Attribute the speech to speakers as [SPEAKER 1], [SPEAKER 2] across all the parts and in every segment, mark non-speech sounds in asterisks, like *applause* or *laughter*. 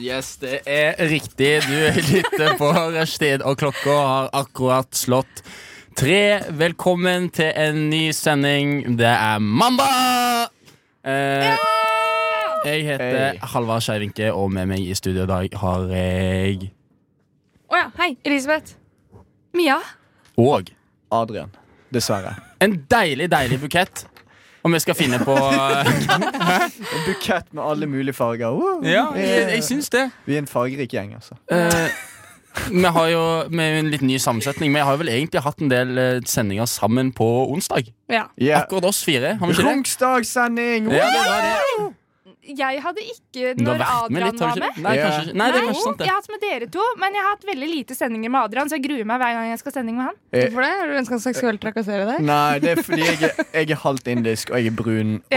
[SPEAKER 1] Yes, det er riktig. Du *laughs* lytter på rushtid, og klokka har akkurat slått tre. Velkommen til en ny sending. Det er mandag! Eh, jeg heter
[SPEAKER 2] Hei.
[SPEAKER 1] Halvard Skeivinke, og med meg i studio i dag har jeg
[SPEAKER 3] Å ja, hei. Elisabeth. Mia.
[SPEAKER 1] Og
[SPEAKER 2] Adrian. Dessverre.
[SPEAKER 1] en deilig, deilig bukett. Om vi skal finne *laughs* på eh,
[SPEAKER 2] En bukett med alle mulige farger. Woo!
[SPEAKER 1] Ja, jeg, jeg syns det.
[SPEAKER 2] Vi er en fargerik gjeng, altså.
[SPEAKER 1] Eh, vi har jo vi er jo en litt ny sammensetning. Vi har jo vel egentlig hatt en del eh, sendinger sammen på onsdag.
[SPEAKER 3] Ja.
[SPEAKER 2] Yeah.
[SPEAKER 1] Akkurat oss fire. Har vi ikke det?
[SPEAKER 2] Rungsdagssending!
[SPEAKER 1] *laughs* Ja, det var det.
[SPEAKER 3] Jeg hadde ikke
[SPEAKER 1] Du har
[SPEAKER 3] når
[SPEAKER 1] vært med
[SPEAKER 3] Adrian
[SPEAKER 1] litt,
[SPEAKER 3] var
[SPEAKER 1] har du ikke
[SPEAKER 3] med.
[SPEAKER 1] det? Nei,
[SPEAKER 2] Ja.
[SPEAKER 1] kanskje, ikke. nei, det
[SPEAKER 3] Nei,
[SPEAKER 1] er kanskje
[SPEAKER 3] Jeg
[SPEAKER 1] sant, det.
[SPEAKER 3] har hatt med dere to, men jeg har hatt veldig lite sendinger med Adrian, så jeg gruer meg hver gang jeg skal sending med han.
[SPEAKER 2] Eh,
[SPEAKER 4] Hvorfor det? Har du ønska han seksuelt trakassere deg?
[SPEAKER 2] Nei, det er fordi jeg, er- jeg er halvt indisk, og jeg er brun. Og,
[SPEAKER 3] Ja.
[SPEAKER 4] *laughs*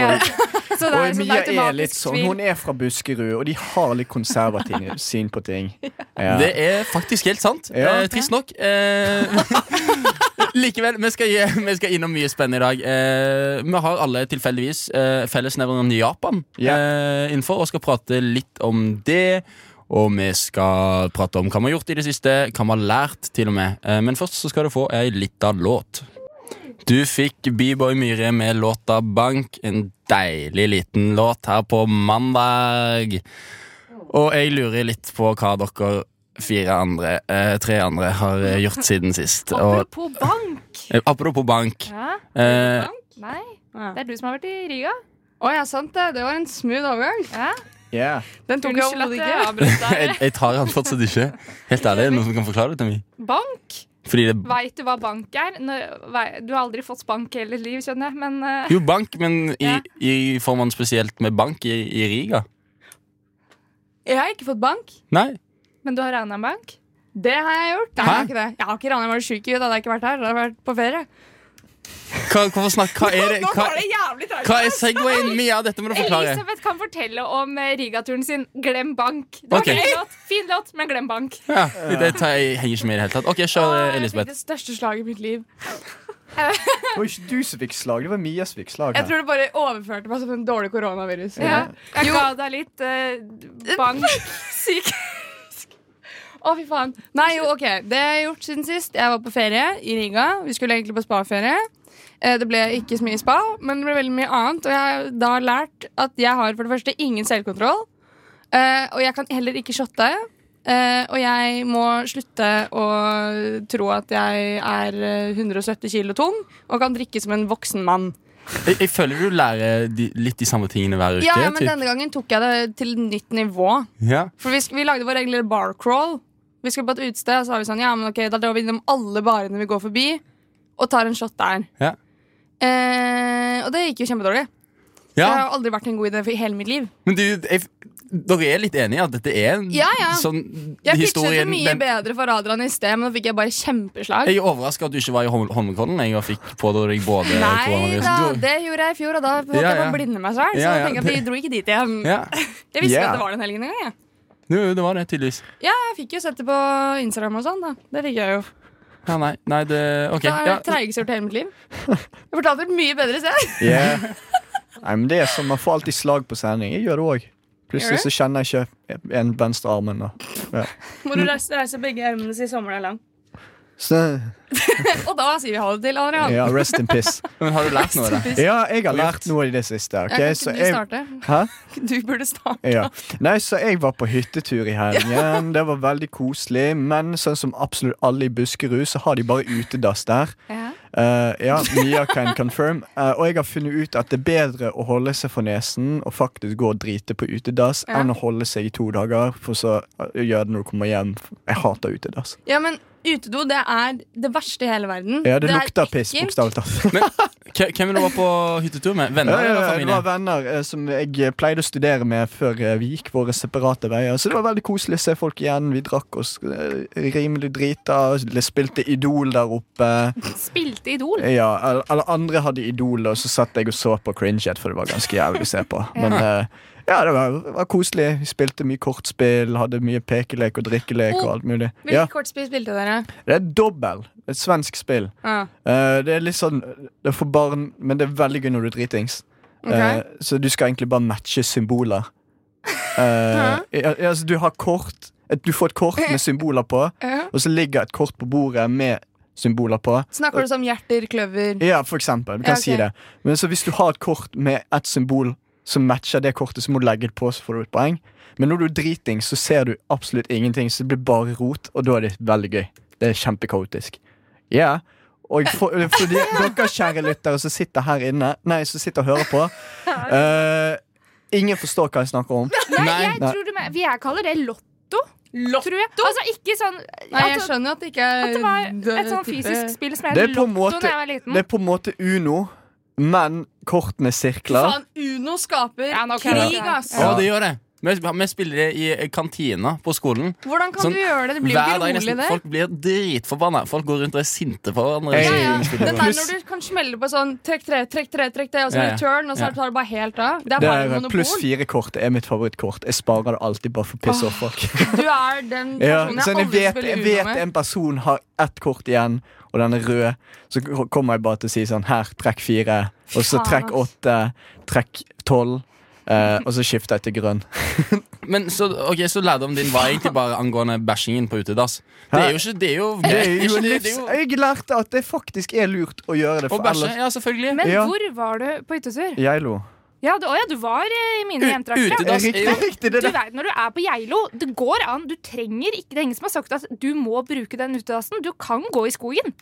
[SPEAKER 3] Så det
[SPEAKER 2] og
[SPEAKER 3] er sånn
[SPEAKER 2] Mia
[SPEAKER 4] liksom
[SPEAKER 2] er litt
[SPEAKER 3] automatisk
[SPEAKER 2] sånn. Hun
[SPEAKER 3] tvil.
[SPEAKER 2] er fra Buskerud, og de har litt konservativt *laughs* syn på ting. Ja.
[SPEAKER 1] Det er faktisk helt sant.
[SPEAKER 2] Ja.
[SPEAKER 1] Eh, trist nok. Eh, *laughs* likevel, vi skal, gi- vi skal innom mye spennende i dag. Eh, vi har alle tilfeldigvis eh, fellesnevneren Japan
[SPEAKER 2] Ja.
[SPEAKER 1] eh, innenfor, og skal prate litt om det. Og vi skal prate om hva vi har gjort i det siste, hva vi har lært, til og med. Eh, men først så skal du få ei lita låt. Du fikk B-Boy Myhre med låta Bank. En deilig liten låt her på mandag. Og jeg lurer litt på hva dere fire andre, eh, tre andre har eh, gjort siden sist. Og,
[SPEAKER 3] Apropos bank.
[SPEAKER 1] eh, apropos bank.
[SPEAKER 3] Ja.
[SPEAKER 1] Eh,
[SPEAKER 3] Nei,
[SPEAKER 4] Ja.
[SPEAKER 3] det er du som har vært i Riga.
[SPEAKER 4] Å ja, sant det. Det var en smooth overgang.
[SPEAKER 3] Ja.
[SPEAKER 2] Yeah.
[SPEAKER 4] Den tok jeg
[SPEAKER 3] Unnskyld at
[SPEAKER 4] overhodet
[SPEAKER 3] jeg
[SPEAKER 4] ikke.
[SPEAKER 3] avbrøt
[SPEAKER 1] *laughs*
[SPEAKER 3] deg.
[SPEAKER 1] jeg, jeg tar han fortsatt ikke. Helt ærlig, er det noen som kan forklare det til meg?
[SPEAKER 3] Bank?
[SPEAKER 1] Fordi det
[SPEAKER 3] Veit du hva bank er? Nå- vei- Du har aldri fått spank i hele ditt liv, skjønner jeg, men eh,
[SPEAKER 1] jo, bank, men i,
[SPEAKER 3] Ja.
[SPEAKER 1] i får man spesielt med bank i, i Riga?
[SPEAKER 4] Jeg har ikke fått bank.
[SPEAKER 1] Nei.
[SPEAKER 3] Men du har regna en bank?
[SPEAKER 4] Det har jeg gjort. Nei, jeg
[SPEAKER 1] Hæ?
[SPEAKER 4] har ikke det. Jeg har ikke rana meg sjuk i huet. Hadde jeg ikke vært her, hadde jeg vært på ferie.
[SPEAKER 1] Hva, hvorfor snakk, hva er det? Hva,
[SPEAKER 4] jævlig traurig.
[SPEAKER 1] hva er Segwayen? Mia, dette må du forklare.
[SPEAKER 3] Elisabeth kan fortelle om eh, rigaturen sin. Glem bank. Det var
[SPEAKER 1] Ok.
[SPEAKER 3] fin, låt. fin låt, men glem bank.
[SPEAKER 1] Ja, det tar, jeg henger ikke med i det hele tatt. Ok, kjør, eh, Elisabeth.
[SPEAKER 4] Det største slaget i mitt liv.
[SPEAKER 2] Det var ikke du som fikk slag, det var Mia som fikk slag.
[SPEAKER 4] Jeg
[SPEAKER 2] Her.
[SPEAKER 4] tror det bare overførte meg som en dårlig koronavirus.
[SPEAKER 3] Ja. Jeg
[SPEAKER 4] Jo.
[SPEAKER 3] ga deg litt eh,
[SPEAKER 4] *laughs*
[SPEAKER 3] bank.
[SPEAKER 4] Syk. Å, fy faen. Nei, jo, ok. Det har jeg gjort siden sist. Jeg var på ferie i Riga. Vi skulle egentlig på spaferie. Eh, Det ble ikke så mye spa, men det ble veldig mye annet. Og jeg har da lært at jeg har for det første ingen selvkontroll. eh, Og jeg kan heller ikke shotte. eh, Og jeg må slutte å tro at jeg er eh, 170 kilo tung og kan drikke som en voksen mann.
[SPEAKER 1] Jeg, jeg føler du lærer de, litt de samme tingene hver uke.
[SPEAKER 4] Ja, ja, men
[SPEAKER 1] typ.
[SPEAKER 4] denne gangen tok jeg det til nytt nivå.
[SPEAKER 1] ja.
[SPEAKER 4] For vi, sk- vi lagde vår egen lille bar crawl. Vi skulle på et utested, og så var vi sånn Ja, men ok, da drar vi innom alle barene vi går forbi, og tar en shot der.
[SPEAKER 1] Ja.
[SPEAKER 4] Eh, og det gikk jo kjempedårlig. Det
[SPEAKER 1] ja.
[SPEAKER 4] har jo aldri vært en god idé for i hele mitt liv.
[SPEAKER 1] Men du, jeg, dere er litt enige i at dette er en
[SPEAKER 4] Ja, ja.
[SPEAKER 1] sånn
[SPEAKER 4] Jeg pitchet det
[SPEAKER 1] historien
[SPEAKER 4] mye
[SPEAKER 1] den-
[SPEAKER 4] bedre for Adrian i sted, men nå fikk jeg bare kjempeslag.
[SPEAKER 1] Jeg er overraska at du ikke var i Holm- Holmenkollen jeg, og fikk på deg både
[SPEAKER 4] Nei
[SPEAKER 1] koronavirus-
[SPEAKER 4] da, det gjorde jeg i fjor, og da holdt
[SPEAKER 1] Ja,
[SPEAKER 4] jeg på
[SPEAKER 1] ja.
[SPEAKER 4] å blinde meg selv. Så
[SPEAKER 1] Ja,
[SPEAKER 4] da
[SPEAKER 1] ja,
[SPEAKER 4] tenkte jeg at vi
[SPEAKER 1] det-
[SPEAKER 4] dro ikke dit igjen.
[SPEAKER 1] *laughs* Ja,
[SPEAKER 4] Jeg visste
[SPEAKER 2] Ja.
[SPEAKER 4] ikke at det var den helgen engang. jeg.
[SPEAKER 1] jo, jo, det var det, tydeligvis.
[SPEAKER 4] Ja, jeg fikk jo sett det på Instagram og sånn, da. Det fikk jeg jo.
[SPEAKER 1] Ja, nei, nei, det OK.
[SPEAKER 4] Det er
[SPEAKER 1] Ja,
[SPEAKER 4] det treigeste jeg har gjort i hele mitt liv. Jeg fortalte et mye bedre sted.
[SPEAKER 1] *laughs*
[SPEAKER 2] Yeah. Nei, men det er sånn, Man får alltid slag på sending. Jeg gjør det òg. Plutselig så kjenner jeg ikke en venstre armen. Og, ja.
[SPEAKER 4] Må du reise, reise begge armene si sommeren er lang.
[SPEAKER 2] så,
[SPEAKER 4] Og da sier vi ha det til, Adrian.
[SPEAKER 2] ja, rest in piss.
[SPEAKER 1] men har du lært noe av det?
[SPEAKER 4] *laughs*
[SPEAKER 2] Ja, jeg har lært noe i det siste. ok?
[SPEAKER 4] Ja, kan
[SPEAKER 2] Så
[SPEAKER 4] ikke du
[SPEAKER 2] jeg,
[SPEAKER 4] starte?
[SPEAKER 2] hæ?
[SPEAKER 4] *laughs* Du burde starte.
[SPEAKER 2] Ja. Nei, så jeg var på hyttetur i helgen. Det var veldig koselig. Men sånn som absolutt alle i Buskerud, så har de bare utedass der.
[SPEAKER 3] Ja.
[SPEAKER 2] Eh, ja, Mia can confirm. Eh, og jeg har funnet ut at det er bedre å holde seg for nesen og faktisk gå og drite på utedass
[SPEAKER 4] Ja.
[SPEAKER 2] enn å holde seg i to dager, for så eh, gjøre det når du kommer hjem. Jeg hater utedass.
[SPEAKER 4] Ja, men utedo det er det verste i hele verden.
[SPEAKER 2] Ja, det,
[SPEAKER 4] er
[SPEAKER 2] lukter piss,
[SPEAKER 4] ekkelt.
[SPEAKER 2] bokstavelig talt.
[SPEAKER 1] Men K- Hvem vil du være på hyttetur med?
[SPEAKER 2] Ja,
[SPEAKER 1] Venner
[SPEAKER 2] ja,
[SPEAKER 1] eller
[SPEAKER 2] ja, Det
[SPEAKER 1] familie?
[SPEAKER 2] var venner eh, som jeg eh, pleide å studere med før eh, vi gikk våre separate veier. Så det var veldig koselig å se folk igjen. Vi drakk oss eh, rimelig drita, eller spilte Idol der oppe.
[SPEAKER 4] Spilte Idol.
[SPEAKER 2] Ja, eller- eller andre hadde Idol, og så satt jeg og så på Cringet, for det var ganske jævlig å se på. Men eh, ja, det var, det var koselig. Vi spilte mye kortspill, hadde mye pekelek og drikkelek og alt mulig.
[SPEAKER 4] Hvilket
[SPEAKER 2] Ja,
[SPEAKER 4] kortspill spilte dere?
[SPEAKER 2] det er dobbel. Et svensk spill.
[SPEAKER 4] Ah,
[SPEAKER 2] Eh, det er litt sånn Det er for barn, men det er veldig gøy når du er dritings.
[SPEAKER 4] ok.
[SPEAKER 2] Eh, så du skal egentlig bare matche
[SPEAKER 4] *laughs*
[SPEAKER 2] symboler. Eh, ja, ja, altså, du har kort et, Du får et
[SPEAKER 4] *laughs*
[SPEAKER 2] kort med symboler på,
[SPEAKER 4] Ja.
[SPEAKER 2] og så ligger et kort på bordet med symboler på.
[SPEAKER 4] Snakker du som hjerter, kløver
[SPEAKER 2] Ja, for eksempel. Du kan
[SPEAKER 4] Ja, ok.
[SPEAKER 2] si det. Men så hvis du har et kort med et symbol som matcher det kortet, så må du legge det på, så får du et poeng. Men når du er driting, så ser du absolutt ingenting, så det blir bare rot, og da er det veldig gøy. Det er kjempekaotisk. Ja. Og for, eh, for de,
[SPEAKER 4] *laughs*
[SPEAKER 2] dere kjære lyttere som sitter her inne Nei, som sitter og hører på. eh, ingen forstår hva jeg snakker om.
[SPEAKER 1] Nei.
[SPEAKER 5] Jeg
[SPEAKER 2] Nei.
[SPEAKER 5] tror du mener Vi jeg kaller det lotto,
[SPEAKER 4] Lotto?
[SPEAKER 5] tror jeg. Altså ikke sånn
[SPEAKER 4] Nei, jeg
[SPEAKER 5] altså,
[SPEAKER 4] skjønner at det ikke er
[SPEAKER 5] At det
[SPEAKER 4] *laughs*
[SPEAKER 5] var et sånn
[SPEAKER 4] type-
[SPEAKER 5] fysisk spill som
[SPEAKER 2] Det
[SPEAKER 5] het
[SPEAKER 2] er på en
[SPEAKER 5] lotto
[SPEAKER 2] måte-
[SPEAKER 5] da jeg var liten.
[SPEAKER 2] Det er på en måte Uno, men kortene sirkler.
[SPEAKER 4] Faen, Uno skaper
[SPEAKER 5] Ja, nå kan jeg
[SPEAKER 4] krig,
[SPEAKER 5] det.
[SPEAKER 4] ass!
[SPEAKER 1] Å, det gjør det. Vi, vi spiller det i kantina på skolen.
[SPEAKER 4] Hvordan kan
[SPEAKER 1] Sånn,
[SPEAKER 4] du gjøre det? Det blir jo
[SPEAKER 1] Hver
[SPEAKER 4] ikke
[SPEAKER 1] dag
[SPEAKER 4] rolig,
[SPEAKER 1] nesten.
[SPEAKER 4] det.
[SPEAKER 1] Folk blir dritforbanna. Folk går rundt og er sinte på hverandre.
[SPEAKER 2] Hey.
[SPEAKER 4] Ja, ja.
[SPEAKER 2] Spiller
[SPEAKER 4] Den der
[SPEAKER 2] Pluss-
[SPEAKER 4] når du kan smelle på sånn trekk tre, trekk tre, trekk tre, og så
[SPEAKER 1] Ja,
[SPEAKER 4] blir
[SPEAKER 1] ja.
[SPEAKER 4] det turn, og så
[SPEAKER 1] Ja.
[SPEAKER 4] tar det bare helt av. Det er
[SPEAKER 2] Det
[SPEAKER 4] bare
[SPEAKER 2] er
[SPEAKER 4] monopol.
[SPEAKER 2] pluss fire-kortet er mitt favorittkort. Jeg sparer det alltid bare for å pisse off folk.
[SPEAKER 4] Du er den
[SPEAKER 2] Ja, sånn,
[SPEAKER 4] personen jeg
[SPEAKER 2] jeg
[SPEAKER 4] aldri
[SPEAKER 2] vet,
[SPEAKER 4] spiller
[SPEAKER 2] jeg
[SPEAKER 4] Uno
[SPEAKER 2] vet
[SPEAKER 4] med.
[SPEAKER 2] en person har ett kort igjen, og den er rød. Så k- kommer jeg bare til å si sånn Her, trekk fire. Og så
[SPEAKER 4] faen,
[SPEAKER 2] trekk
[SPEAKER 4] ass.
[SPEAKER 2] åtte. Trekk tolv. eh, og så skifter jeg til grønn.
[SPEAKER 1] Men så, ok, så lærdommen din var egentlig bare angående bæsjingen på utedass. Det er jo ikke Det er jo,
[SPEAKER 2] Det er jo
[SPEAKER 1] ikke
[SPEAKER 2] en
[SPEAKER 1] det-
[SPEAKER 2] livs...
[SPEAKER 1] det er jo-
[SPEAKER 2] Jeg lærte at det faktisk er lurt å gjøre
[SPEAKER 1] Å
[SPEAKER 2] det. For
[SPEAKER 1] bæsje,
[SPEAKER 2] ellers
[SPEAKER 1] ja, selvfølgelig.
[SPEAKER 5] Men
[SPEAKER 2] Ja.
[SPEAKER 5] hvor var du på hyttetur?
[SPEAKER 2] Jeg lo.
[SPEAKER 5] Ja, du, å, ja, du var eh, i mine hjemtrakter.
[SPEAKER 1] Utedass er
[SPEAKER 2] Riktig,
[SPEAKER 1] jo
[SPEAKER 2] riktig. Det
[SPEAKER 5] Du
[SPEAKER 2] der.
[SPEAKER 5] vet, når du er på Geilo, det går an. Du trenger ikke Det er ingen som har sagt at du må bruke den utedassen. Du kan gå i skogen.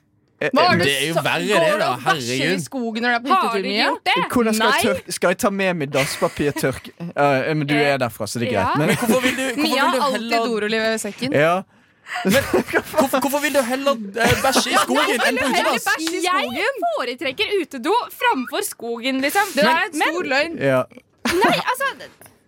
[SPEAKER 2] eh,
[SPEAKER 1] Eh,
[SPEAKER 4] Hva
[SPEAKER 1] Det
[SPEAKER 4] du
[SPEAKER 1] er jo
[SPEAKER 4] sa-
[SPEAKER 1] verre
[SPEAKER 4] går
[SPEAKER 1] det,
[SPEAKER 4] du
[SPEAKER 1] da.
[SPEAKER 4] og bæsjer
[SPEAKER 1] Herregud.
[SPEAKER 4] i skogen når du er på
[SPEAKER 5] Har du ikke
[SPEAKER 4] hyttetur mye?
[SPEAKER 5] gjort det?
[SPEAKER 2] eh, Hvordan skal jeg,
[SPEAKER 5] Nei.
[SPEAKER 2] tørke, skal jeg ta med meg dasspapirtørk? Eh, men du er derfra, så det er
[SPEAKER 5] Ja.
[SPEAKER 2] greit. Men,
[SPEAKER 1] Hvorfor vil du,
[SPEAKER 4] *laughs*
[SPEAKER 1] hvorfor
[SPEAKER 4] Mia
[SPEAKER 1] vil
[SPEAKER 4] har
[SPEAKER 1] du
[SPEAKER 4] alltid
[SPEAKER 1] heller
[SPEAKER 4] dorull i sekken.
[SPEAKER 2] ja.
[SPEAKER 1] Hvorfor, hvorfor vil du heller eh, bæsje i skogen enn på utedass?
[SPEAKER 4] bæsje i
[SPEAKER 5] Jeg foretrekker utedo framfor skogen, liksom.
[SPEAKER 4] Det er en
[SPEAKER 5] men,
[SPEAKER 4] stor løgn.
[SPEAKER 2] Ja.
[SPEAKER 5] nei, altså,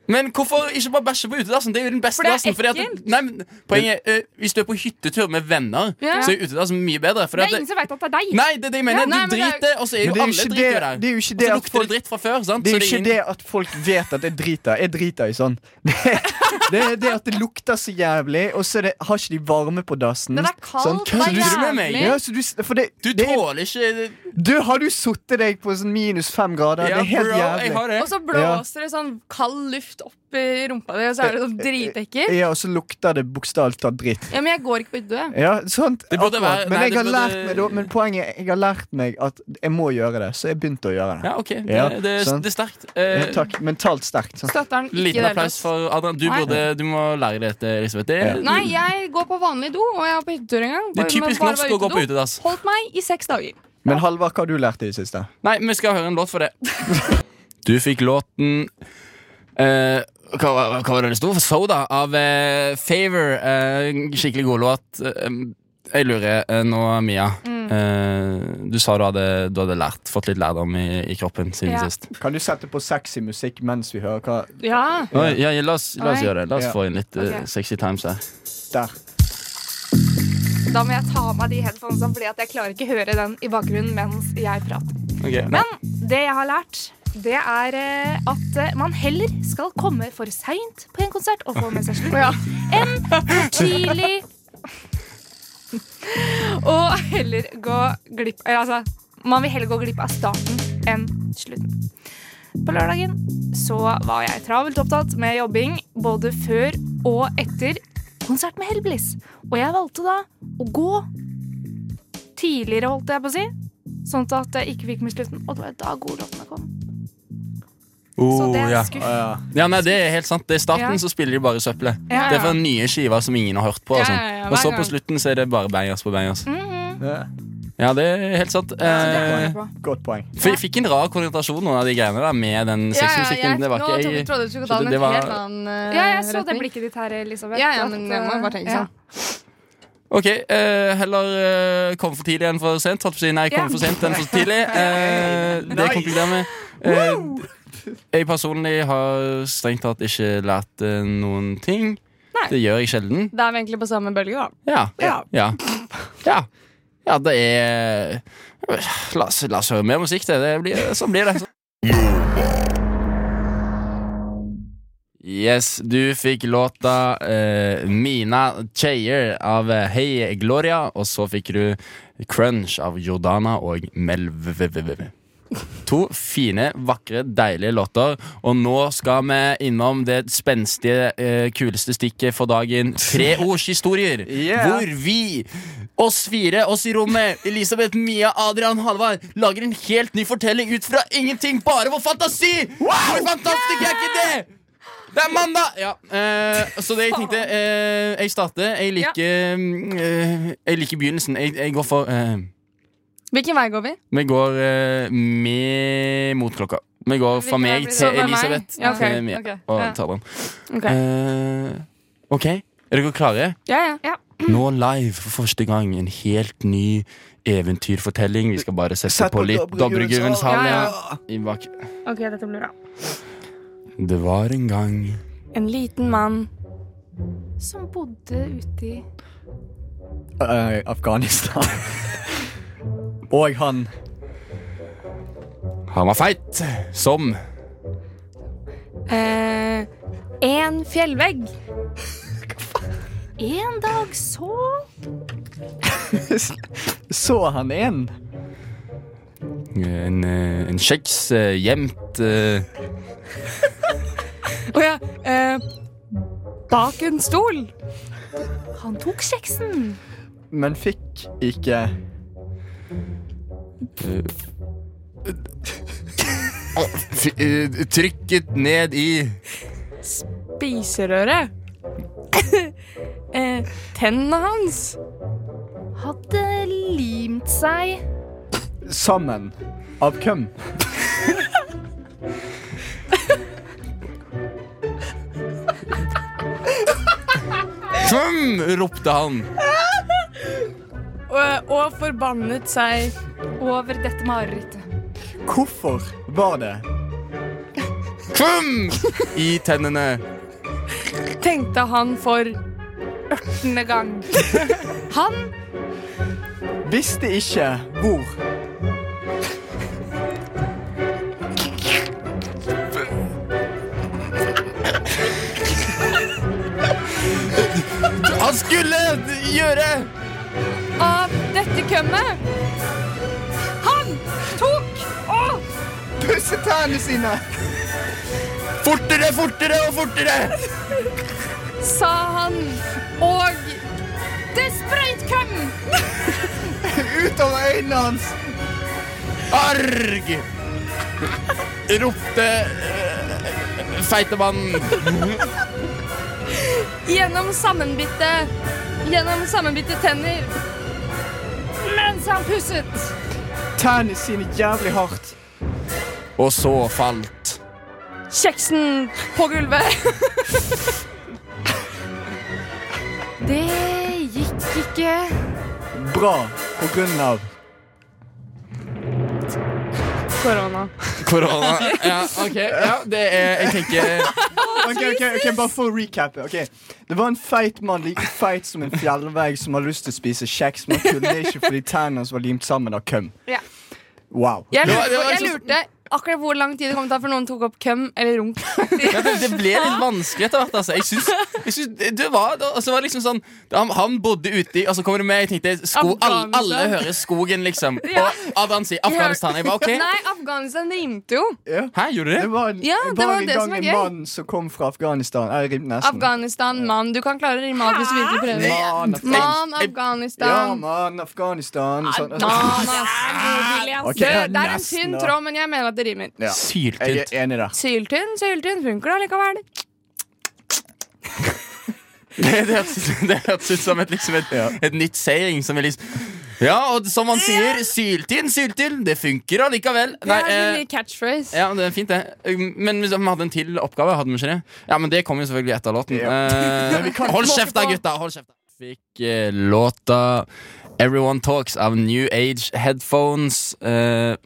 [SPEAKER 1] Men hvorfor ikke bare bæsje på utedassen? Det er jo den beste
[SPEAKER 5] For det er
[SPEAKER 1] dassen. fordi at-
[SPEAKER 5] ekkelt.
[SPEAKER 1] Nei, men Poenget er, eh, hvis du er på hyttetur med venner,
[SPEAKER 4] Ja.
[SPEAKER 1] så er utedassen mye bedre. fordi
[SPEAKER 5] det
[SPEAKER 1] at
[SPEAKER 5] er ingen som veit at det er deg.
[SPEAKER 1] Nei, det er det jeg mener.
[SPEAKER 4] Ja, nei, men
[SPEAKER 1] du
[SPEAKER 4] det er-
[SPEAKER 1] driter, og så er
[SPEAKER 2] Men
[SPEAKER 1] jo
[SPEAKER 2] det er
[SPEAKER 1] alle
[SPEAKER 2] jo ikke
[SPEAKER 1] driter jo
[SPEAKER 2] det,
[SPEAKER 1] der.
[SPEAKER 2] det, er jo ikke
[SPEAKER 1] Og så
[SPEAKER 2] det at
[SPEAKER 1] lukter det
[SPEAKER 2] folk
[SPEAKER 1] dritt fra før. sant?
[SPEAKER 2] Det er
[SPEAKER 1] Så
[SPEAKER 2] jo ikke
[SPEAKER 1] ingen-
[SPEAKER 2] det at folk vet at jeg driter. Jeg driter i sånn. *laughs* Det, det er det at det lukter så jævlig, og så er det, har ikke de varme på dassen.
[SPEAKER 4] Den er kald.
[SPEAKER 2] Sånn,
[SPEAKER 4] den er
[SPEAKER 1] kødder du med meg?
[SPEAKER 4] jævlig.
[SPEAKER 2] ja, så du, s- for det,
[SPEAKER 1] Du
[SPEAKER 2] det, er-
[SPEAKER 1] tåler ikke
[SPEAKER 2] du Har du sittet deg på sånn minus fem grader?
[SPEAKER 1] Ja,
[SPEAKER 2] det er helt
[SPEAKER 1] bro, jeg
[SPEAKER 2] jævlig.
[SPEAKER 1] har det.
[SPEAKER 4] Og så blåser det sånn kald luft opp i rumpa di, og så er det sånn dritekkelt.
[SPEAKER 2] Ja, og så lukter det bokstavelig talt dritt.
[SPEAKER 4] Ja, men jeg går ikke på hytte.
[SPEAKER 2] Ja, sant,
[SPEAKER 1] Det burde
[SPEAKER 2] akkurat.
[SPEAKER 1] være-
[SPEAKER 2] men,
[SPEAKER 1] nei,
[SPEAKER 2] jeg har
[SPEAKER 1] det burde-
[SPEAKER 2] lært meg, da- men poenget er jeg har lært meg at jeg må gjøre det, så jeg begynte å gjøre det.
[SPEAKER 1] Ja, OK. Det,
[SPEAKER 2] Ja,
[SPEAKER 1] det, er-
[SPEAKER 2] sant.
[SPEAKER 1] det er sterkt.
[SPEAKER 2] Ja,
[SPEAKER 1] Eh,
[SPEAKER 2] takk. Mentalt sterkt. sånn. sant?
[SPEAKER 4] Støtter den ikke i
[SPEAKER 1] liten
[SPEAKER 4] det hele
[SPEAKER 1] applaus
[SPEAKER 4] tatt.
[SPEAKER 1] for Adrian. Du,
[SPEAKER 4] Nei.
[SPEAKER 1] burde, du må lære deg dette, Elisabeth. Det,
[SPEAKER 2] Ja.
[SPEAKER 1] er-
[SPEAKER 4] Nei, jeg går på vanlig do, og jeg var på hyttetur en gang.
[SPEAKER 1] det er
[SPEAKER 4] Bare-
[SPEAKER 1] typisk
[SPEAKER 4] bare
[SPEAKER 1] norsk
[SPEAKER 4] var
[SPEAKER 1] å gå på
[SPEAKER 4] utedo.
[SPEAKER 1] utedass.
[SPEAKER 4] Holdt meg i seks dager.
[SPEAKER 2] Men Halvard, hva har du lært i det siste?
[SPEAKER 1] Nei, vi skal høre en låt for det. *laughs* Du fikk låten eh, hva, var- hva var det det sto? Soda av eh, Favor. Eh, skikkelig god låt. Eh, jeg lurer eh, nå, Mia.
[SPEAKER 4] Mm.
[SPEAKER 1] Eh, du sa du hadde, du hadde lært, fått litt lærdom i, i kroppen siden
[SPEAKER 5] Ja.
[SPEAKER 1] sist.
[SPEAKER 2] Kan du sette på sexy musikk mens vi hører hva
[SPEAKER 4] Ja.
[SPEAKER 1] Oi, ja, ja, la, oss, la oss
[SPEAKER 4] Oi.
[SPEAKER 1] gjøre det. La oss
[SPEAKER 2] Ja.
[SPEAKER 1] få inn litt eh, sexy times her.
[SPEAKER 2] Der.
[SPEAKER 5] Da må jeg ta av meg de headphonesene, fordi at jeg klarer ikke høre den i bakgrunnen mens jeg prater. Men det jeg har lært, det er eh, at eh, man heller skal komme for seint på en konsert og få med seg slutt, enn for tidlig *laughs* Og heller gå glipp eh, Altså, man vil heller gå glipp av starten enn slutten. På lørdagen så var jeg travelt opptatt med jobbing både før og etter konsert med Hellbillies. Og jeg valgte da å gå tidligere, holdt jeg på å si. Sånn at jeg ikke fikk med slutten. Og det var da godlåtene kom. Så det er
[SPEAKER 1] Oh, ja.
[SPEAKER 2] Å,
[SPEAKER 5] skuff.
[SPEAKER 2] ja.
[SPEAKER 1] ja, nei, det er helt sant. Det er starten,
[SPEAKER 5] Ja.
[SPEAKER 1] så spiller de bare søppelet.
[SPEAKER 5] Ja.
[SPEAKER 1] Det er fra nye skiver som ingen har hørt på. Og,
[SPEAKER 4] Ja,
[SPEAKER 1] sånn.
[SPEAKER 4] ja, ja,
[SPEAKER 1] og
[SPEAKER 4] hver
[SPEAKER 1] så på
[SPEAKER 4] gang.
[SPEAKER 1] slutten så er det bare bangers på bangers.
[SPEAKER 5] Mhm.
[SPEAKER 2] Ja,
[SPEAKER 1] Ja, det er helt sant. Eh,
[SPEAKER 2] Godt poeng.
[SPEAKER 1] for jeg fikk en rar konsentrasjon noen av de greiene der med den sexmusikken. Det var
[SPEAKER 4] Nå
[SPEAKER 1] ikke
[SPEAKER 4] trodde
[SPEAKER 1] jeg,
[SPEAKER 4] trodde du skulle
[SPEAKER 1] så
[SPEAKER 4] ta
[SPEAKER 1] det-
[SPEAKER 4] den
[SPEAKER 1] det
[SPEAKER 4] et
[SPEAKER 1] var-
[SPEAKER 4] helt annen eh,
[SPEAKER 5] Ja, jeg så det
[SPEAKER 4] retning.
[SPEAKER 5] blikket ditt her, Elisabeth.
[SPEAKER 4] Ja, ja,
[SPEAKER 5] at,
[SPEAKER 4] men jeg må
[SPEAKER 5] eh,
[SPEAKER 4] bare tenke
[SPEAKER 5] ja.
[SPEAKER 4] sånn.
[SPEAKER 1] Ok, eh, heller eh, komme for tidlig enn for sent. Holdt på å si nei, komme
[SPEAKER 5] Ja.
[SPEAKER 1] for sent enn for
[SPEAKER 4] *laughs*
[SPEAKER 1] tidlig. Eh, det konkluderer med. Eh, jeg personlig har strengt tatt ikke lært eh, noen ting.
[SPEAKER 4] Nei.
[SPEAKER 1] Det gjør jeg sjelden.
[SPEAKER 4] Da er vi egentlig på samme bølge, da.
[SPEAKER 1] Ja.
[SPEAKER 4] Ja.
[SPEAKER 1] Ja. ja. ja det er la oss, la oss høre mer musikk, det. det blir, sånn blir det. Yes, du fikk låta eh, 'Mina Cheyer' av eh, Hey Gloria, og så fikk du 'Crunch' av Jordana og Melv... To fine, vakre, deilige låter. Og nå skal vi innom det spenstige, eh, kuleste stikket for dagen. Treordshistorier.
[SPEAKER 2] Yeah.
[SPEAKER 1] Hvor vi, oss fire, oss i rommet, Elisabeth, Mia, Adrian, Halvard, lager en helt ny fortelling ut fra ingenting. Bare vår fantasi! Hvor fantastisk er ikke det? Det er mandag! Ja, eh, så det jeg tenkte eh, Jeg starter. Jeg liker, eh, jeg liker begynnelsen. Jeg, jeg går for eh,
[SPEAKER 4] Hvilken vei går vi?
[SPEAKER 1] vi går eh, med mot klokka. Vi går fra
[SPEAKER 5] Hvilken
[SPEAKER 1] meg
[SPEAKER 5] blir det?
[SPEAKER 1] til
[SPEAKER 5] Fra meg?
[SPEAKER 1] Elisabeth.
[SPEAKER 4] Ja, ok,
[SPEAKER 1] til Mia,
[SPEAKER 4] ok.
[SPEAKER 1] Og
[SPEAKER 4] Ja.
[SPEAKER 1] tar den.
[SPEAKER 4] Ok.
[SPEAKER 1] Eh, ok, er dere klare?
[SPEAKER 4] Ja, ja.
[SPEAKER 1] Nå live for første gang en helt ny eventyrfortelling. Vi skal bare sette
[SPEAKER 2] Sett
[SPEAKER 1] på
[SPEAKER 2] på
[SPEAKER 1] litt Dobreguvens
[SPEAKER 2] Dobreguvens
[SPEAKER 1] hall.
[SPEAKER 4] hall, ja,
[SPEAKER 1] ja. I bak.
[SPEAKER 5] Ok, dette blir bra.
[SPEAKER 1] Det var en gang
[SPEAKER 4] En liten mann.
[SPEAKER 5] Som bodde uti
[SPEAKER 2] Eh, Afghanistan. *laughs* Og han
[SPEAKER 1] Han var feit som
[SPEAKER 4] Eh, en
[SPEAKER 5] *laughs*
[SPEAKER 4] fjellvegg.
[SPEAKER 5] En dag så
[SPEAKER 2] Så han en.
[SPEAKER 1] en, eh, en kjeks eh, gjemt eh,
[SPEAKER 4] Å ja. Eh, bak en stol.
[SPEAKER 5] Han tok kjeksen.
[SPEAKER 2] men fikk ikke
[SPEAKER 1] f- eh, trykket ned i
[SPEAKER 4] Spiserøret. *laughs* eh, tennene hans.
[SPEAKER 5] Hadde limt seg.
[SPEAKER 2] sammen. Av hvem?
[SPEAKER 1] Tum! ropte han.
[SPEAKER 4] Og, og forbannet seg.
[SPEAKER 5] Over dette marerittet.
[SPEAKER 2] Hvorfor var det?
[SPEAKER 1] Tum! I tennene.
[SPEAKER 4] Tenkte han for
[SPEAKER 5] Denne gang.
[SPEAKER 4] han.
[SPEAKER 2] Visste ikke hvor.
[SPEAKER 1] Han skulle gjøre
[SPEAKER 4] av dette kømmet. Han tok og
[SPEAKER 2] Pusse tennene sine!
[SPEAKER 1] fortere, fortere og fortere.
[SPEAKER 4] sa han, og det sprøyt køm.
[SPEAKER 2] Utover øynene hans!
[SPEAKER 1] Arg! Ropte eh, feitemannen.
[SPEAKER 4] Gjennom sammenbitte, gjennom sammenbitte tenner. Mens han pusset.
[SPEAKER 2] Tennene sine jævlig hardt.
[SPEAKER 1] Og så falt
[SPEAKER 4] Kjeksen på gulvet.
[SPEAKER 5] *laughs* Det gikk ikke.
[SPEAKER 2] Bra på grunn av
[SPEAKER 4] Korona.
[SPEAKER 1] korona. Ja, ok. Ja, det er Jeg tenker
[SPEAKER 2] Ok, ok, ok, Bare for å recappe. ok. Det var en feit mann like feit som en fjellvegg som hadde lyst til å spise kjeks, men kunne det ikke fordi tennene hans var limt sammen av køm.
[SPEAKER 5] Ja.
[SPEAKER 2] Wow.
[SPEAKER 4] Jeg
[SPEAKER 1] Det var- det
[SPEAKER 4] lurte,
[SPEAKER 1] var
[SPEAKER 4] jeg
[SPEAKER 1] liksom-
[SPEAKER 4] lurte akkurat hvor lang tid det kom til å ta for noen tok opp køm eller runk.
[SPEAKER 1] *laughs* ja, det, det ble litt vanskelig etter hvert. Altså. Jeg syns, jeg syns det- det, var, det, altså, det var liksom sånn Han, han bodde ute i Og så kommer du med, jeg tenkte sko, alle, alle hører skogen, liksom. Og Adrian sier Afghanistan. Jeg bare OK.
[SPEAKER 4] Nei, Afghanistan rimte jo.
[SPEAKER 2] Ja.
[SPEAKER 1] Hæ, gjorde du
[SPEAKER 2] Det
[SPEAKER 1] det?
[SPEAKER 2] var, en-
[SPEAKER 4] Ja, det
[SPEAKER 2] var
[SPEAKER 4] var
[SPEAKER 2] en
[SPEAKER 4] det
[SPEAKER 2] gang
[SPEAKER 4] som var
[SPEAKER 2] en
[SPEAKER 4] gøy.
[SPEAKER 2] mann som kom fra Afghanistan. Jeg rimte nesten.
[SPEAKER 4] Afghanistan, mann. Du kan klare å rime av hvis du virkelig prøver.
[SPEAKER 2] Man,
[SPEAKER 4] Man,
[SPEAKER 1] Jeg-
[SPEAKER 2] Ja,
[SPEAKER 4] Afghanistan.
[SPEAKER 2] man, Afghanistan sånn.
[SPEAKER 4] Man, ass.
[SPEAKER 2] *laughs* Ok,
[SPEAKER 4] Det, det er en
[SPEAKER 2] nesten,
[SPEAKER 4] tynn
[SPEAKER 2] da.
[SPEAKER 4] tråd, men jeg mener at det rimer.
[SPEAKER 2] Ja. Jeg
[SPEAKER 1] Syltynt.
[SPEAKER 2] er enig der.
[SPEAKER 4] Syltynn, syltynn funker da likevel.
[SPEAKER 1] *laughs* Det det hørtes det hørtes ut som et, liksom et,
[SPEAKER 2] Ja.
[SPEAKER 1] et nytt saying som er liksom Ja, og som han sier, syltynn, syltynn. Det funker allikevel.
[SPEAKER 4] Det
[SPEAKER 1] Nei,
[SPEAKER 4] er en
[SPEAKER 1] eh,
[SPEAKER 4] liten catchphrase.
[SPEAKER 1] ja, det er fint, det. Eh, Men hvis vi hadde en til oppgave, hadde vi ikke det? Ja, men det kom jo selvfølgelig etter låten.
[SPEAKER 2] Ja.
[SPEAKER 1] Eh,
[SPEAKER 2] Men *laughs* vi kan
[SPEAKER 1] hold
[SPEAKER 2] ikke
[SPEAKER 1] kjeft da, gutta! Hold kjeft. da. fikk eh, låta 'Everyone Talks' av New Age Headphones. Eh,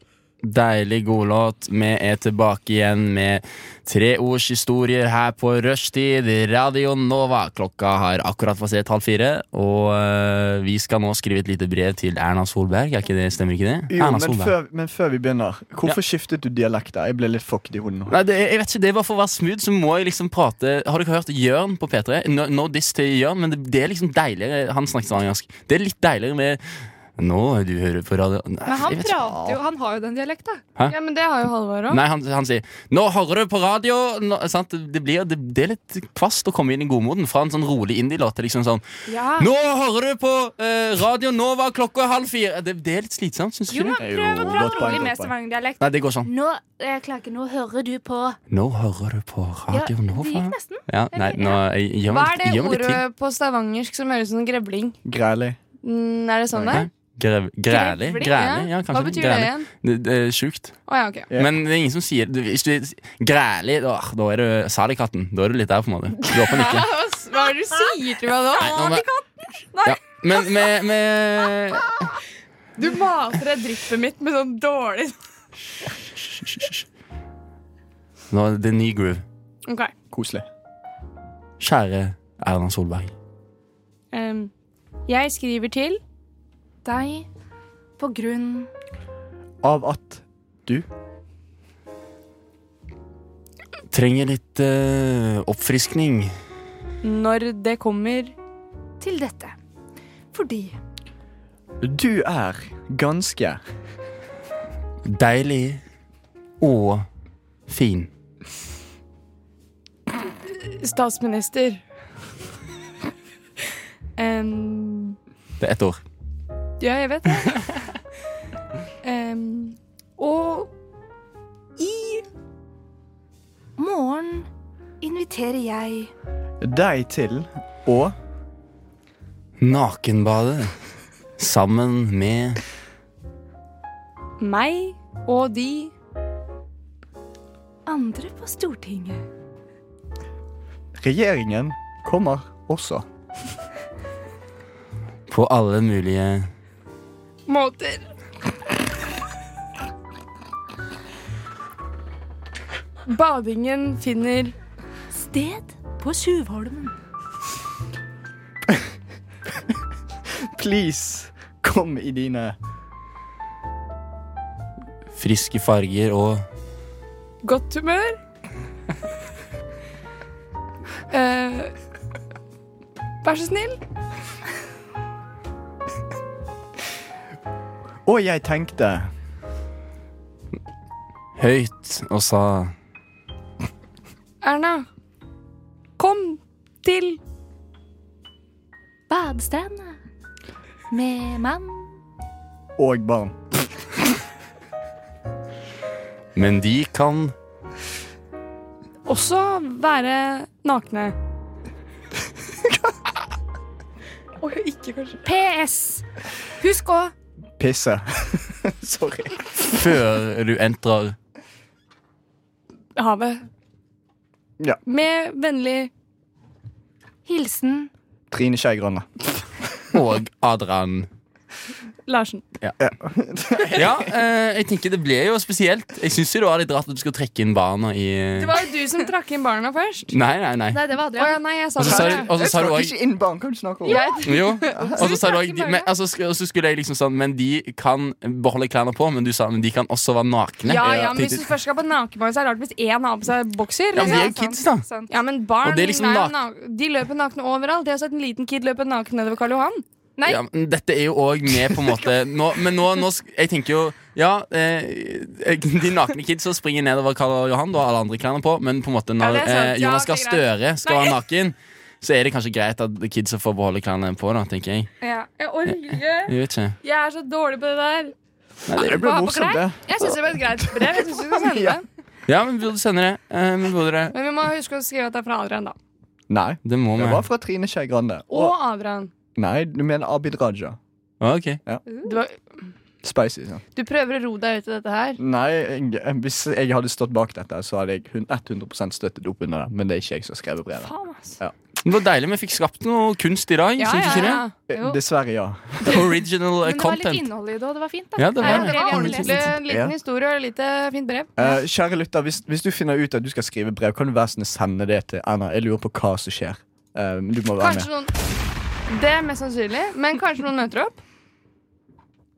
[SPEAKER 1] deilig godlåt. Vi er tilbake igjen med treordshistorier her på rushtid. Radio Nova. Klokka har akkurat passert halv fire, og eh, vi skal nå skrive et lite brev til Erna Solberg. Er ikke det, stemmer ikke det?
[SPEAKER 2] Jo,
[SPEAKER 1] Erna
[SPEAKER 2] men
[SPEAKER 1] Solberg.
[SPEAKER 2] før, men før vi begynner, hvorfor skiftet du dialekt der? Jeg ble litt fucked i hodet nå.
[SPEAKER 1] Nei, det, jeg vet ikke, det er bare for å være smooth Så må jeg liksom prate Har dere hørt Jørn på P3? No, no diss til Jørn Men det, det er liksom deiligere Han snakker stavangersk Det er litt deiligere med Nå du hører på radio Nei,
[SPEAKER 5] Men han
[SPEAKER 1] jeg vet ikke.
[SPEAKER 5] prater jo, han har jo den dialekta.
[SPEAKER 4] Ja, men det har jo Halvor òg.
[SPEAKER 1] Nei, han, han sier Nå hører du på radio nå, sant? Det, blir, det, det er litt kvast å komme inn i godmoden Fra en sånn rolig indie-låt til liksom sånn
[SPEAKER 5] Ja.
[SPEAKER 1] Nå hører du på eh, radio Nova klokka er halv fire det, det er litt slitsomt, synes du
[SPEAKER 5] Jo,
[SPEAKER 1] ikke det?
[SPEAKER 5] men prøv å
[SPEAKER 2] Jo,
[SPEAKER 5] dra
[SPEAKER 2] godt poeng,
[SPEAKER 5] rolig med
[SPEAKER 2] godt poeng.
[SPEAKER 5] stavangerdialekt.
[SPEAKER 1] Nei, det går sånn
[SPEAKER 5] Nå jeg klarer ikke, nå hører du på
[SPEAKER 1] Nå hører du på
[SPEAKER 5] Ja,
[SPEAKER 1] radio
[SPEAKER 5] Det
[SPEAKER 1] Nova
[SPEAKER 5] gikk nesten.
[SPEAKER 1] Ja, nei, nå jeg, gjør
[SPEAKER 4] Hva
[SPEAKER 1] meg
[SPEAKER 4] er
[SPEAKER 1] litt-
[SPEAKER 4] det
[SPEAKER 1] gjør meg litt
[SPEAKER 4] ordet
[SPEAKER 1] ting
[SPEAKER 4] på stavangersk som høres ut som grevling?
[SPEAKER 2] Greilig.
[SPEAKER 4] Mm, er det sånn det?
[SPEAKER 1] Nei. Grev, grælig?
[SPEAKER 4] Grevling,
[SPEAKER 1] Grælig, ja, kanskje.
[SPEAKER 4] Hva betyr det
[SPEAKER 1] grælig.
[SPEAKER 4] igjen?
[SPEAKER 1] det? Det er sjukt.
[SPEAKER 4] Å ja, ok.
[SPEAKER 2] Ja.
[SPEAKER 1] Men det er ingen som sier du, Hvis du grælig, da, da er du Salikatten. Da er du litt der, på en måte. Du åpner
[SPEAKER 4] *laughs*
[SPEAKER 1] ikke.
[SPEAKER 4] Hva er det du sier til meg nå?
[SPEAKER 1] Nei, nå, men, ja. men med, med
[SPEAKER 4] Du mater deg dryppet mitt med sånn dårlig
[SPEAKER 1] Nå er det ny groove.
[SPEAKER 4] Ok.
[SPEAKER 2] Koselig.
[SPEAKER 1] Kjære Erna Solberg.
[SPEAKER 4] Em, jeg skriver til
[SPEAKER 5] Deg på grunn
[SPEAKER 2] Av at
[SPEAKER 1] Trenger litt eh, oppfriskning.
[SPEAKER 4] når det kommer
[SPEAKER 5] til dette. Fordi
[SPEAKER 2] du er ganske
[SPEAKER 1] Deilig og fin.
[SPEAKER 4] statsminister. Em,
[SPEAKER 1] Det er ett ord.
[SPEAKER 4] ja, jeg vet det.
[SPEAKER 1] *laughs*
[SPEAKER 4] Em, og i
[SPEAKER 5] morgen inviterer jeg
[SPEAKER 2] deg til å
[SPEAKER 1] Nakenbade sammen med
[SPEAKER 4] meg og de
[SPEAKER 5] andre på Stortinget.
[SPEAKER 2] regjeringen kommer også.
[SPEAKER 1] på alle mulige
[SPEAKER 4] måter. Badingen finner
[SPEAKER 5] Sted på Tjuvholmen.
[SPEAKER 2] Please, kom i dine
[SPEAKER 1] friske farger og
[SPEAKER 4] godt humør. Eh, vær så snill.
[SPEAKER 2] Og jeg tenkte
[SPEAKER 1] høyt og sa
[SPEAKER 4] Erna, kom til
[SPEAKER 5] Badestranda med mann.
[SPEAKER 2] og barn.
[SPEAKER 1] Men de kan
[SPEAKER 4] også være nakne. Oi, ikke kanskje.
[SPEAKER 5] PS. Husk å
[SPEAKER 2] Pisse. *laughs* Sorry.
[SPEAKER 1] før du entrer
[SPEAKER 4] Havet.
[SPEAKER 2] Ja.
[SPEAKER 4] Med vennlig
[SPEAKER 5] hilsen
[SPEAKER 2] Trine Skei Grande.
[SPEAKER 1] og Adrian.
[SPEAKER 4] Larsen.
[SPEAKER 1] Ja, eh, jeg tenker det ble jo spesielt. Jeg syns det var litt rart at du skulle trekke inn barna i
[SPEAKER 4] Det var jo du som trakk inn barna først.
[SPEAKER 1] Nei, nei, nei.
[SPEAKER 5] Nei, det var
[SPEAKER 4] Å
[SPEAKER 5] Adrian.
[SPEAKER 4] ja, nei, jeg sa
[SPEAKER 1] Og så sa du-
[SPEAKER 4] det.
[SPEAKER 1] og så sa du
[SPEAKER 2] trakk
[SPEAKER 1] òg
[SPEAKER 2] ikke inn barn. Kan du snakke om
[SPEAKER 4] Jeg
[SPEAKER 1] Jo. Og så sa du også- men- altså, sk- og så skulle jeg liksom sånn Men de kan beholde klærne på, men du sa men de kan også være nakne.
[SPEAKER 4] Ja, ja, men
[SPEAKER 1] men,
[SPEAKER 4] hvis du først skal på nakenbad, så er det rart hvis én har på seg bokser.
[SPEAKER 1] ja, men de er
[SPEAKER 4] liksom.
[SPEAKER 1] jo kids, da.
[SPEAKER 5] Sant.
[SPEAKER 4] Ja, men barn
[SPEAKER 1] Og det er liksom
[SPEAKER 4] er jo
[SPEAKER 1] nak-
[SPEAKER 4] nak- De løper nakne overalt. Jeg har sett en liten kid løpe naken nedover Karl Johan. Nei.
[SPEAKER 1] Ja, men dette er jo òg med, på en
[SPEAKER 4] *laughs*
[SPEAKER 1] måte. Nå, men nå, nå sk- Jeg tenker jo Ja, eh, de nakne kidsa springer nedover Karl Johan, da har alle andre klærne på, men på en måte når
[SPEAKER 4] Ja, det er sant.
[SPEAKER 1] eh, Jonas
[SPEAKER 4] Ja,
[SPEAKER 1] Gahr
[SPEAKER 4] ok,
[SPEAKER 1] Støre skal være naken, så er det kanskje greit at kidsa får beholde klærne på, da, tenker jeg.
[SPEAKER 4] Ja. Jeg orker ikke.
[SPEAKER 1] Jeg vet ikke.
[SPEAKER 4] Jeg er så dårlig på det der.
[SPEAKER 2] Det ble
[SPEAKER 4] Hva på
[SPEAKER 2] morsomt,
[SPEAKER 4] klær?
[SPEAKER 2] det.
[SPEAKER 4] Jeg syns det var et greit brev. Jeg synes vi skal sende det.
[SPEAKER 1] *laughs* Ja, men vi burde sende det. Eh, vi burde det.
[SPEAKER 4] Men vi må huske å skrive at det er fra Adrian, da.
[SPEAKER 2] Nei.
[SPEAKER 1] Det må vi.
[SPEAKER 2] Det var fra Trine Skei Grande.
[SPEAKER 4] Og
[SPEAKER 2] Og
[SPEAKER 4] Adrian.
[SPEAKER 2] Nei, du mener Abid Raja.
[SPEAKER 1] Ah, ok.
[SPEAKER 4] Du, var-
[SPEAKER 2] Spicy. sånn.
[SPEAKER 4] du prøver å ro deg ut i dette her.
[SPEAKER 2] Nei, jeg, hvis jeg hadde stått bak dette, så hadde jeg hun- 100 støttet opp under det. Men det er ikke jeg som har skrevet brevet.
[SPEAKER 4] Faen, ass.
[SPEAKER 2] Ja.
[SPEAKER 1] Det var deilig vi fikk skapt noe kunst i dag.
[SPEAKER 4] Ja,
[SPEAKER 1] synes
[SPEAKER 4] ja,
[SPEAKER 1] ikke
[SPEAKER 4] ja.
[SPEAKER 5] Jo.
[SPEAKER 2] Eh, Dessverre, ja.
[SPEAKER 1] det? Original eh,
[SPEAKER 5] Men det var litt
[SPEAKER 1] content.
[SPEAKER 5] innhold i det, og det var fint. da
[SPEAKER 1] Ja, det
[SPEAKER 4] Nei,
[SPEAKER 1] var
[SPEAKER 4] det
[SPEAKER 1] det.
[SPEAKER 4] var
[SPEAKER 5] Ja.
[SPEAKER 4] ordentlig en
[SPEAKER 2] Ja.
[SPEAKER 4] liten historie og et lite fint brev.
[SPEAKER 2] Eh, kjære lytter, hvis, hvis du finner ut at du skal skrive brev, kan du være sånn å sende det til Anna. Jeg lurer på hva som skjer. Eh, du må være
[SPEAKER 4] Kanskje
[SPEAKER 2] med.
[SPEAKER 4] noen Det er mest sannsynlig, men kanskje noen møter opp.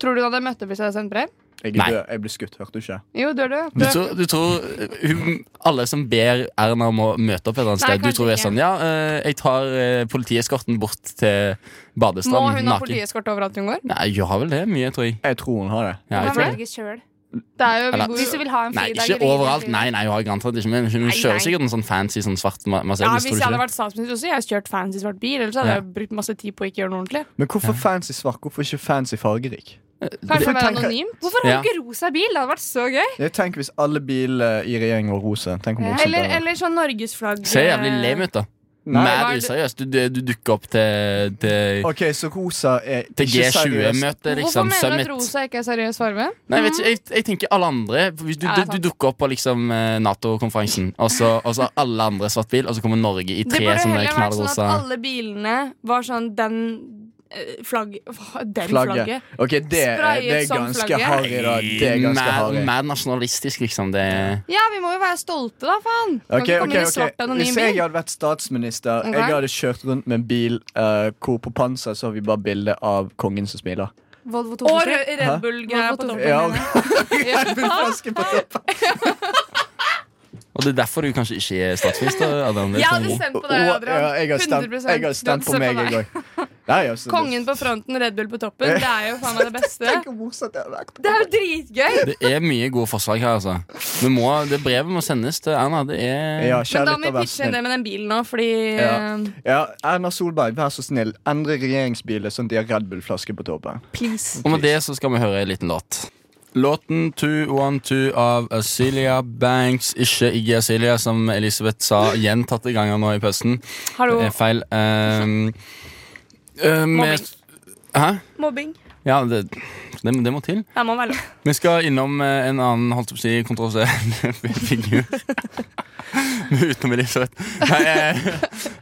[SPEAKER 4] Tror du du hadde møtt opp hvis jeg hadde sendt brev?
[SPEAKER 2] Jeg,
[SPEAKER 1] Nei.
[SPEAKER 2] er død. jeg blir skutt, hørte du ikke?
[SPEAKER 4] Jo, du er død.
[SPEAKER 1] Du tror, du tror eh, hun, alle som ber Erna om å møte opp et eller annet
[SPEAKER 4] Nei,
[SPEAKER 1] sted, du
[SPEAKER 4] kanskje
[SPEAKER 1] tror er
[SPEAKER 4] ikke.
[SPEAKER 1] sånn Ja, eh, jeg tar eh, politieskorten bort til
[SPEAKER 4] Må
[SPEAKER 1] badestrand
[SPEAKER 4] hun ha
[SPEAKER 1] naken.
[SPEAKER 4] politieskorte overalt hun går?
[SPEAKER 1] Nei, jeg har vel det mye, tror jeg.
[SPEAKER 2] Jeg tror hun har det.
[SPEAKER 1] Ja, jeg
[SPEAKER 5] Du
[SPEAKER 1] tror
[SPEAKER 5] kan
[SPEAKER 1] det.
[SPEAKER 5] velge selv.
[SPEAKER 4] Det er jo, vi
[SPEAKER 1] Eller-
[SPEAKER 4] bor
[SPEAKER 5] Hvis du
[SPEAKER 4] jo
[SPEAKER 5] vil ha en
[SPEAKER 1] Nei,
[SPEAKER 5] fridag.
[SPEAKER 1] ikke
[SPEAKER 5] eller ingen
[SPEAKER 1] overalt.
[SPEAKER 5] fridag.
[SPEAKER 1] Nei, nei, hun har garantert ikke Men hun
[SPEAKER 5] Nei,
[SPEAKER 1] kjører
[SPEAKER 5] nei.
[SPEAKER 1] sikkert en sånn fancy sånn svart Ma- Mercedes.
[SPEAKER 4] ja,
[SPEAKER 1] tror
[SPEAKER 4] Hvis
[SPEAKER 1] du
[SPEAKER 4] jeg
[SPEAKER 1] ikke
[SPEAKER 4] hadde
[SPEAKER 1] det?
[SPEAKER 4] vært statsminister, så jeg hadde kjørt fancy svart bil. Ellers hadde
[SPEAKER 1] Ja.
[SPEAKER 4] jeg brukt masse tid på å ikke gjøre noe ordentlig.
[SPEAKER 2] Men hvorfor fancy svart? Hvorfor ikke fancy fargerik?
[SPEAKER 4] Kanskje
[SPEAKER 2] Det-
[SPEAKER 4] være
[SPEAKER 2] tenker-
[SPEAKER 4] anonym?
[SPEAKER 5] Hvorfor har
[SPEAKER 1] Ja.
[SPEAKER 5] du ikke rosa bil? Det hadde vært så gøy.
[SPEAKER 2] Jeg tenker Hvis alle biler i regjeringen var rosa Tenk om rosa
[SPEAKER 4] Eller,
[SPEAKER 2] ble-
[SPEAKER 4] eller sånn norgesflagg. eh,
[SPEAKER 1] Ser jævlig lame ut, da.
[SPEAKER 2] Nei,
[SPEAKER 4] hva
[SPEAKER 1] Mer
[SPEAKER 4] er det-
[SPEAKER 1] useriøst. Du, du, du dukker opp til, til,
[SPEAKER 2] OK, så rosa er
[SPEAKER 1] til
[SPEAKER 2] ikke seriøst.
[SPEAKER 1] G20-møtet,
[SPEAKER 4] Hvorfor
[SPEAKER 1] liksom.
[SPEAKER 4] mener du at
[SPEAKER 1] Summit.
[SPEAKER 4] rosa ikke er seriøs farge?
[SPEAKER 1] Nei, jeg vet ikke, jeg, jeg tenker alle andre Hvis du,
[SPEAKER 4] Ja,
[SPEAKER 1] du,
[SPEAKER 4] det er sant.
[SPEAKER 1] du dukker opp på liksom eh, Nato-konferansen, og så og så har alle andre svart bil, og så kommer Norge i
[SPEAKER 4] Det
[SPEAKER 1] tre
[SPEAKER 4] burde
[SPEAKER 1] sånne
[SPEAKER 4] heller vært sånn at
[SPEAKER 1] knallrosa
[SPEAKER 4] alle bilene var sånn den eh, flagg... Den
[SPEAKER 2] Flagget.
[SPEAKER 4] flagget.
[SPEAKER 2] OK, det, er- det
[SPEAKER 4] Sprayet
[SPEAKER 2] er
[SPEAKER 4] som
[SPEAKER 2] ganske
[SPEAKER 4] flagget.
[SPEAKER 2] harry, da. Det er ganske
[SPEAKER 1] mer,
[SPEAKER 2] harry.
[SPEAKER 1] mer nasjonalistisk, liksom. Det
[SPEAKER 4] Ja, vi må jo være stolte, da, faen! Kan
[SPEAKER 2] Ok,
[SPEAKER 4] ikke komme
[SPEAKER 2] ok,
[SPEAKER 4] inn i
[SPEAKER 2] ok.
[SPEAKER 4] svart anonym
[SPEAKER 2] Hvis jeg
[SPEAKER 4] bil.
[SPEAKER 2] hadde vært statsminister,
[SPEAKER 4] Ok.
[SPEAKER 2] jeg hadde kjørt rundt med en bil eh, hvor på panseret så har vi bare bilde av kongen som smiler.
[SPEAKER 5] Volvo
[SPEAKER 4] Og
[SPEAKER 5] 243.
[SPEAKER 4] Re- Red
[SPEAKER 2] Hæ?
[SPEAKER 4] Bull-greia på
[SPEAKER 2] *laughs*
[SPEAKER 4] toppen.
[SPEAKER 2] Ja, Gullflaske på toppen.
[SPEAKER 1] Og det er derfor du kanskje ikke er statsminister. Adam. Det er
[SPEAKER 4] Jeg
[SPEAKER 1] sånn-
[SPEAKER 4] hadde stemt på deg,
[SPEAKER 2] Og-
[SPEAKER 4] Adrian.
[SPEAKER 2] ja, jeg har stemt,
[SPEAKER 4] 100%.
[SPEAKER 2] jeg har stemt
[SPEAKER 4] Du
[SPEAKER 2] på
[SPEAKER 4] hadde
[SPEAKER 2] meg,
[SPEAKER 4] stemt
[SPEAKER 2] jeg altså, òg.
[SPEAKER 4] Kongen på fronten, Red Bull på toppen. Det er jo faen meg det beste.
[SPEAKER 2] Tenk hvor morsomt det hadde vært.
[SPEAKER 4] Det er jo dritgøy!
[SPEAKER 1] Det er mye gode forslag her, altså. Vi må, det brevet må sendes til Erna. Det er
[SPEAKER 2] Ja,
[SPEAKER 4] Men da
[SPEAKER 2] kjærlighet
[SPEAKER 4] må
[SPEAKER 2] av
[SPEAKER 4] vi
[SPEAKER 2] vær
[SPEAKER 4] pitche inn det
[SPEAKER 2] snill.
[SPEAKER 4] med den bilen nå, fordi
[SPEAKER 2] Ja.
[SPEAKER 4] eh,
[SPEAKER 2] Ja, Erna Solberg, vær så snill, endre regjeringsbilet sånn at de har Red Bull-flaske på toppen.
[SPEAKER 4] Please.
[SPEAKER 1] Og med det så skal vi høre en liten låt. Låten 212 av Azelia Banks. Ikke Iggy Azelia, som Elisabeth sa gjentatte ganger nå i pausen.
[SPEAKER 4] Hallo.
[SPEAKER 1] Det er Eh, feil. Ehm, eh, med, hæ?
[SPEAKER 5] Mobbing.
[SPEAKER 1] Ja, det, det, det må til.
[SPEAKER 5] Det må være lov.
[SPEAKER 1] Vi skal innom eh, en annen holdt jeg på å si, kontroversiell *laughs* figur. Utenom Elisabeth. Nei, eh,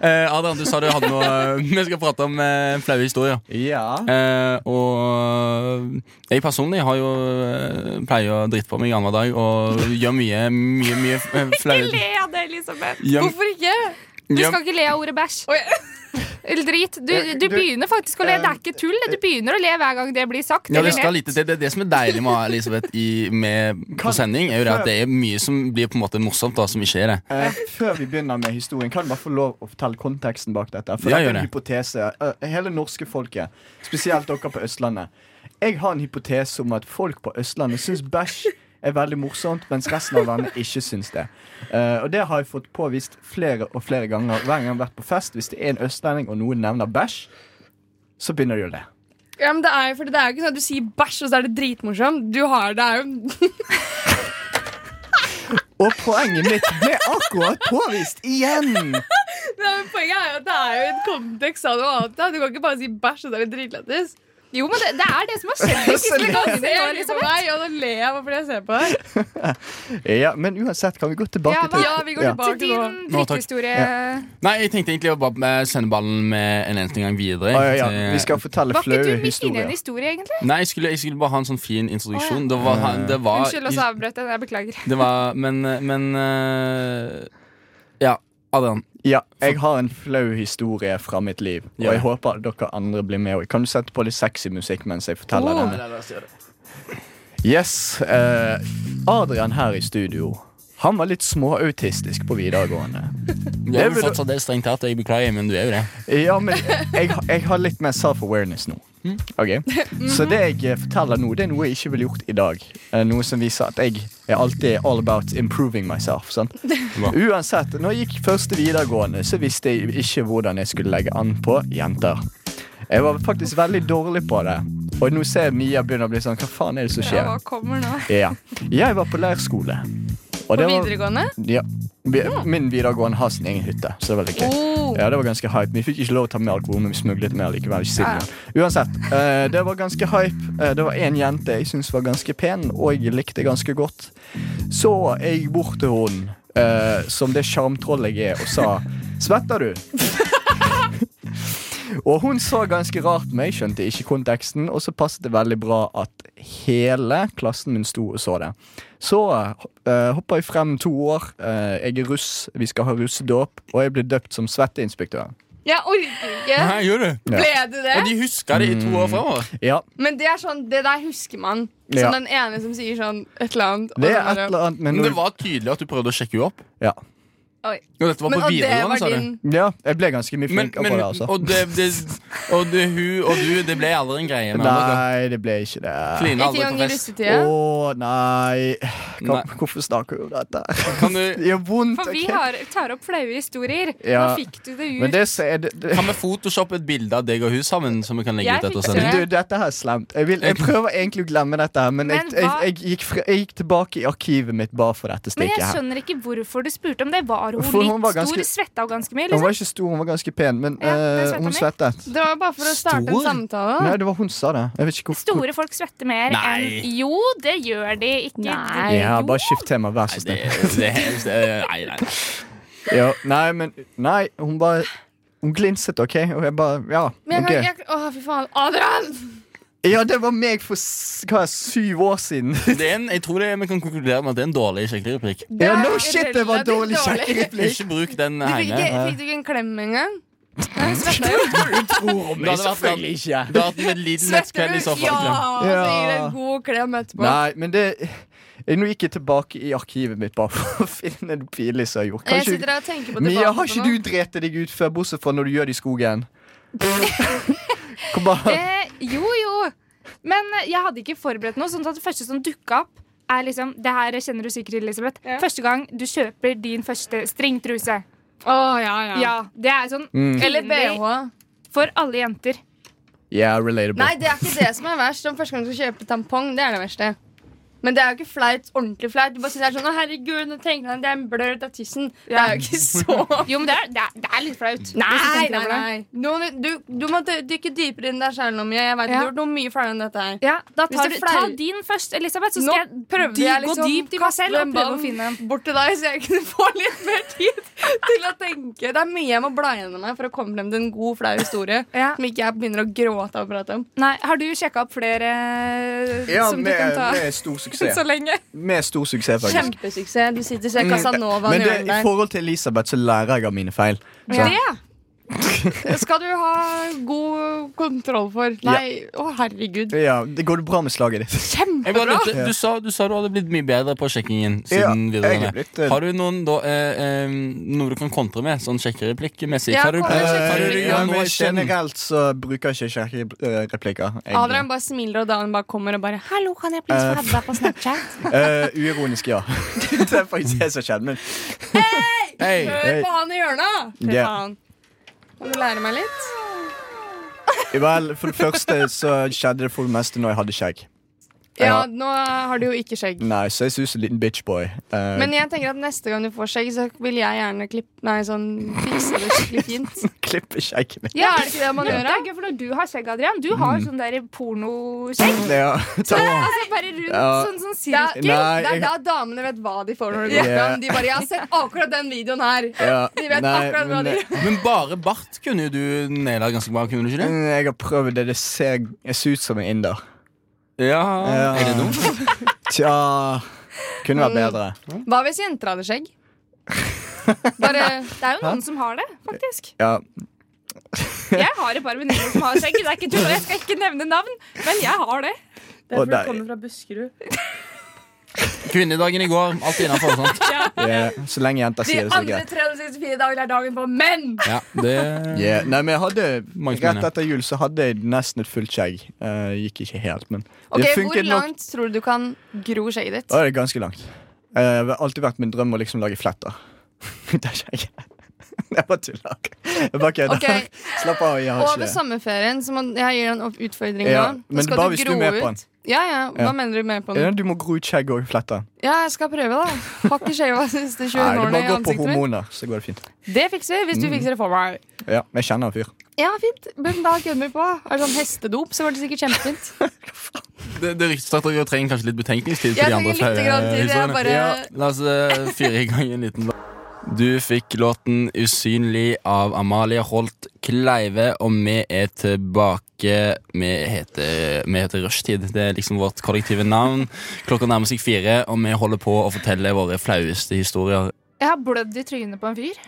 [SPEAKER 1] eh, Adrian, du sa du hadde noe Vi skal prate om eh, flaue historier.
[SPEAKER 2] Ja.
[SPEAKER 1] Eh, og jeg personlig har jo eh, pleier å drite på meg annenhver dag og gjør mye, mye, mye eh, flaue
[SPEAKER 5] Le av det, Elisabeth.
[SPEAKER 1] gjør-
[SPEAKER 4] Hvorfor ikke?
[SPEAKER 5] Du
[SPEAKER 1] gjør-
[SPEAKER 5] skal ikke le av ordet bæsj.
[SPEAKER 4] Oi.
[SPEAKER 5] Eller drit. Du, du
[SPEAKER 2] Du-
[SPEAKER 5] begynner faktisk å le.
[SPEAKER 2] eh,
[SPEAKER 5] Det er ikke tull. det. Du begynner å le hver gang det blir sagt.
[SPEAKER 1] Ja,
[SPEAKER 5] eller
[SPEAKER 1] det, skal
[SPEAKER 5] le.
[SPEAKER 1] lite, til. det er det som er deilig med å ha Elisabeth i, med på
[SPEAKER 2] Kan-
[SPEAKER 1] sending, er jo det at det er mye som blir på en måte morsomt, da, som ikke er det.
[SPEAKER 2] Eh, før vi begynner med historien, kan du bare få lov å fortelle konteksten bak dette? For
[SPEAKER 1] Ja,
[SPEAKER 2] dette
[SPEAKER 1] gjør
[SPEAKER 2] er en
[SPEAKER 1] det.
[SPEAKER 2] hypotese. Eh, hele norske folket, spesielt dere på Østlandet. Jeg har en hypotese om at folk på Østlandet syns bæsj er veldig morsomt, mens resten av landet ikke syns det. Eh, og det har jeg fått påvist flere og flere ganger. Hver gang jeg har vært på fest, hvis det er en østlending og noen nevner bæsj, så begynner de å le.
[SPEAKER 4] Ja, men det er jo fordi det er jo ikke sånn at du sier bæsj, og så er det dritmorsomt. Du har det er jo *laughs*
[SPEAKER 2] Og poenget mitt ble akkurat påvist igjen!
[SPEAKER 4] Nei, men Poenget er jo at det er jo en kontekst av noe annet. Da. Du kan ikke bare si bæsj, og så er det dritlættis.
[SPEAKER 5] Jo, men det, det er det som
[SPEAKER 1] *laughs*
[SPEAKER 5] har skjedd de siste
[SPEAKER 4] Da
[SPEAKER 2] Altså,
[SPEAKER 5] gangene. nå,
[SPEAKER 4] ser du på
[SPEAKER 2] liksom
[SPEAKER 5] Elisabeth.
[SPEAKER 4] meg, og da ler jeg bare fordi jeg ser på deg.
[SPEAKER 2] Ja, men uansett kan vi gå tilbake
[SPEAKER 5] Ja,
[SPEAKER 2] til
[SPEAKER 4] Ja, vi går
[SPEAKER 2] Ja.
[SPEAKER 5] Til
[SPEAKER 4] tilbake til
[SPEAKER 5] din
[SPEAKER 1] Nå, takk.
[SPEAKER 5] dritthistorie.
[SPEAKER 1] Nei, jeg tenkte egentlig å bare eh, sende ballen med en eneste gang videre.
[SPEAKER 2] Å, ja, ja.
[SPEAKER 1] til-
[SPEAKER 2] Vi skal fortelle
[SPEAKER 5] Var ikke
[SPEAKER 2] flaue
[SPEAKER 5] du midt inne i
[SPEAKER 2] historier.
[SPEAKER 5] en historie, egentlig?
[SPEAKER 1] Nei, jeg skulle, jeg skulle bare ha en sånn fin introduksjon. Det var, han- det var,
[SPEAKER 5] Unnskyld, altså. og så avbrøt jeg. Jeg beklager.
[SPEAKER 1] det var Men, men eh, Ja, Adrian.
[SPEAKER 2] Ja, jeg har en flau historie fra mitt liv. Og
[SPEAKER 1] Ja.
[SPEAKER 2] jeg håper dere andre blir med. også. Kan du sette på litt sexy musikk mens jeg forteller denne? Yes. eh, Adrian her i studio. Han var litt småautistisk på videregående.
[SPEAKER 1] Du er vel
[SPEAKER 2] vil du-
[SPEAKER 1] fortsatt det strengt tatt, jeg beklager, men du er jo det.
[SPEAKER 2] Ja, men jeg, jeg har litt mer self-awareness nå. Ok? Så det jeg eh, forteller nå, det er noe jeg ikke ville gjort i dag. Eh, Noe som viser at jeg er alltid all about improving myself. Sant? Uansett, når jeg gikk første videregående, så visste jeg ikke hvordan jeg skulle legge an på jenter. Jeg var faktisk veldig dårlig på det. Og nå ser jeg Mia begynner å bli sånn Hva faen er det som
[SPEAKER 5] Ja,
[SPEAKER 2] skjer?
[SPEAKER 5] hva kommer nå?
[SPEAKER 2] Ja. Jeg var på leirskole. Og
[SPEAKER 4] På
[SPEAKER 2] det var-
[SPEAKER 4] videregående.
[SPEAKER 2] ja. Vi- Min videregående har sin egen hytte, så det var veldig kult.
[SPEAKER 4] Oh.
[SPEAKER 2] Ja, det var ganske hype. Vi fikk ikke lov å ta med alkohol, men vi smuglet med likevel. Ikke siden. Uansett, eh, det var ganske hype. Eh, det var én jente jeg syntes var ganske pen, og jeg likte ganske godt. Så jeg gikk bort til hun eh, som det sjarmtrollet jeg er, og sa 'Svetter du?' Og hun så ganske rart på meg, skjønte ikke konteksten, og så passet det veldig bra at hele klassen min sto og så det. Så eh, hopper jeg frem to år. eh, jeg er russ, vi skal ha russedåp, og jeg blir døpt som svetteinspektør.
[SPEAKER 4] Jeg orker ikke.
[SPEAKER 1] Hæ, gjør du?
[SPEAKER 4] Ble du det?
[SPEAKER 1] Og de husker det i to år fremover.
[SPEAKER 2] Ja,
[SPEAKER 4] Men det er sånn, det der husker man. Som
[SPEAKER 2] Ja.
[SPEAKER 4] den ene som sier sånn et eller annet. og
[SPEAKER 2] det er et
[SPEAKER 4] den andre-
[SPEAKER 2] eller annet med
[SPEAKER 1] Men det
[SPEAKER 2] noe
[SPEAKER 1] var tydelig at du prøvde å sjekke henne opp.
[SPEAKER 2] ja.
[SPEAKER 4] Oi.
[SPEAKER 1] Og dette var
[SPEAKER 4] Men,
[SPEAKER 1] på
[SPEAKER 4] og det
[SPEAKER 1] videregående,
[SPEAKER 4] var
[SPEAKER 1] sa
[SPEAKER 4] din
[SPEAKER 1] du.
[SPEAKER 2] ja, jeg ble ganske mye
[SPEAKER 1] Men,
[SPEAKER 2] flinkere
[SPEAKER 1] men,
[SPEAKER 2] på det, altså.
[SPEAKER 1] og det, det, og det, hun og du, det ble aldri en altså. greie mellom dere.
[SPEAKER 2] Nei, det ble ikke det.
[SPEAKER 1] Kline
[SPEAKER 4] Ikke
[SPEAKER 1] aldri på
[SPEAKER 4] engang i
[SPEAKER 1] fest.
[SPEAKER 4] russetida.
[SPEAKER 2] Å nei. Hva,
[SPEAKER 1] Nei.
[SPEAKER 2] Hvorfor snakker vi om dette?
[SPEAKER 1] Kan, du,
[SPEAKER 2] *laughs* Det gjør vondt.
[SPEAKER 5] *laughs* For vi
[SPEAKER 2] ok?
[SPEAKER 5] har, tar opp flaue historier.
[SPEAKER 2] Ja.
[SPEAKER 5] Nå fikk du det
[SPEAKER 2] Men
[SPEAKER 5] ut.
[SPEAKER 2] det som er det, det,
[SPEAKER 1] kan vi photoshoppe et bilde av deg og hun sammen, som vi kan legge
[SPEAKER 5] Jeg
[SPEAKER 1] ut etter
[SPEAKER 5] fikser
[SPEAKER 1] sending?
[SPEAKER 2] du, dette her er slemt. Jeg, vil, jeg prøver egentlig å glemme dette, her men jeg,
[SPEAKER 5] Men
[SPEAKER 2] jeg,
[SPEAKER 5] hva-
[SPEAKER 2] jeg, gikk, fra, jeg gikk tilbake i arkivet mitt bare for dette
[SPEAKER 5] Men jeg
[SPEAKER 2] stikket her.
[SPEAKER 5] skjønner ikke hvorfor du spurte om det. Var hun
[SPEAKER 2] For
[SPEAKER 5] litt
[SPEAKER 2] hun var ganske-
[SPEAKER 5] stor, svetta og ganske mye?
[SPEAKER 2] Hun
[SPEAKER 5] Liksom?
[SPEAKER 2] var ikke stor, hun var ganske pen, men
[SPEAKER 5] Ja, det
[SPEAKER 2] eh,
[SPEAKER 5] svetta
[SPEAKER 2] hun
[SPEAKER 5] meg.
[SPEAKER 2] svettet.
[SPEAKER 4] Det var bare for å starte
[SPEAKER 1] Stor.
[SPEAKER 4] en samtale.
[SPEAKER 2] Nei, det var hun som sa det. Jeg vet ikke hvorfor.
[SPEAKER 5] Store folk svetter mer
[SPEAKER 1] Nei.
[SPEAKER 5] enn Jo, det gjør de ikke.
[SPEAKER 4] Nei.
[SPEAKER 2] Ja, bare skift tema, vær så
[SPEAKER 1] Nei, det,
[SPEAKER 2] snill.
[SPEAKER 1] det, det, nei, nei.
[SPEAKER 2] Ja, nei, men Nei, hun bare Hun glinset, OK? Og jeg bare Ja,
[SPEAKER 4] Men
[SPEAKER 2] OK.
[SPEAKER 4] jeg kan, jeg, å, fy faen. Adrian!
[SPEAKER 2] Ja, det var meg for s- hva, syv år siden.
[SPEAKER 1] Det er en, jeg tror det, er- vi kan konkludere med at det er en dårlig sjekkereplikk.
[SPEAKER 4] Det
[SPEAKER 2] Ja,
[SPEAKER 4] er
[SPEAKER 2] no shit, det var
[SPEAKER 4] relativt
[SPEAKER 2] dårlig
[SPEAKER 4] dårlig.
[SPEAKER 2] sjekkereplikk.
[SPEAKER 1] Ikke bruk den
[SPEAKER 4] Du fikk,
[SPEAKER 1] hjemme.
[SPEAKER 4] ikke, fikk du ikke en klem
[SPEAKER 2] *laughs*
[SPEAKER 4] engang? Jeg svetta jo.
[SPEAKER 1] Det hadde vært
[SPEAKER 2] Selvfølgelig ikke.
[SPEAKER 1] Det har vært en liten
[SPEAKER 4] Svetter
[SPEAKER 1] nettkveld i
[SPEAKER 4] du?
[SPEAKER 1] sofaen.
[SPEAKER 4] Ja!
[SPEAKER 1] Clem.
[SPEAKER 4] Så gir det
[SPEAKER 2] Ja.
[SPEAKER 4] en god klem etterpå.
[SPEAKER 2] Nei, men det jeg, Nå gikk jeg tilbake i arkivet mitt bare for å *laughs* finne det pinlige som jeg gjorde.
[SPEAKER 4] Jeg
[SPEAKER 2] Kanskje-
[SPEAKER 4] sitter her og tenker på
[SPEAKER 2] Mia,
[SPEAKER 4] tilbake
[SPEAKER 2] har
[SPEAKER 4] på
[SPEAKER 2] ikke
[SPEAKER 4] noe.
[SPEAKER 2] du drept deg ut før, bortsett fra når du gjør det i skogen? Kom bare
[SPEAKER 5] Eh, jo, jo. Men eh, jeg hadde ikke forberedt noe, sånn at det første som dukka opp, er liksom Det her kjenner du sikkert, Elisabeth.
[SPEAKER 4] Ja.
[SPEAKER 5] Første gang du kjøper din første stringtruse.
[SPEAKER 4] Å, ja, ja.
[SPEAKER 5] Ja, det er sånn
[SPEAKER 2] Mm.
[SPEAKER 4] Eller BH.
[SPEAKER 5] for alle jenter.
[SPEAKER 2] Yeah, relatable.
[SPEAKER 4] Nei, det er ikke det som er verst. Om første gang du skal kjøpe tampong, det er det verste. Men det er jo ikke flaut, ordentlig flaut. Du bare sier sånn 'Å, herregud, nå tenker han det er en blør av tissen'. Det er jo ikke så
[SPEAKER 5] Jo, men det er, det er, det er litt flaut.
[SPEAKER 4] *laughs* Nei,
[SPEAKER 5] Hvis du tenker over det.
[SPEAKER 4] Nå- du, du må dy- dykke dypere inn der sjæl nå, Mia. Jeg
[SPEAKER 5] Ja.
[SPEAKER 4] vet du har gjort noe mye flauere enn dette her.
[SPEAKER 5] Ja, da
[SPEAKER 4] Hvis
[SPEAKER 5] tar
[SPEAKER 4] det
[SPEAKER 5] du,
[SPEAKER 4] er flau-
[SPEAKER 5] ta din først, Elisabeth, så
[SPEAKER 4] Nå
[SPEAKER 5] skal jeg,
[SPEAKER 4] prøvde
[SPEAKER 5] dy, gå
[SPEAKER 4] jeg liksom
[SPEAKER 5] dypt i meg
[SPEAKER 4] kaste
[SPEAKER 5] selv
[SPEAKER 4] en
[SPEAKER 5] og prøve å
[SPEAKER 4] ball
[SPEAKER 5] finne en.
[SPEAKER 4] Bort til deg, så jeg kunne få litt mer tid til å tenke. Det er mye jeg må bla gjennom her for å komme frem til en god, flau historie.
[SPEAKER 5] Ja.
[SPEAKER 4] Som ikke jeg begynner å gråte av å prate om.
[SPEAKER 5] Nei, har du sjekka opp flere eh,
[SPEAKER 2] ja,
[SPEAKER 5] som
[SPEAKER 2] med,
[SPEAKER 5] du kan ta *laughs*
[SPEAKER 2] med stor suksess.
[SPEAKER 5] så lenge?
[SPEAKER 2] Med stor suksess, faktisk.
[SPEAKER 4] Kjempesuksess. Du sitter og ser Casanova
[SPEAKER 2] Mm. Men
[SPEAKER 4] i
[SPEAKER 2] det,
[SPEAKER 4] hjørnet
[SPEAKER 2] i
[SPEAKER 4] der.
[SPEAKER 2] forhold til Elisabeth så lærer jeg av mine feil. Så,
[SPEAKER 4] Det skal du ha god kontroll for. Nei, å herregud.
[SPEAKER 2] ja, det går det bra med slaget ditt?
[SPEAKER 1] Jeg bare
[SPEAKER 4] Kjempebra!
[SPEAKER 1] lurte, du, sa, du sa du hadde blitt mye bedre på sjekkingen
[SPEAKER 2] Ja,
[SPEAKER 1] siden
[SPEAKER 2] jeg er
[SPEAKER 1] videregående.
[SPEAKER 2] blitt, eh,
[SPEAKER 1] Har du noen da, eh, eh, noe du kan kontre med, sånn sjekkereplikkmessig?
[SPEAKER 4] Ja,
[SPEAKER 1] Hva er det du-
[SPEAKER 4] kom med
[SPEAKER 1] hva
[SPEAKER 4] sjekkereplikk.
[SPEAKER 1] er det du
[SPEAKER 2] ja,
[SPEAKER 4] Eh,
[SPEAKER 1] gjør nå?
[SPEAKER 2] men
[SPEAKER 1] Kjenn.
[SPEAKER 2] generelt så bruker jeg ikke sjekkereplikker. egentlig.
[SPEAKER 4] Adrian bare smiler, og Daniel bare kommer og bare 'Hallo, kan jeg please
[SPEAKER 2] Eh,
[SPEAKER 4] få deg på
[SPEAKER 2] *laughs*
[SPEAKER 4] Snapchat?'
[SPEAKER 2] Eh, uironisk, ja. *laughs* det er faktisk det som skjedde. Men
[SPEAKER 1] Hei,
[SPEAKER 4] Hør på han i hjørnet! Fy
[SPEAKER 2] Ja.
[SPEAKER 4] faen. Kan du lære meg litt?
[SPEAKER 2] vel, for det første så skjedde det for det meste når jeg hadde skjegg.
[SPEAKER 4] Ja,
[SPEAKER 2] Ja.
[SPEAKER 4] nå har du jo ikke skjegg.
[SPEAKER 2] Nei, så jeg ser ut som en liten bitchboy. Eh,
[SPEAKER 4] Men jeg tenker at neste gang du får skjegg, så vil jeg gjerne klippe Nei, sånn fikse det skikkelig fint.
[SPEAKER 2] *laughs* Klipper skjegget mitt.
[SPEAKER 4] Ja, er det ikke det
[SPEAKER 5] Men
[SPEAKER 4] man gjør?
[SPEAKER 5] Det
[SPEAKER 4] da?
[SPEAKER 5] er gøy, for når du har skjegg, Adrian Du
[SPEAKER 2] Mm.
[SPEAKER 5] har jo sånn der pornoskjegg.
[SPEAKER 2] Ja,
[SPEAKER 4] *laughs*
[SPEAKER 2] takk.
[SPEAKER 5] Altså bare rundt,
[SPEAKER 2] Ja.
[SPEAKER 5] sånn, sånn
[SPEAKER 4] Det
[SPEAKER 5] sirkel.
[SPEAKER 4] er,
[SPEAKER 2] Nei,
[SPEAKER 4] det er
[SPEAKER 2] jeg-
[SPEAKER 4] da damene vet hva de får når de
[SPEAKER 2] Ja.
[SPEAKER 4] går fram. De bare 'Jeg har sett akkurat den videoen her'.
[SPEAKER 2] Ja,
[SPEAKER 4] De vet
[SPEAKER 2] nei,
[SPEAKER 4] akkurat hva
[SPEAKER 2] men,
[SPEAKER 4] de
[SPEAKER 2] eh, *laughs*
[SPEAKER 4] gjør.
[SPEAKER 1] Men bare bart kunne jo du naila ganske bra, kunne du ikke det?
[SPEAKER 2] Mm, Jeg har prøvd det. Det ser, jeg ser ut som en inder. Eh,
[SPEAKER 1] Ja, Er det dumt?
[SPEAKER 2] *laughs* Tja Kunne vært
[SPEAKER 4] Mm.
[SPEAKER 2] bedre.
[SPEAKER 4] Hva hvis jenter
[SPEAKER 2] *laughs*
[SPEAKER 4] hadde skjegg? Bare
[SPEAKER 5] Det er jo noen som har det,
[SPEAKER 2] *laughs*
[SPEAKER 5] faktisk.
[SPEAKER 2] Ja,
[SPEAKER 5] Jeg har et par venninner som har skjegg. Det er ikke tull, og jeg skal ikke nevne navn, men jeg har det.
[SPEAKER 2] og der,
[SPEAKER 1] Kvinnedagen i går, alt innafor. sant?
[SPEAKER 2] ja, så lenge jenter
[SPEAKER 4] De
[SPEAKER 2] sier det, så er det
[SPEAKER 4] andre
[SPEAKER 2] greit.
[SPEAKER 4] 364 dager er dagen for menn!
[SPEAKER 1] Ja, det
[SPEAKER 2] Ja, Nei, men jeg hadde
[SPEAKER 1] Mange
[SPEAKER 2] Rett
[SPEAKER 1] mener.
[SPEAKER 2] etter jul så hadde jeg nesten et fullt skjegg. Eh, gikk ikke helt, men
[SPEAKER 4] Ok,
[SPEAKER 2] det
[SPEAKER 4] Hvor
[SPEAKER 2] funket nok.
[SPEAKER 4] langt tror du du kan gro skjegget ditt?
[SPEAKER 2] Da er det ganske langt. Eh, det har alltid vært min drøm å liksom lage fletter. *laughs* det er *laughs* skjegget. Jeg bare tuller. Jeg bare kødder.
[SPEAKER 4] Ok.
[SPEAKER 2] *laughs* Slapp av. Jeg
[SPEAKER 4] Og
[SPEAKER 2] har ikke
[SPEAKER 4] ved
[SPEAKER 2] det.
[SPEAKER 4] sommerferien, så må, jeg gir deg en opp- utfordring
[SPEAKER 2] Ja,
[SPEAKER 4] nå. Da
[SPEAKER 2] men
[SPEAKER 4] skal
[SPEAKER 2] bare
[SPEAKER 4] du
[SPEAKER 2] hvis du
[SPEAKER 4] gro
[SPEAKER 2] er med på
[SPEAKER 4] ut. Ja, ja, Hva
[SPEAKER 2] Ja.
[SPEAKER 4] mener du med på
[SPEAKER 2] Ja,
[SPEAKER 4] den?
[SPEAKER 2] Du må gro ut skjegg og fletter.
[SPEAKER 4] Ja, jeg skal prøve, da. Har ikke skjeva de siste 20
[SPEAKER 2] Nei, du
[SPEAKER 4] årene
[SPEAKER 2] må
[SPEAKER 4] i
[SPEAKER 2] gå på
[SPEAKER 4] ansiktet mitt.
[SPEAKER 2] hormoner, så går det fint.
[SPEAKER 4] Det fikser vi hvis
[SPEAKER 2] Mm.
[SPEAKER 4] du fikser det for meg.
[SPEAKER 2] Ja, men jeg kjenner en fyr.
[SPEAKER 4] Ja, fint. Men da kødder vi på. Er det sånn hestedop, så var det sikkert kjempefint.
[SPEAKER 1] Det, det ryktes at dere trenger kanskje litt betenkningstid. for
[SPEAKER 4] Jeg
[SPEAKER 1] de andre
[SPEAKER 4] trenger litt
[SPEAKER 1] flaue
[SPEAKER 4] grann tid. Jeg
[SPEAKER 1] historiene.
[SPEAKER 4] bare-
[SPEAKER 1] La oss eh, fyre i gang en liten låt. Du fikk låten 'Usynlig' av Amalie Holt Kleive, og vi er tilbake. Vi heter, vi heter Rushtid. Det er liksom vårt kollektive navn. Klokka nærmer seg fire, og vi holder på å fortelle våre flaueste historier.
[SPEAKER 5] Jeg har blødd i trynet på en fyr.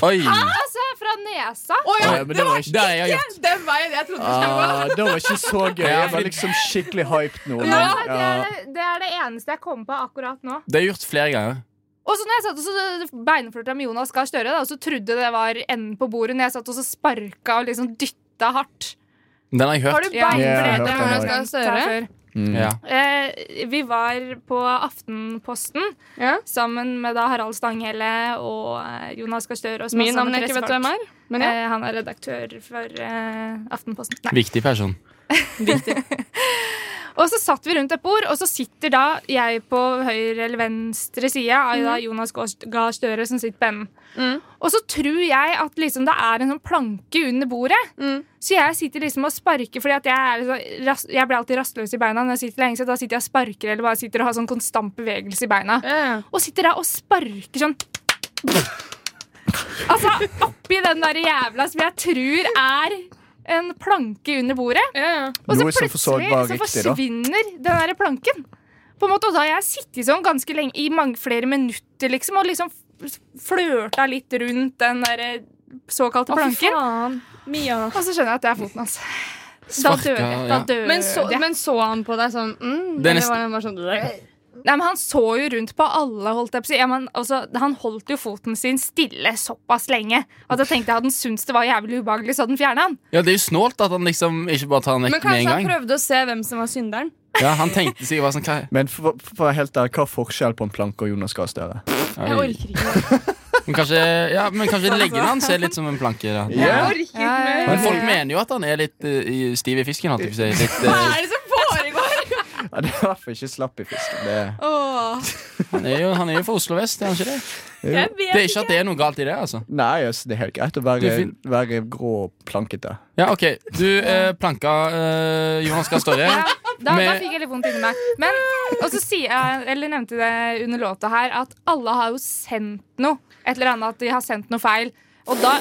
[SPEAKER 1] Oi!
[SPEAKER 5] Altså, fra nesa.
[SPEAKER 1] Oi, men det var ikke det jeg har gjort.
[SPEAKER 4] Den veien jeg trodde
[SPEAKER 2] Ah, det var ikke så gøy. *laughs* Jeg var liksom skikkelig hyped nå. Men,
[SPEAKER 5] Ja, det,
[SPEAKER 2] ja.
[SPEAKER 5] er, det er det eneste jeg kom på akkurat nå.
[SPEAKER 1] Det har jeg gjort flere ganger.
[SPEAKER 5] Og så når jeg satt og så beinflørta med Jonas Gahr Støre, da, og så trodde det var enden på bordet når jeg satt og så sparka og liksom dytta hardt.
[SPEAKER 1] Den har jeg
[SPEAKER 5] Har
[SPEAKER 1] hørt.
[SPEAKER 5] du
[SPEAKER 4] Ja,
[SPEAKER 2] jeg har
[SPEAKER 5] beinflørta
[SPEAKER 2] hørt den
[SPEAKER 5] med
[SPEAKER 2] også.
[SPEAKER 5] Jonas Gahr Støre?
[SPEAKER 2] Mm.
[SPEAKER 1] Ja.
[SPEAKER 5] Eh, vi var på Aftenposten
[SPEAKER 4] Ja.
[SPEAKER 5] sammen med da Harald Stanghelle og eh, Jonas Gahr Støre. og så masse
[SPEAKER 4] Min navn
[SPEAKER 5] andre
[SPEAKER 4] jeg ikke vet
[SPEAKER 5] pressefolk.
[SPEAKER 4] hvem er. Men ja.
[SPEAKER 5] Eh, han er redaktør for eh, Aftenposten. Nei.
[SPEAKER 1] Viktig person.
[SPEAKER 5] Og så satt vi rundt et bord, og så sitter da jeg på høyre eller venstre side av da Jonas Gahr- Gahr Støre som sitter på enden.
[SPEAKER 4] Mm.
[SPEAKER 5] Og så tror jeg at liksom det er en sånn planke under bordet.
[SPEAKER 4] Mm.
[SPEAKER 5] Så jeg sitter liksom og sparker, fordi at jeg, er liksom, ras- jeg blir alltid rastløs i beina når jeg sitter lenge, så da sitter jeg og sparker eller bare sitter og har sånn konstant bevegelse i beina.
[SPEAKER 4] Ja.
[SPEAKER 5] Og sitter da og sparker sånn Altså oppi den der jævla som jeg tror er en planke under bordet.
[SPEAKER 4] Ja, ja.
[SPEAKER 5] Og så
[SPEAKER 2] Noe som for så
[SPEAKER 5] plutselig
[SPEAKER 2] vidt var
[SPEAKER 5] så
[SPEAKER 2] riktig, da.
[SPEAKER 5] forsvinner den der planken. På en måte, og da har jeg sittet sånn ganske lenge, i mange flere minutter liksom, og liksom f- flørta litt rundt den der eh, såkalte planken.
[SPEAKER 4] Mia.
[SPEAKER 5] Og så skjønner jeg at det er foten hans. Da
[SPEAKER 1] Sparka,
[SPEAKER 5] dør jeg. Da
[SPEAKER 1] ja.
[SPEAKER 5] dør
[SPEAKER 4] Men så,
[SPEAKER 5] jeg.
[SPEAKER 4] men så han på deg sånn mm,
[SPEAKER 1] Det er
[SPEAKER 4] Eller
[SPEAKER 1] nesten-
[SPEAKER 4] var han bare sånn
[SPEAKER 5] Nei, men han så jo rundt på alle, holdt jeg på å si. Ja, men, altså, han holdt jo foten sin stille såpass lenge at jeg tenkte hadde han syntes det var jævlig ubehagelig, så hadde han fjerna den.
[SPEAKER 1] Ja, Det er jo snålt at han liksom ikke bare tar den
[SPEAKER 4] Men
[SPEAKER 1] vekk med
[SPEAKER 4] kanskje
[SPEAKER 1] en
[SPEAKER 4] han
[SPEAKER 1] gang.
[SPEAKER 4] prøvde å se hvem som var synderen?
[SPEAKER 1] Ja, han tenkte sikkert bare sånn hva-
[SPEAKER 2] Men for, for, for å være helt der, hva er forskjellen på en planke og Jonas Gahr Støre?
[SPEAKER 4] Jeg
[SPEAKER 1] Oi.
[SPEAKER 4] orker ikke.
[SPEAKER 1] Men kanskje, ja, men kanskje leggen hans er litt som en planke. Da.
[SPEAKER 4] Jeg
[SPEAKER 2] Ja.
[SPEAKER 4] orker ikke
[SPEAKER 5] Ja, ja, ja.
[SPEAKER 4] mer.
[SPEAKER 1] Men folk mener jo at han er litt eh, i- stiv i fisken. At litt,
[SPEAKER 5] *laughs*
[SPEAKER 4] Hva
[SPEAKER 1] eh,
[SPEAKER 4] er det som foregår?
[SPEAKER 2] Ja, det er i hvert fall ikke slapp i fisken. Det,
[SPEAKER 4] Åh,
[SPEAKER 1] han, er jo, han er jo fra Oslo vest, er han ikke det?
[SPEAKER 4] jeg
[SPEAKER 1] Det er
[SPEAKER 4] vet
[SPEAKER 1] ikke at det er noe galt i det, altså.
[SPEAKER 2] nei, altså, det er helt greit å
[SPEAKER 1] Du
[SPEAKER 2] være,
[SPEAKER 1] er fin.
[SPEAKER 2] være grå og plankete.
[SPEAKER 1] Ja, ok, Du eh, planka eh, Jonas Gahr Støre.
[SPEAKER 5] Ja, da, da
[SPEAKER 1] Med-
[SPEAKER 5] fikk jeg litt vondt inni meg. Men, og så sier jeg, eller nevnte det under låta her, at alle har jo sendt noe. Et eller annet at de har sendt noe feil. Og da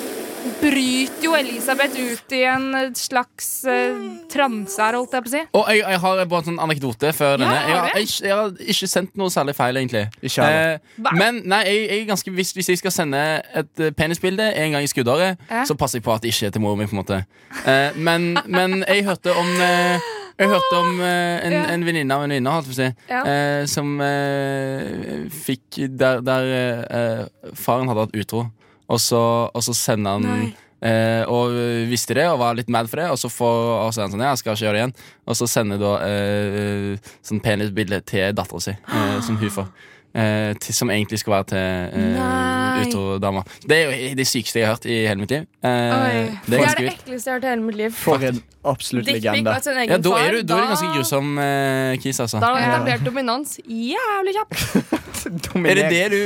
[SPEAKER 5] bryter jo Elisabeth ut i en slags uh, transe her, holdt jeg på å si.
[SPEAKER 1] Og jeg, jeg har bare en sånn anekdote før denne. Jeg
[SPEAKER 5] har
[SPEAKER 1] har, jeg, jeg har ikke sendt noe særlig feil, egentlig.
[SPEAKER 2] Ikke heller.
[SPEAKER 1] Eh, men nei, jeg, jeg er ganske bevisst hvis jeg skal sende et eh, penisbilde en gang i skuddåret,
[SPEAKER 5] Ja.
[SPEAKER 1] så passer jeg på at det ikke er til mor mi. på en måte eh, men, men jeg hørte om eh, jeg hørte om eh, en, en venninne av en venninne holdt jeg på å si,
[SPEAKER 5] Ja.
[SPEAKER 1] eh, som eh, fikk Der, der eh, eh, faren hadde hatt utro, og så, og så sender han Eh, og visste det og var litt mad for det, og så får og så er han sånn, ja, jeg skal ikke gjøre det igjen. Og så sender da eh, sånn penisbilde til dattera si, eh, som hun får. Eh, til, som egentlig skal være til eh,
[SPEAKER 4] Nei.
[SPEAKER 1] utro-dama. Det er jo det sykeste jeg har hørt i hele mitt liv. Eh,
[SPEAKER 4] Oi.
[SPEAKER 1] det er ganske
[SPEAKER 4] det
[SPEAKER 1] vilt.
[SPEAKER 4] ekleste jeg har hørt i hele mitt liv.
[SPEAKER 2] For en absolutt
[SPEAKER 4] Dickpic
[SPEAKER 2] legende.
[SPEAKER 4] av sin egen
[SPEAKER 1] Ja, da er
[SPEAKER 4] far.
[SPEAKER 1] du, da er du ganske grusom, eh, Kis, altså.
[SPEAKER 4] Da har han etablert dominans jævlig kjapt.
[SPEAKER 1] Er det det du,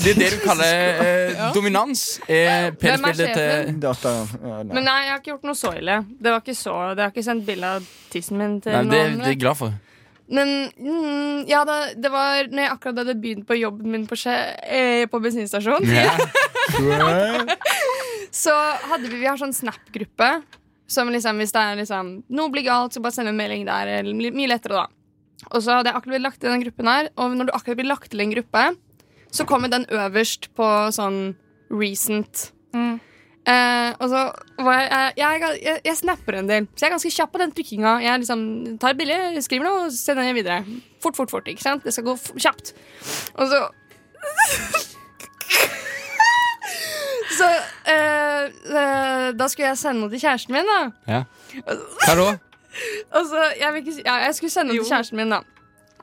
[SPEAKER 1] det er det du
[SPEAKER 4] *laughs*
[SPEAKER 1] kaller eh, dominans? Er penisbildet til
[SPEAKER 4] sjefen?
[SPEAKER 2] Datteren. Ja, nei.
[SPEAKER 4] Men nei, jeg har ikke gjort noe så ille. Det var ikke så, Jeg har ikke sendt bilde av tissen min til
[SPEAKER 1] Nei, det,
[SPEAKER 4] noen
[SPEAKER 1] det er
[SPEAKER 4] andre.
[SPEAKER 1] jeg glad for.
[SPEAKER 4] Men mm, ja, det, det var når jeg akkurat hadde begynt på jobben min på, skje, eh, på bensinstasjon. *laughs*
[SPEAKER 1] Ja.
[SPEAKER 4] Så hadde vi, vi har sånn Snap-gruppe. Som liksom, Hvis det er liksom, noe blir galt, så bare send en melding der. eller my- Mye lettere, da. Og så hadde jeg akkurat blitt lagt til den gruppen her. Og når du akkurat blir lagt til en gruppe, så kommer den øverst på sånn recent.
[SPEAKER 5] Mm.
[SPEAKER 4] Eh, og så var jeg, jeg, jeg, er ga- jeg, jeg snapper en del, så jeg er ganske kjapp på den trykkinga. Jeg liksom tar et bilde, skriver noe, og sender det videre. Fort, fort, fort. ikke sant? Det skal gå f kjapt. Og så *laughs* Så eh, eh, da skulle jeg sende noe til kjæresten min, da.
[SPEAKER 1] Ja. Hva da?
[SPEAKER 4] Og så, jeg, vil ikke, si- ja, jeg skulle sende noe til kjæresten min, da.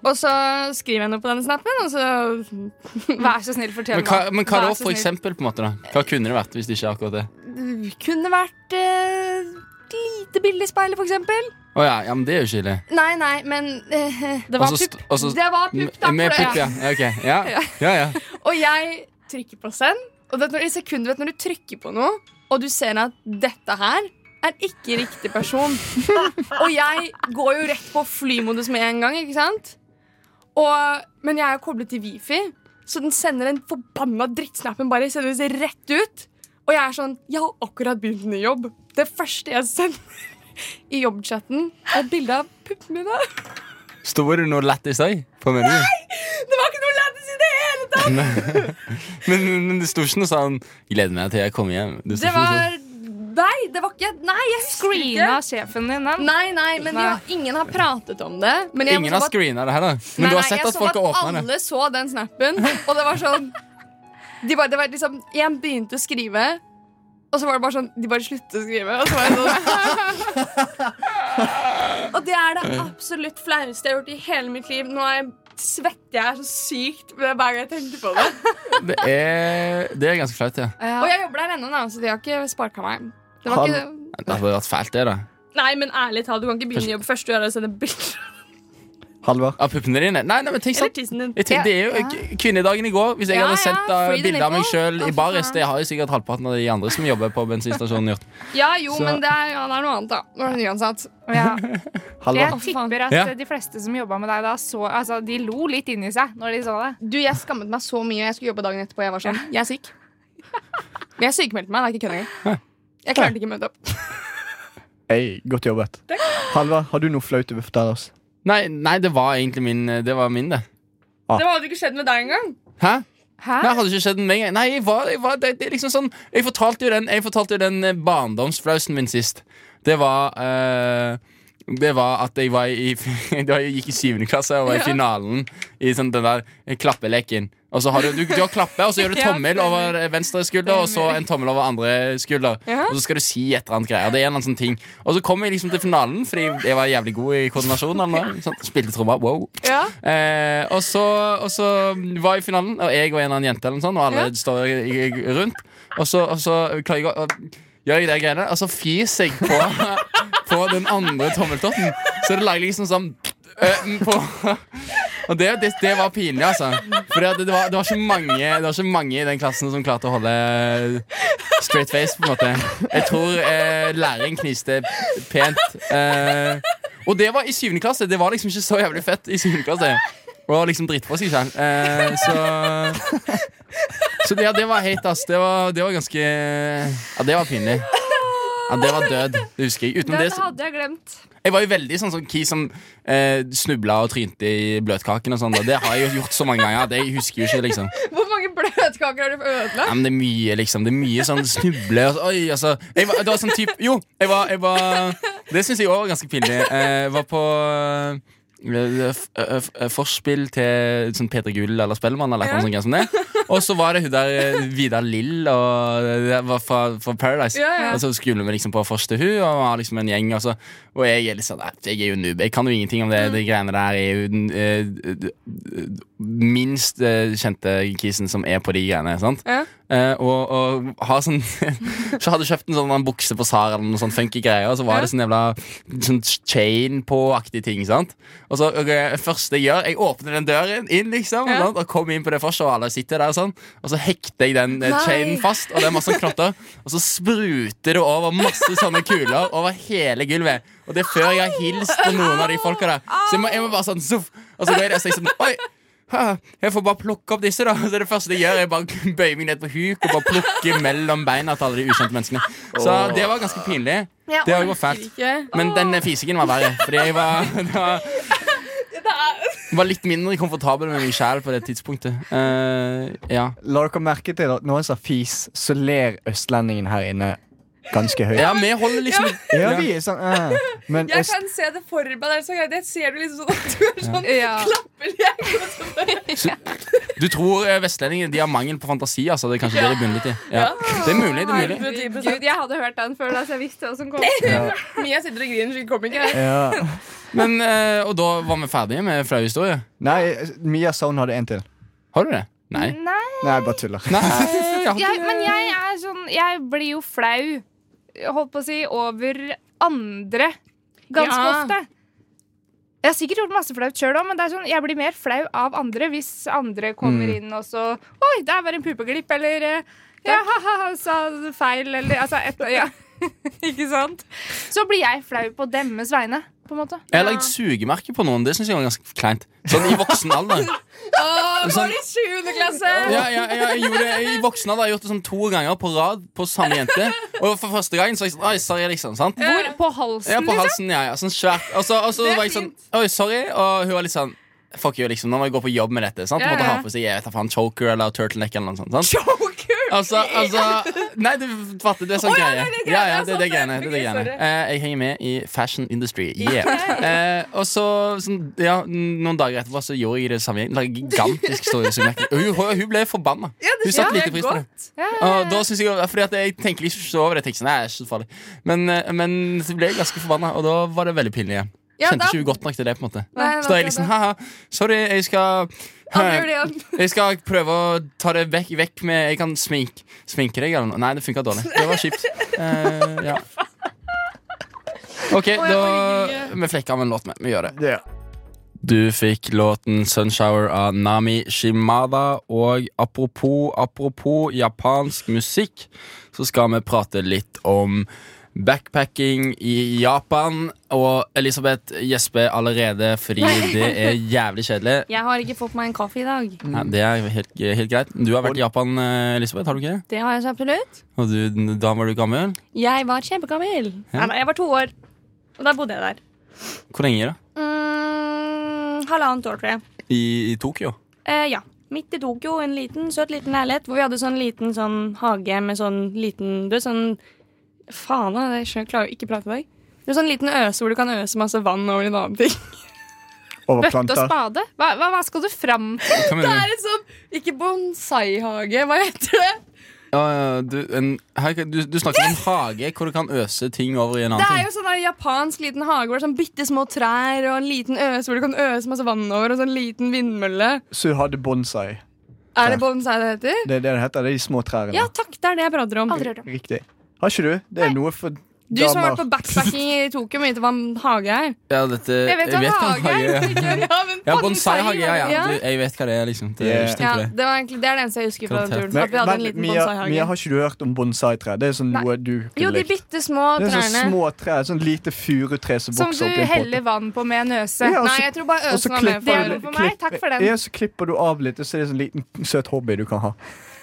[SPEAKER 4] Og så skriver jeg noe på den snappen, og så
[SPEAKER 5] Vær så snill, fortell
[SPEAKER 1] Men hva,
[SPEAKER 5] meg.
[SPEAKER 1] men hva
[SPEAKER 5] Vær
[SPEAKER 1] da,
[SPEAKER 5] så
[SPEAKER 1] for
[SPEAKER 5] snill.
[SPEAKER 1] eksempel? på en måte da? Hva kunne det vært hvis det ikke er akkurat det?
[SPEAKER 4] Det kunne vært eh, et lite bilde i speilet, for eksempel.
[SPEAKER 1] Å ja, ja, men det er jo ikke ille.
[SPEAKER 4] Nei, nei, men eh, Det
[SPEAKER 1] Også
[SPEAKER 4] var
[SPEAKER 1] st-
[SPEAKER 4] pupp.
[SPEAKER 1] også-
[SPEAKER 4] Det var pupp, da.
[SPEAKER 1] Med
[SPEAKER 4] for det-
[SPEAKER 1] pupp, ja. Ja, ok.
[SPEAKER 4] *laughs*
[SPEAKER 1] ja. ja, ja.
[SPEAKER 4] Og jeg trykker på send. Og det, er når, i sekundet, vet, du, når du trykker på noe, og du ser at dette her er ikke riktig *laughs* person Og jeg går jo rett på flymodus med en gang, ikke sant? Og, men jeg er jo koblet til wifi, Så den sender den forbanna drittsnappen bare sendes rett ut. Og jeg er sånn Jeg har akkurat begynt ny jobb. Det første jeg sender *laughs* i jobbchatten, er et bilde av puppene mine.
[SPEAKER 1] Sto det noe lættis òg på menyen?
[SPEAKER 4] Det var ikke noe lættis i det hele tatt!
[SPEAKER 1] Men, men det sto ikke noe sånn 'gleder meg til jeg kommer hjem'. Det sto
[SPEAKER 4] Det
[SPEAKER 1] ikke noe sånn.
[SPEAKER 4] var Nei, det var ikke Nei, jeg husker det ikke.
[SPEAKER 5] Screena sjefen din den?
[SPEAKER 4] Nei, nei, men vi har, ingen har pratet om det. Men jeg
[SPEAKER 1] Ingen
[SPEAKER 4] så
[SPEAKER 1] har
[SPEAKER 4] bare-
[SPEAKER 1] screena det heller. Men
[SPEAKER 4] Nei,
[SPEAKER 1] du har
[SPEAKER 4] nei,
[SPEAKER 1] sett
[SPEAKER 4] jeg
[SPEAKER 1] at
[SPEAKER 4] så
[SPEAKER 1] folk har åpna det.
[SPEAKER 4] Alle så den snappen, og det var sånn de bare, det var liksom, Jeg begynte å skrive, og så var det bare sånn De bare sluttet å skrive. Og så var jeg sånn *laughs* Og det er det absolutt flaueste jeg har gjort i hele mitt liv. Nå er jeg, svetter jeg så sykt hver gang jeg tenker på det.
[SPEAKER 1] Det er, det er ganske flaut, ja.
[SPEAKER 4] Og jeg jobber der ennå, da, så de har ikke sparka meg. Det var
[SPEAKER 2] Han-
[SPEAKER 4] ikke,
[SPEAKER 1] Det hadde vært fælt, det, da.
[SPEAKER 4] nei, men ærlig talt, du kan ikke begynne å jobbe først du gjør og sende bilder
[SPEAKER 2] Halvard.
[SPEAKER 1] Av puppene dine? Nei, nei, men tenk sånn
[SPEAKER 4] eller tissen din.
[SPEAKER 1] jeg tenker, det er jo k- Kvinnedagen i går. Hvis jeg
[SPEAKER 4] Ja,
[SPEAKER 1] hadde
[SPEAKER 4] ja,
[SPEAKER 1] sendt da,
[SPEAKER 4] free the
[SPEAKER 1] bilder av meg
[SPEAKER 4] nipple.
[SPEAKER 1] sjøl
[SPEAKER 4] Å,
[SPEAKER 1] i
[SPEAKER 4] fy
[SPEAKER 1] baris,
[SPEAKER 4] faen.
[SPEAKER 1] det har jo sikkert halvparten av de andre som jobber på bensinstasjonen gjort.
[SPEAKER 4] *laughs* Ja, jo,
[SPEAKER 1] Så-
[SPEAKER 4] men det er, ja, det er noe annet, da. Nå er du nyansatt.
[SPEAKER 5] *laughs* Ja. Jeg
[SPEAKER 2] Halvard.
[SPEAKER 5] tipper at
[SPEAKER 1] Ja.
[SPEAKER 5] eh, de fleste som jobba med deg da, så Altså, de lo litt inni seg når de så det.
[SPEAKER 4] Du, jeg skammet meg så mye. Jeg skulle jobbe dagen etterpå. Jeg var sånn, jeg er syk. Men jeg sykemeldte meg. Det er ikke kødd engang. Jeg klarte ikke å møte opp.
[SPEAKER 2] Hey, godt jobbet. Halvard, har du noe flaut du vil fortelle oss?
[SPEAKER 1] Nei, nei, det var egentlig min, eh, det. var min det
[SPEAKER 4] Det hadde ikke skjedd med deg engang.
[SPEAKER 1] Hæ?
[SPEAKER 5] Hæ?
[SPEAKER 1] Nei, hadde ikke skjedd med en gang. Nei, jeg var, jeg var, det, det er liksom sånn Jeg fortalte jo den, jeg fortalte jo den eh, barndomsflausen min sist. Det var eh, Det var at jeg var i *laughs* Da jeg gikk i syvende klasse og var i finalen i sånn den der klappeleken. Og så har du, du, du har klappe, og så gjør du
[SPEAKER 5] *laughs* Ja,
[SPEAKER 1] tommel
[SPEAKER 5] stemmer.
[SPEAKER 1] over eh, venstre skulder, og så en tommel over andre skulder. Og så skal du si et eller annet greier. Det er en eller annen sånn ting Og så kom jeg liksom til finalen, fordi jeg var jævlig god i koordinasjon. Eller noe, sånn. Spilte trommer. Wow. Eh, og, så, og så var jeg i finalen, og jeg og en annen jente eller noe sånt, og alle står i- i- rundt. Og så, og så klarer jeg å og gjør jeg de greiene, og så fiser jeg på, på *laughs* den andre tommeltotten. Så det lager liksom sånn eh, på og det, det, det var pinlig, altså. For det, det, var, det, var ikke mange, det var ikke mange i den klassen som klarte å holde straight face, på en måte. Jeg tror eh, læreren kniste pent. Eh, og det var i syvende klasse. Det var liksom ikke så jævlig fett i syvende klasse. Og liksom dritt på seg selv. Eh, så så det, ja, det var hate, ass. Det var, det var ganske Ja, det var pinlig. Ja, det var død. Det husker jeg. Utenom det,
[SPEAKER 5] Den
[SPEAKER 1] så-
[SPEAKER 5] hadde jeg glemt.
[SPEAKER 1] jeg var jo veldig sånn som Ki som eh, snubla og trynte i bløtkaken og sånn. og Det har jeg jo gjort så mange ganger at jeg husker jo ikke, liksom.
[SPEAKER 4] *laughs* Hvor mange bløtkaker har du ødelagt?
[SPEAKER 1] Ja, men det er mye, liksom. Det er mye sånn snuble og så, Oi, altså. Jeg var, det var sånn type Jo, jeg var, jeg var Det syns jeg òg var ganske pinlig. Eh, Jeg var på eh, f- eh, f- eh, Forspill til sånn Peter Gull eller Spellemann eller noe sånt. som det. Og så var det hun der eh, Vidar Lill og det var fra, fra Paradise.
[SPEAKER 4] Ja, ja.
[SPEAKER 1] Og så skulle vi liksom på vors til hun og var liksom en gjeng. Og, så, og jeg er litt sånn "Nei, Jeg er jo noob. Jeg kan jo ingenting om det. De greiene der er jo den eh, minst eh, kjente kisen som er på de greiene. Sant?
[SPEAKER 4] Ja.
[SPEAKER 1] Eh, og, og har sånn *laughs* Så hadde jeg kjøpt en sånn en bukse på Sara eller noe sånn funky greier, og så var det sånn jævla sånn chain på-aktig ting. sant? Og så og det første jeg gjør, jeg åpner den døren inn, liksom, sant? og kommer inn på det forset, og alle sitter der og sånn, og så hekter jeg den eh,
[SPEAKER 4] Nei.
[SPEAKER 1] chainen fast, og det er masse sånn knotter, og så spruter det over masse sånne kuler over hele gulvet. Og det er før jeg har hilst på noen av de folka der. Så jeg må, jeg må bare sånn zoff, Og så går jeg der og sier sånn Oi! «Hæ, Jeg får bare plukke opp disse, da. Så det første jeg gjør, er bare bøye meg ned på huk og bare plukke mellom beina til alle de ukjente menneskene. Så det var ganske pinlig. Det var jo fælt. Men den fisingen var verre. Fordi jeg var, *laughs* det var, var litt mindre komfortabel med meg sjæl på det tidspunktet. Eh, ja.
[SPEAKER 2] La dere merke til at når han sa fis, så ler østlendingen her inne ganske høyt.
[SPEAKER 1] ja, vi holder liksom
[SPEAKER 2] Ja, vi er sånn eh. Men
[SPEAKER 4] Jeg
[SPEAKER 2] øst,
[SPEAKER 4] kan se det for meg. Det er så greit. Jeg ser det liksom sånn at du er sånn
[SPEAKER 5] Ja.
[SPEAKER 4] klappelek.
[SPEAKER 1] Du tror eh, vestlendinger de har mangel på fantasi, altså. Det er kanskje det det bunner litt i. Ja. Det er mulig. det er mulig
[SPEAKER 5] Gud, jeg hadde hørt den før, da, så jeg visste hva som kom.
[SPEAKER 4] *laughs* Mia sitter og griner, så hun kommer ikke.
[SPEAKER 2] ja.
[SPEAKER 1] Men, eh, Og da var vi ferdige med flau historie.
[SPEAKER 2] Nei, Mia sa hun hadde en til.
[SPEAKER 1] Har du det? Nei.
[SPEAKER 5] Nei,
[SPEAKER 2] Nei, jeg bare tuller.
[SPEAKER 1] Nei, jeg har
[SPEAKER 5] jeg,
[SPEAKER 1] ikke
[SPEAKER 5] men jeg er sånn Jeg blir jo flau, holdt på å si, over andre ganske
[SPEAKER 4] Ja.
[SPEAKER 5] ofte. Jeg har sikkert gjort masse flaut sjøl òg, men det er sånn, jeg blir mer flau av andre hvis andre kommer inn og så Oi, der var en pupeglipp, eller eh, Ja, ha-ha, sa du *laughs* feil, eller Altså, et, ja. Ikke sant? Så blir jeg flau på deres vegne.
[SPEAKER 3] på en måte.
[SPEAKER 1] Jeg har lagd sugemerke på noen. Det syns jeg var ganske kleint. Sånn i voksen alder. Sånn-
[SPEAKER 4] I sjuende klasse!
[SPEAKER 1] ja, ja, ja, jeg gjorde det i voksen alder. Jeg har gjort det sånn to ganger på rad på samme jente. Og for første gangen så var jeg sånn Oi, sorry, liksom. sant?
[SPEAKER 3] Hvor? På halsen?
[SPEAKER 1] Ja, på halsen, ja, ja, sånn svært Og så, og så
[SPEAKER 4] liksom? Det er
[SPEAKER 1] var jeg sånn,
[SPEAKER 4] fint.
[SPEAKER 1] oi, sorry Og hun var litt sånn, fuck you, liksom Nå må jeg gå på jobb med dette, sant?
[SPEAKER 4] Ja,
[SPEAKER 1] Hun måtte
[SPEAKER 4] ja.
[SPEAKER 1] ha på seg, jeg vet ikke, faen, choker eller turtleneck eller noe sånt sant? Altså, altså Nei, du fatter, det er sånn greie
[SPEAKER 4] det er greie,
[SPEAKER 1] Ja, ja, det er
[SPEAKER 4] det er
[SPEAKER 1] det
[SPEAKER 4] sant,
[SPEAKER 1] greiene, det er det
[SPEAKER 4] det er
[SPEAKER 1] greiene
[SPEAKER 4] sorry.
[SPEAKER 1] eh, Jeg henger med i fashion industry, yeah eh, Og så, sånn, ja, noen dager etterpå Så gjorde jeg det samme igjen Det var en gigantisk stor sugemerke. Og hun, hun ble forbannet Hun satt lite pris på det og da synes jeg, fordi at jeg tenker ikke så over det. Jeg tenker sånn, nei, det er ikke så farlig Men, eh, men så ble jeg ganske forbanna, og da var det veldig pinlig. igjen.
[SPEAKER 4] Ja,
[SPEAKER 1] Kjente
[SPEAKER 4] da-
[SPEAKER 1] ikke godt nok til det. på en måte
[SPEAKER 4] Nei,
[SPEAKER 1] Så da er jeg liksom ha-ha, sorry, jeg skal
[SPEAKER 4] Aldri gjør det igjen.
[SPEAKER 1] Jeg skal prøve å ta det vekk, vekk med Jeg kan smink, sminke deg eller noe. Nei, det funka dårlig. Det var kjipt. Eh,
[SPEAKER 4] *laughs*
[SPEAKER 1] ja. OK, da Vi flekker av en låt med. Vi gjør det.
[SPEAKER 2] Det,
[SPEAKER 1] Du fikk låten 'Sunshower' av Nami Shimada. Og apropos, apropos japansk musikk, så skal vi prate litt om backpacking i Japan. Og Elisabeth gjesper allerede fordi det er jævlig kjedelig.
[SPEAKER 5] Jeg har ikke fått meg en kaffe i dag.
[SPEAKER 1] Nei, det er helt, helt greit. Du har vært i Japan, eh, Elisabeth, har du ikke det?
[SPEAKER 5] Det har jeg så absolutt.
[SPEAKER 1] Og du, da var du gammel?
[SPEAKER 5] Jeg var kjempegammel. Nei, nei, jeg var to år. Og da bodde jeg der.
[SPEAKER 1] Hvor lenge da?
[SPEAKER 5] Mm, halvannet år, tror jeg.
[SPEAKER 1] I, i Tokyo?
[SPEAKER 5] Eh, ja. Midt i Tokyo, en liten, søt liten leilighet hvor vi hadde sånn liten sånn hage med sånn liten Du vet sånn Faen, da, jeg skjønner, klarer jo ikke å prate i dag. Det er sånn liten øse hvor du kan øse masse vann over en annen ting. *laughs*
[SPEAKER 2] over
[SPEAKER 3] Bøtte og
[SPEAKER 2] planter.
[SPEAKER 3] spade? Hva, hva, hva skal du fram til?
[SPEAKER 1] Hva mener du?
[SPEAKER 4] Det er en sånn, ikke bonsai-hage, hva heter det?
[SPEAKER 1] Ja, ja, du, en, her, du, du snakker om en hage hvor du kan øse ting over i en annen
[SPEAKER 4] Det er
[SPEAKER 1] ting.
[SPEAKER 4] jo sånn der japansk liten hage hvor det er sånn bitte små trær og en liten øse hvor du kan øse masse vann over, og sånn liten vindmølle.
[SPEAKER 2] Så du hadde bonsai.
[SPEAKER 4] Er det bonsai det heter?
[SPEAKER 2] Det er det det heter. Det er de små trærne.
[SPEAKER 4] Ja takk, det er det jeg prater om.
[SPEAKER 5] Aldri hørt om.
[SPEAKER 2] Riktig. Har ikke du? Det er noe for
[SPEAKER 4] Du som har
[SPEAKER 2] damer.
[SPEAKER 4] vært på backpacking i Tokyo, vet hva en hage er?
[SPEAKER 1] Ja, dette,
[SPEAKER 4] Jeg vet hva en hage er.
[SPEAKER 1] er.
[SPEAKER 4] ikke? Ja, men
[SPEAKER 1] Ja, bonsai-hage, ja, ja.
[SPEAKER 4] Ja.
[SPEAKER 1] Du, jeg vet hva det er, liksom. Det,
[SPEAKER 2] Yeah.
[SPEAKER 1] ikke
[SPEAKER 4] Ja,
[SPEAKER 1] tenk på det.
[SPEAKER 4] det, var egentlig, det er det eneste jeg husker fra den turen. At vi hadde en liten
[SPEAKER 2] Mia, Mia,
[SPEAKER 4] bonsai-hage.
[SPEAKER 2] har ikke du hørt om bonsai-tre? Det er sånn noe du
[SPEAKER 4] Jo,
[SPEAKER 2] kunne
[SPEAKER 4] de
[SPEAKER 2] likt.
[SPEAKER 4] bitte små
[SPEAKER 2] Det er sånn
[SPEAKER 4] trærne.
[SPEAKER 2] små tre. Sånn lite furutre som
[SPEAKER 3] Som
[SPEAKER 2] vokser
[SPEAKER 3] du
[SPEAKER 2] opp i en pott.
[SPEAKER 3] heller vann på med en øse?
[SPEAKER 2] Ja, og
[SPEAKER 4] Nei,
[SPEAKER 2] så-
[SPEAKER 4] jeg tror bare
[SPEAKER 2] og så
[SPEAKER 4] øsen var med.
[SPEAKER 2] klipper
[SPEAKER 4] For
[SPEAKER 2] du-
[SPEAKER 3] Det er noe for meg. Takk for den.
[SPEAKER 2] Ja, så klipper du av litt, og så er det en sånn liten søt hobby du kan ha.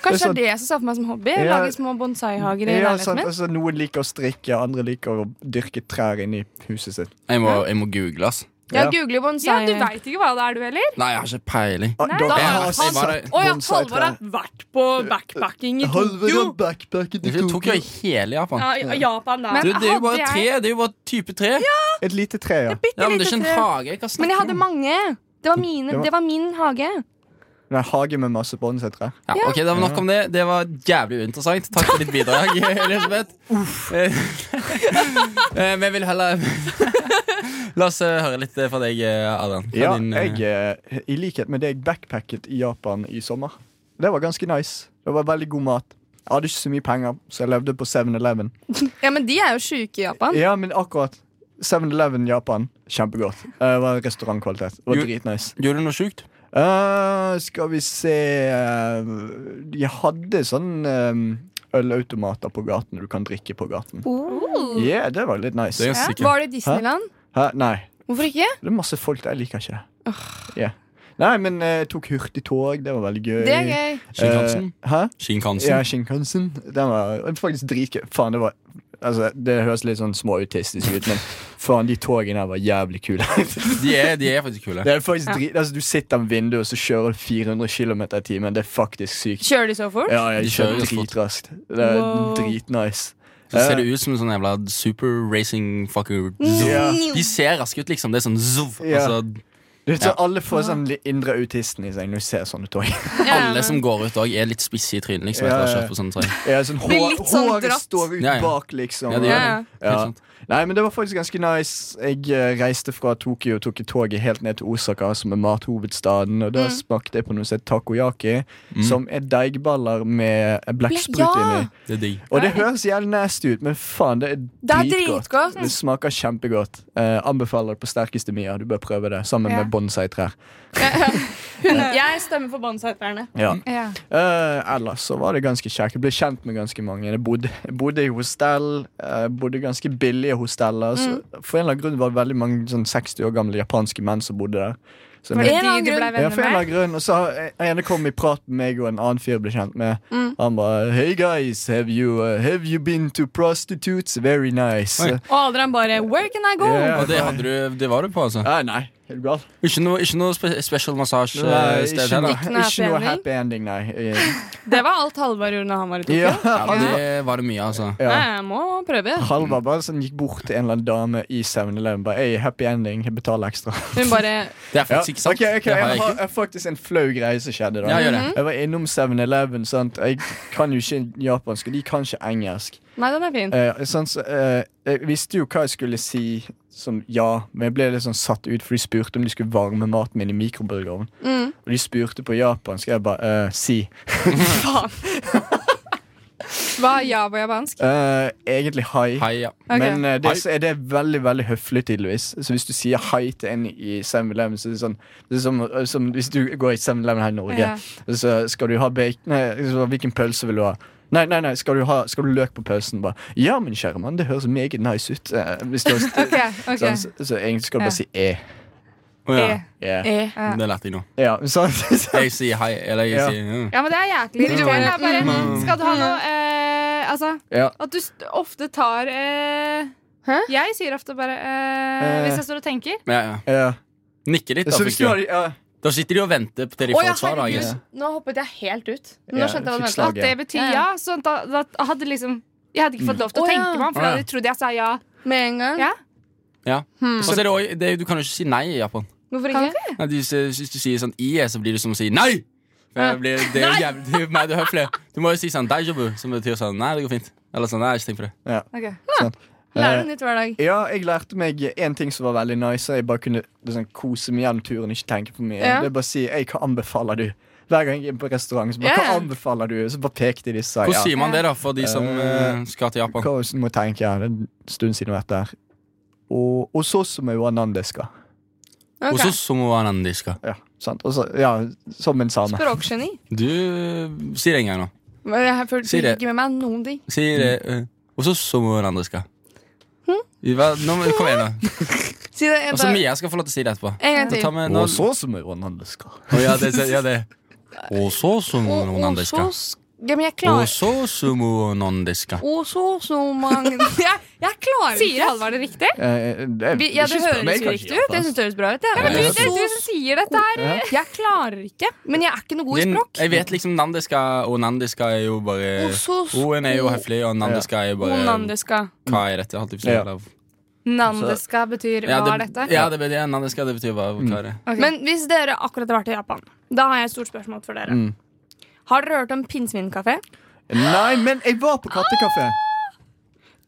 [SPEAKER 4] Kanskje det
[SPEAKER 2] sånn-
[SPEAKER 4] er det jeg som ser for meg som hobby?
[SPEAKER 2] Ja.
[SPEAKER 4] Lage små bonsai-hager i
[SPEAKER 2] Ja, sant,
[SPEAKER 4] leiligheten min?
[SPEAKER 2] altså, noen liker å strikke, andre liker å dyrke trær inni huset sitt.
[SPEAKER 1] Jeg må, jeg må google, ass.
[SPEAKER 4] Ja,
[SPEAKER 2] Ja.
[SPEAKER 4] google bonsai.
[SPEAKER 5] Ja, Du veit ikke hva det er, du heller?
[SPEAKER 1] Nei, jeg har ikke peiling.
[SPEAKER 2] Ah, dere
[SPEAKER 4] da-
[SPEAKER 2] har
[SPEAKER 1] Jeg var der-
[SPEAKER 2] sett
[SPEAKER 4] Å ja, Halvor har
[SPEAKER 2] bonsai-trær.
[SPEAKER 4] vært på backpacking i Tokyo.
[SPEAKER 2] Halvor backpacket
[SPEAKER 1] Det tok jo i hele Japan.
[SPEAKER 5] Ja, i- i Japan, da.
[SPEAKER 1] Du, det er jo bare
[SPEAKER 3] hadde
[SPEAKER 1] tre.
[SPEAKER 3] jeg-
[SPEAKER 1] Det er jo bare type tre. Ja,
[SPEAKER 2] Et lite tre, ja.
[SPEAKER 1] men det er ikke en hage. Hva
[SPEAKER 5] Men
[SPEAKER 1] snakker
[SPEAKER 5] jeg hadde
[SPEAKER 1] du om?
[SPEAKER 5] mange. Det var, mine,
[SPEAKER 2] Det var-
[SPEAKER 5] det var min hage.
[SPEAKER 2] Det er En hage med masse bonsai-trær.
[SPEAKER 1] Ja, ok, det var nok om det. Det var jævlig uinteressant. Takk for ditt bidrag, *laughs* Elisabeth. Eh, *laughs* eh, Vi vil heller *laughs* La oss eh, høre litt eh, fra deg, eh, Adrian. Fra
[SPEAKER 2] Ja,
[SPEAKER 1] din, eh,
[SPEAKER 2] jeg, eh, I likhet med deg backpacket i Japan i sommer. Det var ganske nice. Det var veldig god mat. Jeg hadde ikke så mye penger, så jeg levde på 7-Eleven.
[SPEAKER 4] Ja, men de er jo sjuke i Japan.
[SPEAKER 2] Ja, men akkurat 7-Eleven Japan, kjempegodt. Eh, Det var restaurantkvalitet. Det var
[SPEAKER 1] Jo-
[SPEAKER 2] dritnice.
[SPEAKER 1] Gjorde du noe sjukt?
[SPEAKER 2] Eh, skal vi se eh, Jeg hadde sånn eh, ølautomater på gaten du kan drikke på gaten. Yeah, det var litt nice.
[SPEAKER 1] Det er ganske sikkert.
[SPEAKER 4] Var det i Disneyland?
[SPEAKER 2] Hæ? nei,
[SPEAKER 4] Hvorfor ikke?
[SPEAKER 2] det er masse folk der. Jeg liker ikke det. Yeah. Nei, men eh, jeg tok hurtigtog. Det var veldig gøy.
[SPEAKER 4] Det er gøy.
[SPEAKER 1] Shinkansen.
[SPEAKER 2] Eh, hæ?
[SPEAKER 1] Shinkansen.
[SPEAKER 2] Ja, Shinkansen. Den var faktisk dritgøy. Faen, det var Altså, det høres litt sånn småautistisk ut, men faen, de togene her var jævlig kule. *laughs*
[SPEAKER 1] De, er, de er faktisk kule.
[SPEAKER 2] Det er faktisk drit, altså, du sitter ved vinduet, og så kjører du 400 km i timen. Det er faktisk sykt.
[SPEAKER 4] Kjører de så fort?
[SPEAKER 2] Ja, jeg
[SPEAKER 1] De kjører
[SPEAKER 2] kjører
[SPEAKER 1] jo fort.
[SPEAKER 2] dritraskt. Det er
[SPEAKER 4] Wow.
[SPEAKER 2] dritnice. Eh,
[SPEAKER 1] Så ser det ut som en sånn jævla super racing fucker
[SPEAKER 4] Mm.
[SPEAKER 2] Ja.
[SPEAKER 1] De ser raske ut, liksom. Det er sånn zov.
[SPEAKER 2] Ja.
[SPEAKER 1] Altså,
[SPEAKER 2] Det er sånn, Alle får sånn litt indre autisten i seg når de ser sånne tog.
[SPEAKER 1] alle som går ut òg, er litt spisse i trynet, liksom.
[SPEAKER 2] Ja,
[SPEAKER 1] Etter å
[SPEAKER 2] ja,
[SPEAKER 1] ha
[SPEAKER 2] ja.
[SPEAKER 1] kjørt på sånne trær.
[SPEAKER 2] Ja, sånn,
[SPEAKER 4] Blir
[SPEAKER 2] hår,
[SPEAKER 4] litt sånn
[SPEAKER 2] håret
[SPEAKER 4] dratt.
[SPEAKER 2] står ut
[SPEAKER 1] Ja, ja.
[SPEAKER 2] bak, liksom.
[SPEAKER 1] Ja, de gjør det.
[SPEAKER 2] Ja.
[SPEAKER 1] Helt sant.
[SPEAKER 2] Nei, men Det var faktisk ganske nice. Jeg eh, reiste fra Tokyo og tok toget helt ned til Osaka, som er mathovedstaden. Og da
[SPEAKER 4] Mm.
[SPEAKER 2] smakte jeg på noe som heter takoyaki,
[SPEAKER 1] Mm.
[SPEAKER 2] som er deigballer med eh, blekksprut
[SPEAKER 4] Ja.
[SPEAKER 2] inni.
[SPEAKER 1] Det er digg.
[SPEAKER 2] Og det høres jævlig nasty ut, men faen, det er
[SPEAKER 4] Det er
[SPEAKER 2] dritgodt.
[SPEAKER 4] dritgodt.
[SPEAKER 2] Det smaker kjempegodt. Eh, anbefaler det på sterkeste Mia. Du bør prøve det sammen
[SPEAKER 4] Ja.
[SPEAKER 2] med bonsai-trær.
[SPEAKER 4] Hun, jeg stemmer for båndsetterne.
[SPEAKER 2] Ja.
[SPEAKER 5] Ja.
[SPEAKER 2] Eh, ellers så var det ganske kjekt. Jeg ble kjent med ganske mange. Jeg bodde, jeg bodde i hostell. eh, bodde i ganske billige hosteller. så For en eller annen grunn var det veldig mange sånn 60 år gamle japanske menn som bodde der. Så
[SPEAKER 5] Var
[SPEAKER 2] jeg-
[SPEAKER 5] det
[SPEAKER 4] En
[SPEAKER 5] de
[SPEAKER 4] annen
[SPEAKER 5] du ble
[SPEAKER 4] grunn.
[SPEAKER 2] ja,
[SPEAKER 5] venner
[SPEAKER 2] for en eller
[SPEAKER 5] med?
[SPEAKER 2] annen grunn Og så har jeg- en ene kom i prat med meg og en annen fyr jeg ble kjent med. Han bare Hey guys, have you, uh, have you been to prostitutes? Very nice.
[SPEAKER 1] Oi.
[SPEAKER 4] Og Adrian bare Where can I go?
[SPEAKER 2] Ja.
[SPEAKER 1] Og det, hadde du, det var du på, altså?
[SPEAKER 2] Nei, Eh, nei. Er du gal?
[SPEAKER 1] Ikke noe, ikke noe spe special massasje
[SPEAKER 2] Nei,
[SPEAKER 1] eh, sted
[SPEAKER 2] Ikke noe,
[SPEAKER 1] heller?
[SPEAKER 4] Ikke noe
[SPEAKER 2] ikke noe
[SPEAKER 4] happy
[SPEAKER 2] happy ending, nei. Eh,
[SPEAKER 4] Det var alt Halvard gjorde når han var i Tokyo.
[SPEAKER 2] Ja,
[SPEAKER 1] Ja,
[SPEAKER 2] han,
[SPEAKER 1] det var det mye, altså.
[SPEAKER 4] Nei,
[SPEAKER 2] ja.
[SPEAKER 4] jeg må prøve.
[SPEAKER 2] Halvard bare sånn gikk bort til en eller annen dame i 7-Eleven. Bare, hey, happy ending, jeg betaler ekstra.
[SPEAKER 4] Hun bare
[SPEAKER 1] Det er
[SPEAKER 2] Ja.
[SPEAKER 1] faktisk ikke sant.
[SPEAKER 2] Ok, ok,
[SPEAKER 1] Det
[SPEAKER 2] jeg,
[SPEAKER 1] har jeg
[SPEAKER 2] har,
[SPEAKER 1] ikke.
[SPEAKER 2] jeg har faktisk en flau greie som skjedde. da
[SPEAKER 1] Ja, gjør det.
[SPEAKER 2] Jeg var innom 7-Eleven. sant? Jeg kan jo ikke japansk, og de kan ikke engelsk.
[SPEAKER 4] Nei, den er fin.
[SPEAKER 2] Eh, sånn, så, eh, jeg visste jo hva jeg skulle si som ja, men jeg ble litt sånn satt ut, for de spurte om de skulle varme maten min i mikrobølgeovnen.
[SPEAKER 4] Mm.
[SPEAKER 2] Og de spurte på japansk. Jeg bare eh, si.
[SPEAKER 4] Hva er ja på japansk?
[SPEAKER 2] Eh, egentlig hai.
[SPEAKER 1] Hei, ja.
[SPEAKER 4] Ok.
[SPEAKER 2] Men eh, det,
[SPEAKER 1] Hei.
[SPEAKER 2] så er det veldig veldig høflig, tydeligvis. Så hvis du sier hei til en i 7-Eleven, så er det sånn det er som, som Hvis du går i 7-Eleven her i Norge,
[SPEAKER 5] Ja.
[SPEAKER 2] så skal du ha bacon Nei, så, hvilken pølse vil du ha? Nei, nei, nei, skal du, ha, skal du løk på pølsen? Bare, ja, min kjære mann, det høres meget nice ut. Eh, hvis du har
[SPEAKER 5] *laughs* Ok, ok.
[SPEAKER 2] sånn, så, så egentlig skal du bare si e.
[SPEAKER 1] Å, ja.
[SPEAKER 5] Eh.
[SPEAKER 2] Yeah.
[SPEAKER 4] Eh.
[SPEAKER 5] Ja.
[SPEAKER 1] Det lærte jeg nå.
[SPEAKER 2] Ja, sånn. *laughs*
[SPEAKER 1] Jeg sier hei, eller jeg
[SPEAKER 2] Ja.
[SPEAKER 1] sier mm.
[SPEAKER 5] Ja, men det er jæklig irriterende. da. Bare,
[SPEAKER 1] Mm.
[SPEAKER 5] Skal du ha noe eh, Altså,
[SPEAKER 2] ja.
[SPEAKER 5] at du st- ofte tar eh,
[SPEAKER 4] Hæ?
[SPEAKER 5] Jeg sier ofte bare eh,
[SPEAKER 2] Eh.
[SPEAKER 5] Hvis jeg står og tenker.
[SPEAKER 1] ja, ja.
[SPEAKER 2] ja.
[SPEAKER 1] Nikke litt, da.
[SPEAKER 2] Så hvis
[SPEAKER 1] fikk
[SPEAKER 2] du
[SPEAKER 1] du.
[SPEAKER 2] har ja.
[SPEAKER 1] Da sitter de og venter på til de
[SPEAKER 4] Å
[SPEAKER 1] får
[SPEAKER 4] ja,
[SPEAKER 1] et svar. da, jeg
[SPEAKER 4] herregud.
[SPEAKER 1] guess.
[SPEAKER 4] Nå hoppet jeg helt ut. Men
[SPEAKER 2] Ja,
[SPEAKER 4] Nå skjønte jeg hva du
[SPEAKER 2] fikk
[SPEAKER 4] mente.
[SPEAKER 2] slag.
[SPEAKER 5] At det betyr
[SPEAKER 4] Ja,
[SPEAKER 5] ja. Så da, da hadde liksom Jeg hadde ikke fått lov til å
[SPEAKER 4] Å, ja.
[SPEAKER 5] tenke meg om, for
[SPEAKER 1] Mm. Å,
[SPEAKER 5] da
[SPEAKER 1] ja.
[SPEAKER 5] hadde de trodd jeg sa ja.
[SPEAKER 4] Med en gang.
[SPEAKER 5] Ja.
[SPEAKER 1] Ja. Og så er det, også- det, du kan jo ikke si nei i Japan.
[SPEAKER 4] Hvorfor
[SPEAKER 5] Kan
[SPEAKER 4] ikke?
[SPEAKER 1] Nei, de, sier- hvis du sier sånn IE, så blir det som å si nei! Det, blir, det er jo jævlig det er jo mer det høflige. Du må jo si sånn deijobu, som betyr sånn nei, det går fint. Eller sånn, nei, jeg har ikke tenkt på det.
[SPEAKER 4] Lærer du nytt hver dag?
[SPEAKER 2] Ja, jeg lærte meg en ting som var veldig nice. og Jeg bare kunne liksom, kose meg gjennom turen. Ikke tenke for mye.
[SPEAKER 4] Ja.
[SPEAKER 2] Det er bare å si «Ei, 'Hva anbefaler du?' Hver gang jeg er på restaurant, så bare
[SPEAKER 4] Ja.
[SPEAKER 2] 'Hva anbefaler du?' Så bare pekte de og sa
[SPEAKER 1] Hvordan
[SPEAKER 2] Ah, ja.
[SPEAKER 1] sier man det, da, for de som
[SPEAKER 2] Eh,
[SPEAKER 1] eh, skal til Japan?
[SPEAKER 2] Hva hvis du må tenke ja, Det er en stund siden jeg har vært der. Og, og så som er jo anandeska.
[SPEAKER 4] Ok.
[SPEAKER 1] Også somoanandiska.
[SPEAKER 2] Ja, sant? Og så, ja, som en same.
[SPEAKER 4] Språkgeni.
[SPEAKER 1] Du sier det en gang nå.
[SPEAKER 4] Men Jeg følte
[SPEAKER 1] Si det.
[SPEAKER 4] ikke med meg noen ting.
[SPEAKER 1] Sier det eh, Også somoanandiska. Hva- Nå, må- kom igjen, nå.
[SPEAKER 4] Si det en,
[SPEAKER 1] Og så
[SPEAKER 4] dag.
[SPEAKER 1] Mia skal få lov til å si det etterpå.
[SPEAKER 4] en gang
[SPEAKER 1] Så
[SPEAKER 4] til.
[SPEAKER 1] tar vi nå
[SPEAKER 2] Og så som er jo anandeska.
[SPEAKER 1] Å, ja, det, ja, det. Også somoanandiska.
[SPEAKER 4] Og så ja, men jeg klarer
[SPEAKER 1] Også somoanandiska.
[SPEAKER 4] Og så så mange Jeg, jeg klarer
[SPEAKER 5] Sier Halvard det riktig?
[SPEAKER 2] Eh, det,
[SPEAKER 4] Vi, ja, det
[SPEAKER 2] ikke spør meg,
[SPEAKER 4] høres
[SPEAKER 2] kanskje,
[SPEAKER 4] jo riktig ut. Jeg
[SPEAKER 2] Japan.
[SPEAKER 4] syns det høres bra ut.
[SPEAKER 1] men
[SPEAKER 4] Jeg.
[SPEAKER 1] du-
[SPEAKER 4] Og
[SPEAKER 5] Det er du
[SPEAKER 4] så-
[SPEAKER 5] som sier dette her.
[SPEAKER 2] Ja.
[SPEAKER 4] Jeg klarer ikke. Men jeg er ikke noe god i
[SPEAKER 1] Din-
[SPEAKER 4] språk.
[SPEAKER 1] Jeg vet liksom Nandiska og Nandiska er jo bare
[SPEAKER 4] Og så
[SPEAKER 1] O-en er jo høflig, og Nandiska er jo bare
[SPEAKER 5] Onandeska.
[SPEAKER 1] Hva er dette? Holdt jeg på å si,
[SPEAKER 2] Ja.
[SPEAKER 1] eller-
[SPEAKER 5] Nandeska betyr
[SPEAKER 1] Ja,
[SPEAKER 5] hva er dette?
[SPEAKER 1] Ja, det betyr, ja, Nandiska det betyr bare hva er det?
[SPEAKER 5] Ok.
[SPEAKER 4] Men hvis dere akkurat har vært i Japan, da har jeg et stort spørsmål for dere.
[SPEAKER 2] Mm.
[SPEAKER 4] Har dere hørt om pinnsvinkafé?
[SPEAKER 2] Nei, men jeg var på kattekafé.
[SPEAKER 4] Ah!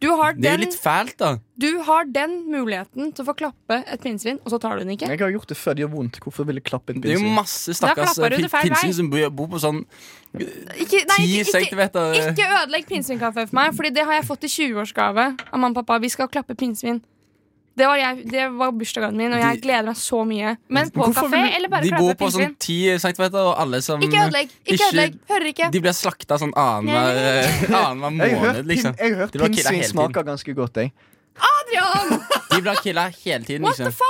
[SPEAKER 4] Du, har
[SPEAKER 1] Det er jo
[SPEAKER 4] den-
[SPEAKER 1] litt fælt, da.
[SPEAKER 4] du har den muligheten til å få klappe et pinnsvin, og så tar du den ikke.
[SPEAKER 2] Jeg har gjort det før. Det gjør vondt. Hvorfor vil jeg klappe en
[SPEAKER 1] Det er jo
[SPEAKER 2] pinnsvin?
[SPEAKER 1] masse stakkars
[SPEAKER 5] Da klapper du det feil
[SPEAKER 1] pinnsvin
[SPEAKER 5] vei.
[SPEAKER 1] som bor bor på sånn
[SPEAKER 4] Ikke, nei,
[SPEAKER 1] ti
[SPEAKER 4] ikke, ikke,
[SPEAKER 1] centimeter
[SPEAKER 4] ikke ødelegg pinnsvinkaffe for meg, Fordi det har jeg fått i 20-årsgave av mamma og pappa. Vi skal klappe pinnsvin. Det var, jeg, det var bursdagen min, og jeg
[SPEAKER 1] De-
[SPEAKER 4] gleder meg så mye.
[SPEAKER 5] Men på
[SPEAKER 2] Hvorfor
[SPEAKER 5] kafé
[SPEAKER 2] vil du-
[SPEAKER 5] eller bare
[SPEAKER 1] De bor
[SPEAKER 5] klappe
[SPEAKER 1] på
[SPEAKER 5] pinnsvin?
[SPEAKER 1] sånn ti centimeter, og alle som
[SPEAKER 4] Ikke
[SPEAKER 2] Mm,
[SPEAKER 4] ødelegg! Ikke
[SPEAKER 1] Ikke-
[SPEAKER 4] ødelegg, Hører ikke.
[SPEAKER 1] De blir slakta sånn
[SPEAKER 4] *laughs*
[SPEAKER 1] annenhver annen
[SPEAKER 2] Jeg har
[SPEAKER 1] måned,
[SPEAKER 2] hørt, pin,
[SPEAKER 1] liksom.
[SPEAKER 2] jeg har hørt
[SPEAKER 1] Det var killa
[SPEAKER 2] pinnsvin
[SPEAKER 1] hele
[SPEAKER 2] smaker ganske godt, jeg.
[SPEAKER 4] Adrian!
[SPEAKER 1] De blir killa hele tiden,
[SPEAKER 4] What the
[SPEAKER 1] liksom.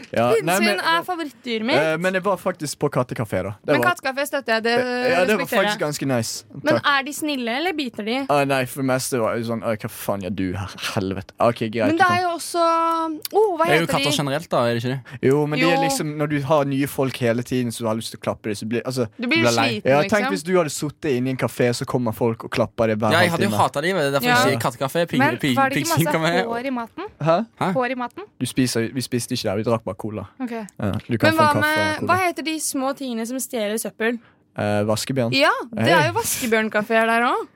[SPEAKER 2] *laughs* Ja, nei, men-
[SPEAKER 4] Pinnsvin er favorittdyret mitt.
[SPEAKER 2] Eh, men jeg var faktisk på kattekafé, da. Det
[SPEAKER 4] Men
[SPEAKER 2] var,
[SPEAKER 4] kattekaffe støtter jeg. Det
[SPEAKER 2] ja, det var
[SPEAKER 4] respekterer
[SPEAKER 2] faktisk
[SPEAKER 4] jeg.
[SPEAKER 2] ganske nice.
[SPEAKER 4] Men
[SPEAKER 2] Takk.
[SPEAKER 4] er de snille, eller biter de?
[SPEAKER 2] Ah, nei, for det meste var det sånn «Oi, Hva faen gjør du her? Helvete. Ok, greit.
[SPEAKER 4] Men
[SPEAKER 2] du
[SPEAKER 4] det er
[SPEAKER 2] kan-
[SPEAKER 4] jo også oh, Hva
[SPEAKER 1] Det er jo
[SPEAKER 4] heter
[SPEAKER 1] katter
[SPEAKER 4] de?
[SPEAKER 1] generelt, da. er det ikke det?
[SPEAKER 2] Jo, men det er
[SPEAKER 4] Jo.
[SPEAKER 2] liksom Når du har nye folk hele tiden som har lyst til å klappe deg, så blir altså,
[SPEAKER 4] Du blir
[SPEAKER 1] Blir
[SPEAKER 4] jo
[SPEAKER 1] lei.
[SPEAKER 4] sliten,
[SPEAKER 2] ja, Tenk hvis
[SPEAKER 4] liksom.
[SPEAKER 2] du hadde sittet inne i en kafé, så kommer folk og klapper deg hver
[SPEAKER 1] Ja, jeg hadde jo
[SPEAKER 2] halvtime.
[SPEAKER 1] hata de, det er derfor jeg
[SPEAKER 4] Ja.
[SPEAKER 1] sier kattekafé. ping-
[SPEAKER 5] Men
[SPEAKER 1] ping-
[SPEAKER 5] var det ikke
[SPEAKER 1] Pinnsvin kan
[SPEAKER 5] masse
[SPEAKER 1] være-
[SPEAKER 5] hår i maten?
[SPEAKER 2] Hæ?
[SPEAKER 5] Hår i maten?
[SPEAKER 2] Du spiser, vi spiste ikke der, vi drakk bare cola.
[SPEAKER 5] Ok.
[SPEAKER 2] Ja, du kan få
[SPEAKER 4] Men hva
[SPEAKER 2] en kaffe og
[SPEAKER 4] med
[SPEAKER 2] en
[SPEAKER 4] Hva
[SPEAKER 2] cola.
[SPEAKER 4] heter de små tingene som stjeler søppel?
[SPEAKER 2] Eh, vaskebjørn.
[SPEAKER 4] Ja, det
[SPEAKER 2] Hei.
[SPEAKER 4] er jo vaskebjørnkafeer der òg.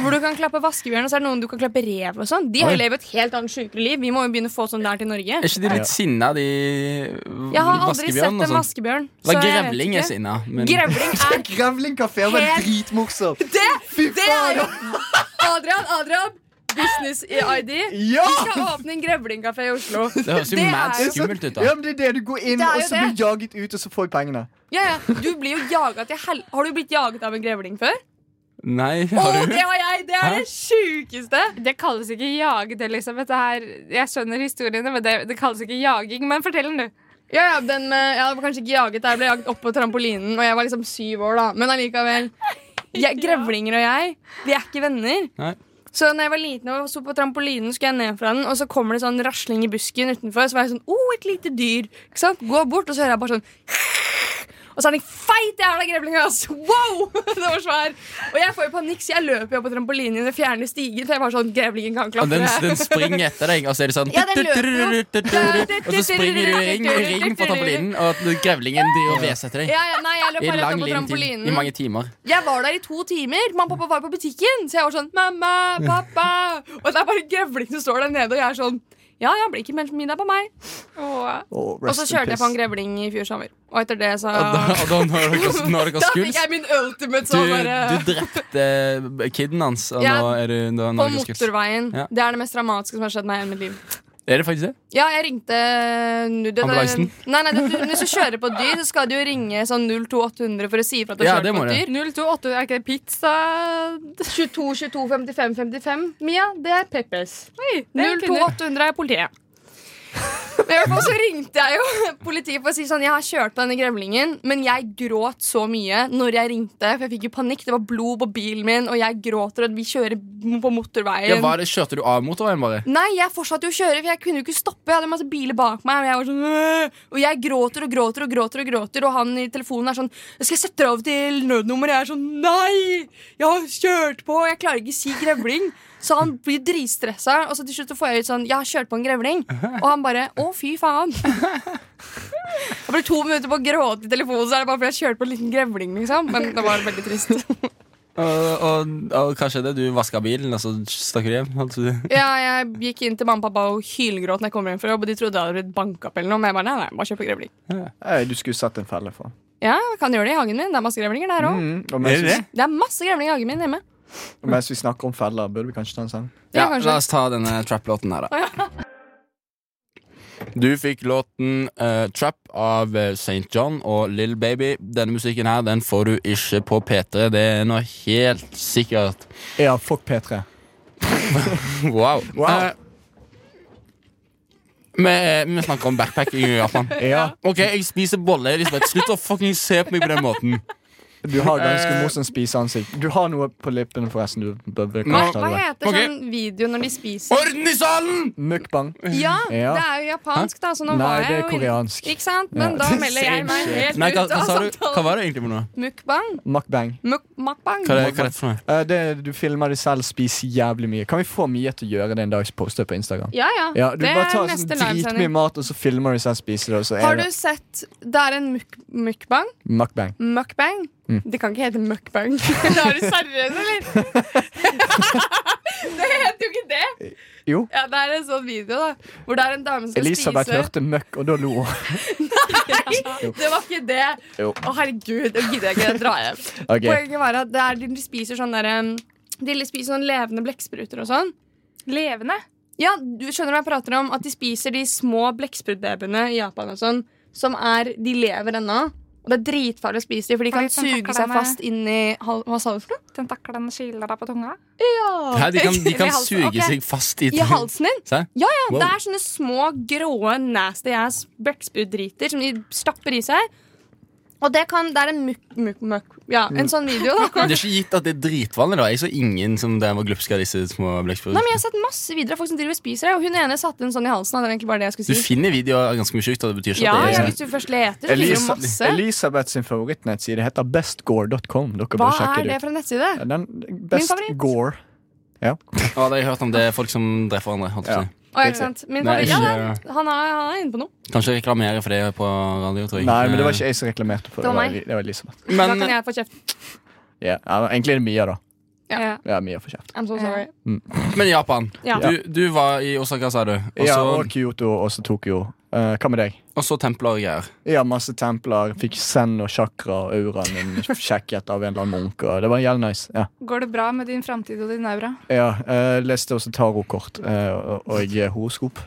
[SPEAKER 4] Hvor du kan klappe vaskebjørn, og så er det noen du kan klappe rev og sånn. De har
[SPEAKER 2] Oi.
[SPEAKER 4] jo levd et helt annet sjukere liv. Vi må jo begynne å få sånn der til Norge.
[SPEAKER 1] Er ikke de
[SPEAKER 2] Ja.
[SPEAKER 1] litt sinna, de
[SPEAKER 4] Jeg har aldri sett
[SPEAKER 1] vaskebjørnene
[SPEAKER 4] en
[SPEAKER 1] og sånn?
[SPEAKER 4] vaskebjørn.
[SPEAKER 1] Eller
[SPEAKER 4] jeg vet
[SPEAKER 1] grevling
[SPEAKER 4] ikke.
[SPEAKER 1] er sinna. Men
[SPEAKER 4] Grevling er
[SPEAKER 2] Grevlingkafé var
[SPEAKER 4] Helt-
[SPEAKER 2] dritmorsomt!
[SPEAKER 4] Det,
[SPEAKER 2] Fy
[SPEAKER 4] det er
[SPEAKER 2] faen!
[SPEAKER 4] jo Adrian, Adrian! business i ID.
[SPEAKER 2] Ja!
[SPEAKER 4] Vi skal åpne en grevlingkafé i Oslo.
[SPEAKER 1] *laughs* Det høres jo
[SPEAKER 4] Det
[SPEAKER 1] mad
[SPEAKER 4] er jo-
[SPEAKER 1] skummelt ut, da.
[SPEAKER 2] ja, men det er det. Du går inn,
[SPEAKER 4] Det er
[SPEAKER 2] og
[SPEAKER 4] jo
[SPEAKER 2] så blir du jaget ut, og så får du pengene.
[SPEAKER 4] Ja, ja. Du blir jo jaga til hel... Har du blitt jaget av en grevling før?
[SPEAKER 1] Nei,
[SPEAKER 4] Å,
[SPEAKER 1] har du?
[SPEAKER 4] det har jeg! Det er
[SPEAKER 1] Hæ?
[SPEAKER 4] det sjukeste!
[SPEAKER 5] Det kalles ikke jaget, Elisabeth. Det her, jeg skjønner historiene, men det, det kalles ikke jaging. Men fortell den, du.
[SPEAKER 4] Ja, ja, den med, jeg var kanskje ikke jaget Jeg ble jaget opp på trampolinen, og jeg var liksom syv år da. Men allikevel. Jeg, grevlinger og jeg, vi er ikke venner.
[SPEAKER 1] Nei.
[SPEAKER 4] Så når jeg var liten og sto på trampolinen, skulle jeg ned fra den, og så kommer det sånn rasling i busken utenfor. Så var jeg sånn oh, et lite dyr. Ikke sant? Gå bort, og så hører jeg bare sånn *laughs* og så er den feit jævla grevling! ass. Wow! *laughs* Det var svær. Og jeg får jo panikk, så jeg løper jo på trampolinen og fjerner stigen. For jeg var sånn, grevlingen kan
[SPEAKER 1] Og
[SPEAKER 4] klatre.
[SPEAKER 1] den, den
[SPEAKER 4] *laughs*
[SPEAKER 1] springer etter deg, og så er det sånn
[SPEAKER 4] Ja, den løper
[SPEAKER 1] Og så springer du i ring, i ring på trampolinen, og grevlingen driver og hveser etter deg.
[SPEAKER 4] Ja, ja, nei, jeg løp
[SPEAKER 1] I
[SPEAKER 4] bare rett
[SPEAKER 1] lang,
[SPEAKER 4] opp på
[SPEAKER 1] lang tid.
[SPEAKER 4] trampolinen.
[SPEAKER 1] I mange timer.
[SPEAKER 4] Jeg var der i to timer. Mamma og pappa var på butikken. Så jeg var sånn Mamma, pappa. Og det er bare en grevling som står der nede, og jeg er sånn Ja, ja, blir ikke mer middag på meg.
[SPEAKER 2] Å,
[SPEAKER 4] Og
[SPEAKER 2] rest
[SPEAKER 4] så
[SPEAKER 2] in
[SPEAKER 4] kjørte jeg på en
[SPEAKER 2] peace.
[SPEAKER 4] grevling i fjor sommer. Og etter det så
[SPEAKER 1] Og da,
[SPEAKER 4] Da
[SPEAKER 1] og da når dere, når
[SPEAKER 4] *laughs*
[SPEAKER 1] dere
[SPEAKER 4] fikk
[SPEAKER 1] skuls
[SPEAKER 4] jeg min ultimate
[SPEAKER 1] du,
[SPEAKER 4] sånn bare
[SPEAKER 1] du drepte kiden hans, og
[SPEAKER 4] Ja,
[SPEAKER 1] nå er du nå er
[SPEAKER 4] På
[SPEAKER 1] dere skuls.
[SPEAKER 4] motorveien.
[SPEAKER 1] Ja.
[SPEAKER 4] Det er det mest dramatiske som har skjedd meg i hele mitt liv.
[SPEAKER 1] Er det faktisk det?
[SPEAKER 4] Ja, jeg ringte nu- det- det-
[SPEAKER 1] Ambulansen?
[SPEAKER 4] Nei, nei, det, du, Hvis du kjører på et dyr, så skal du jo ringe sånn 02800 for å si ifra at du
[SPEAKER 1] Ja,
[SPEAKER 4] kjører
[SPEAKER 1] det
[SPEAKER 4] på
[SPEAKER 1] må
[SPEAKER 4] et
[SPEAKER 1] du.
[SPEAKER 4] dyr.
[SPEAKER 5] 028, er ikke det pizza?
[SPEAKER 4] 22 22 55 55 Mia, det er Peppes.
[SPEAKER 5] det er kvinner.
[SPEAKER 4] 02800 er politiet. Men i hvert fall så ringte jeg jo politiet for å si sånn Jeg har kjørt på denne grevlingen, men jeg gråt så mye når jeg ringte. For jeg fikk jo panikk. Det var blod på bilen min, og jeg gråter, og vi kjører på motorveien.
[SPEAKER 1] Ja, var det kjørte du av motorveien, bare?
[SPEAKER 4] Nei, jeg fortsatte jo å kjøre, for jeg kunne jo ikke stoppe. Jeg hadde masse biler bak meg, og jeg var sånn «Åh!» Og jeg gråter og gråter og gråter, og gråter Og han i telefonen er sånn Jeg skal sette deg over til nødnummer. Og jeg er sånn Nei! Jeg har kjørt på, og jeg klarer ikke å si grevling. Så han blir dritstressa, og så til slutt så får jeg ut sånn Jeg har kjørt på en grevling. Og han bare Å, fy faen. Jeg ble to minutter på å gråte i telefonen, så er det bare fordi jeg kjørte på en liten grevling, liksom. Men det var veldig trist.
[SPEAKER 1] Og, og, og hva skjedde? Du vaska bilen, og så stakk du hjem? holdt du-
[SPEAKER 4] Ja, jeg gikk inn til mamma og pappa og hylgråt når jeg kom hjem fra jobb. Og de trodde jeg hadde blitt banka opp eller noe. Men jeg bare nei, nei, bare kjøp grevling.
[SPEAKER 2] Nei, Du skulle satt en felle for.
[SPEAKER 4] Ja, jeg kan gjøre det i hagen min. Det er masse grevlinger der òg.
[SPEAKER 2] Mm, og
[SPEAKER 1] Er
[SPEAKER 2] mens,
[SPEAKER 1] det
[SPEAKER 2] vi,
[SPEAKER 1] det?
[SPEAKER 4] Det er masse grevlinger i hagen min hjemme.
[SPEAKER 2] og mens vi snakker om feller, burde vi kanskje ta en sang?
[SPEAKER 4] Ja,
[SPEAKER 1] Ja,
[SPEAKER 4] kanskje.
[SPEAKER 1] la oss ta denne trap-låten her, da. Du fikk låten eh, Trap av eh, St. John og Lill Baby. Denne musikken her den får du ikke på P3. Det er nå helt sikkert.
[SPEAKER 2] Ja, fuck P3.
[SPEAKER 1] Wow.
[SPEAKER 2] Wow.
[SPEAKER 1] Eh, vi, vi snakker om backpacking i Japan.
[SPEAKER 2] Ja,
[SPEAKER 1] OK, jeg spiser boller. Elisabeth. Slutt å fucking se på meg på den måten.
[SPEAKER 2] Du har ganske
[SPEAKER 1] Eh.
[SPEAKER 2] morsomt spiseansikt. Du har noe på lippene, forresten. Du bør bør
[SPEAKER 4] Hva,
[SPEAKER 2] kanskje ta
[SPEAKER 4] hva
[SPEAKER 2] det.
[SPEAKER 4] heter
[SPEAKER 1] Ok.
[SPEAKER 4] sånn video når de spiser?
[SPEAKER 1] Orden i salen!
[SPEAKER 2] Mukbang.
[SPEAKER 4] Ja,
[SPEAKER 2] Ja.
[SPEAKER 4] det er jo japansk, da. Så
[SPEAKER 2] Nei,
[SPEAKER 4] nå var
[SPEAKER 2] det
[SPEAKER 4] jeg
[SPEAKER 2] er
[SPEAKER 4] jo inn-
[SPEAKER 2] koreansk.
[SPEAKER 4] Ikke sant? Men
[SPEAKER 2] Ja.
[SPEAKER 4] da melder jeg
[SPEAKER 2] *laughs*
[SPEAKER 4] meg helt
[SPEAKER 1] Nei, hva,
[SPEAKER 4] ut
[SPEAKER 1] hva,
[SPEAKER 4] av
[SPEAKER 1] sa du? hva
[SPEAKER 4] samtalen.
[SPEAKER 1] var det egentlig for noe?
[SPEAKER 4] Mukbang.
[SPEAKER 2] Mukbang.
[SPEAKER 4] Muk mukbang.
[SPEAKER 1] Hva er det, hva er det for noe?
[SPEAKER 2] Eh, det, du filmer deg selv spise jævlig mye. Kan vi få Mia til å gjøre det en dag? så Poste det på Instagram.
[SPEAKER 4] Ja, ja.
[SPEAKER 2] Ja, du
[SPEAKER 4] det
[SPEAKER 2] bare
[SPEAKER 4] er
[SPEAKER 2] tar sånn
[SPEAKER 4] neste
[SPEAKER 2] dritmye
[SPEAKER 4] livesending.
[SPEAKER 2] mat, og så filmer du selv spise det. Og så
[SPEAKER 4] Har
[SPEAKER 2] er
[SPEAKER 4] du
[SPEAKER 2] det
[SPEAKER 4] sett Det er en muk mukbang.
[SPEAKER 2] mukbang.
[SPEAKER 4] Mukbang?
[SPEAKER 2] Mm.
[SPEAKER 4] Det kan ikke hete mukbang. *laughs* Da er du seriøs, eller? *laughs* det heter jo ikke det.
[SPEAKER 2] Jo.
[SPEAKER 4] Ja, Det er en sånn video da hvor det er en dame som skal
[SPEAKER 2] Elisabeth
[SPEAKER 4] spise
[SPEAKER 2] hørte møkk, og da lo
[SPEAKER 4] *laughs*
[SPEAKER 2] hun.
[SPEAKER 4] Det var ikke det.
[SPEAKER 2] Jo.
[SPEAKER 4] Å, herregud. Det gidder jeg ikke. Dra hjem.
[SPEAKER 2] *laughs* Ok.
[SPEAKER 4] Poenget var at det er, de spiser sånn der, um, De spiser sånn levende blekkspruter og sånn.
[SPEAKER 5] Levende?
[SPEAKER 4] Ja, du skjønner hva jeg prater om? At de spiser de små blekksprutbabyene i Japan og sånn, som er De lever ennå. Og det er dritfarlig å spise dem, for de kan
[SPEAKER 5] Fordi de
[SPEAKER 4] suge
[SPEAKER 5] takler
[SPEAKER 4] seg
[SPEAKER 5] denne-
[SPEAKER 4] fast inn i hal- Hva sa du for noe?
[SPEAKER 5] Tentaklene kiler deg på tunga?
[SPEAKER 1] Hæ,
[SPEAKER 4] *laughs*
[SPEAKER 1] de kan, de
[SPEAKER 4] I
[SPEAKER 1] kan
[SPEAKER 4] halsen,
[SPEAKER 1] suge
[SPEAKER 4] ok.
[SPEAKER 1] seg fast i
[SPEAKER 4] I halsen din?
[SPEAKER 1] Se.
[SPEAKER 4] Ja, ja.
[SPEAKER 1] Wow.
[SPEAKER 4] Det er sånne små, grå, nasty ass blekksprutdriter som de stapper i seg. Og det kan Det er en muk... muk, muk ja, en sånn video,
[SPEAKER 1] *laughs*
[SPEAKER 4] da.
[SPEAKER 1] Men Det er ikke gitt at det er dritvanlig. da Jeg så ingen som der var glupsk av disse små
[SPEAKER 4] Nei, men
[SPEAKER 1] blekkspruter.
[SPEAKER 4] Jeg har sett masse videoer av folk som driver og spiser det. Og hun ene satte en sånn i halsen. og Det var egentlig bare det
[SPEAKER 1] Du
[SPEAKER 4] jeg skulle si.
[SPEAKER 1] finner videoer av ganske mye sjukt. og Det betyr ikke
[SPEAKER 4] Ja,
[SPEAKER 1] at
[SPEAKER 4] ja,
[SPEAKER 1] det er
[SPEAKER 4] Hvis du først leter, så finner du
[SPEAKER 2] Elisa,
[SPEAKER 4] masse.
[SPEAKER 2] Elisabeth sin favorittnettside heter bestgore.com. Dere
[SPEAKER 4] Hva
[SPEAKER 2] bør sjekke
[SPEAKER 4] er
[SPEAKER 2] det
[SPEAKER 4] det
[SPEAKER 2] ut.
[SPEAKER 4] for en nettside?
[SPEAKER 2] Ja, Den best
[SPEAKER 4] favoritt.
[SPEAKER 2] gore.
[SPEAKER 1] Ja, det har jeg hørt om det er folk som dreper hverandre. holdt jeg på å
[SPEAKER 2] Ja.
[SPEAKER 1] si.
[SPEAKER 4] Å, ja, ikke sant? Min
[SPEAKER 1] Nei,
[SPEAKER 4] favoritt. Ja,
[SPEAKER 1] ikke-
[SPEAKER 4] nei, han, er, han er inne på noe.
[SPEAKER 1] Kanskje reklamere for det på radio. tror jeg Eh,
[SPEAKER 2] Nei, men det var ikke jeg som reklamerte for det.
[SPEAKER 4] Det var
[SPEAKER 2] Det var,
[SPEAKER 4] meg.
[SPEAKER 2] Eli- det var Elisabeth.
[SPEAKER 4] Da
[SPEAKER 1] Men
[SPEAKER 4] kan jeg få kjeft.
[SPEAKER 2] Ja, ja, men egentlig er det Mia, da.
[SPEAKER 4] Ja.
[SPEAKER 2] Ja, Mia får kjeft.
[SPEAKER 4] I'm so sorry.
[SPEAKER 1] men Japan.
[SPEAKER 4] Ja.
[SPEAKER 1] Du, du var i Osaka, sa du. Og
[SPEAKER 2] Ja,
[SPEAKER 1] så
[SPEAKER 2] og Kyoto og så Tokyo. Eh, hva med deg?
[SPEAKER 1] Og så templer og greier.
[SPEAKER 2] Ja, masse templer. Fikk zen og chakra og auraen
[SPEAKER 4] *laughs*
[SPEAKER 2] min sjekket av en eller annen munk. Og det var jævlig nice. Ja,
[SPEAKER 5] Går det bra med din framtid og din aura?
[SPEAKER 2] ja eh, Leste også tarotkort eh, og, og eh, horoskop.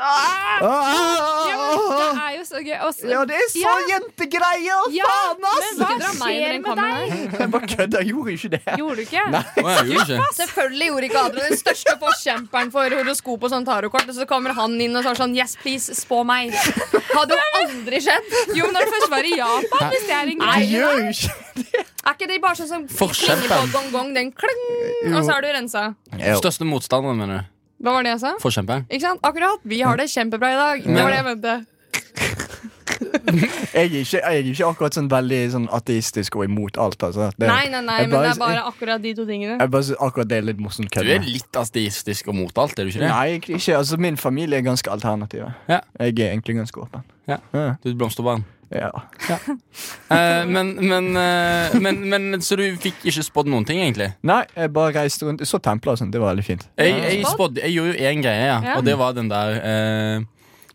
[SPEAKER 4] Ah!
[SPEAKER 5] Det
[SPEAKER 2] Ah!
[SPEAKER 5] er jo så gøy. Også,
[SPEAKER 2] Ja, det er så jentegreier!
[SPEAKER 5] Ja,
[SPEAKER 2] Faen, ass!
[SPEAKER 5] hva
[SPEAKER 4] dra meg med
[SPEAKER 5] skjer
[SPEAKER 4] den
[SPEAKER 5] med deg?
[SPEAKER 2] Jeg bare kødda. Jeg gjorde jo ikke det.
[SPEAKER 5] Gjorde du ikke?
[SPEAKER 2] Nei.
[SPEAKER 1] Å, jeg gjorde *laughs* ikke.
[SPEAKER 4] Selvfølgelig gjorde ikke Adrian den største forkjemperen for horoskop og sånn tarotkort, og så kommer han inn og sier sånn Yes, please, spå meg. Hadde jo aldri skjedd.
[SPEAKER 5] Jo, men når det først var i Japan, hvis det er en
[SPEAKER 2] Jeg
[SPEAKER 5] greie.
[SPEAKER 2] gjør jo ikke
[SPEAKER 4] Er ikke det bare sånn som
[SPEAKER 1] Forkjemperen. Eh,
[SPEAKER 4] klinger på gong-gong, den kling, og så er du rensa?
[SPEAKER 2] Jo.
[SPEAKER 1] Største motstanderen, mener du?
[SPEAKER 4] Hva var det jeg sa?
[SPEAKER 1] Forkjemperen?
[SPEAKER 4] Ikke sant? Akkurat. Vi har det kjempebra i dag. Det var det jeg mente.
[SPEAKER 2] Jeg er ikke, jeg er ikke akkurat sånn veldig sånn ateistisk og imot alt. Altså. Det,
[SPEAKER 4] Nei, nei, nei,
[SPEAKER 2] jeg
[SPEAKER 4] men det
[SPEAKER 2] bare-
[SPEAKER 4] er bare akkurat de to tingene.
[SPEAKER 2] Jeg bare synes akkurat det er litt morsomt
[SPEAKER 1] Du
[SPEAKER 2] kødd.
[SPEAKER 1] er litt asteistisk og mot alt, er du ikke det?
[SPEAKER 2] Nei, egentlig ikke. Altså, min familie er ganske alternativ.
[SPEAKER 1] Ja.
[SPEAKER 2] Jeg er egentlig ganske åpen.
[SPEAKER 1] Ja.
[SPEAKER 2] Ja.
[SPEAKER 1] Du er et blomsterbarn.
[SPEAKER 2] Ja.
[SPEAKER 1] Eh, men, men, eh, men, men Så du fikk ikke spådd noen ting, egentlig?
[SPEAKER 2] Nei, jeg bare reiste rundt. Jeg så templer og sånn. Det var veldig fint.
[SPEAKER 1] Jeg, jeg, spådde, jeg gjorde jo én greie, ja. og det var den der eh,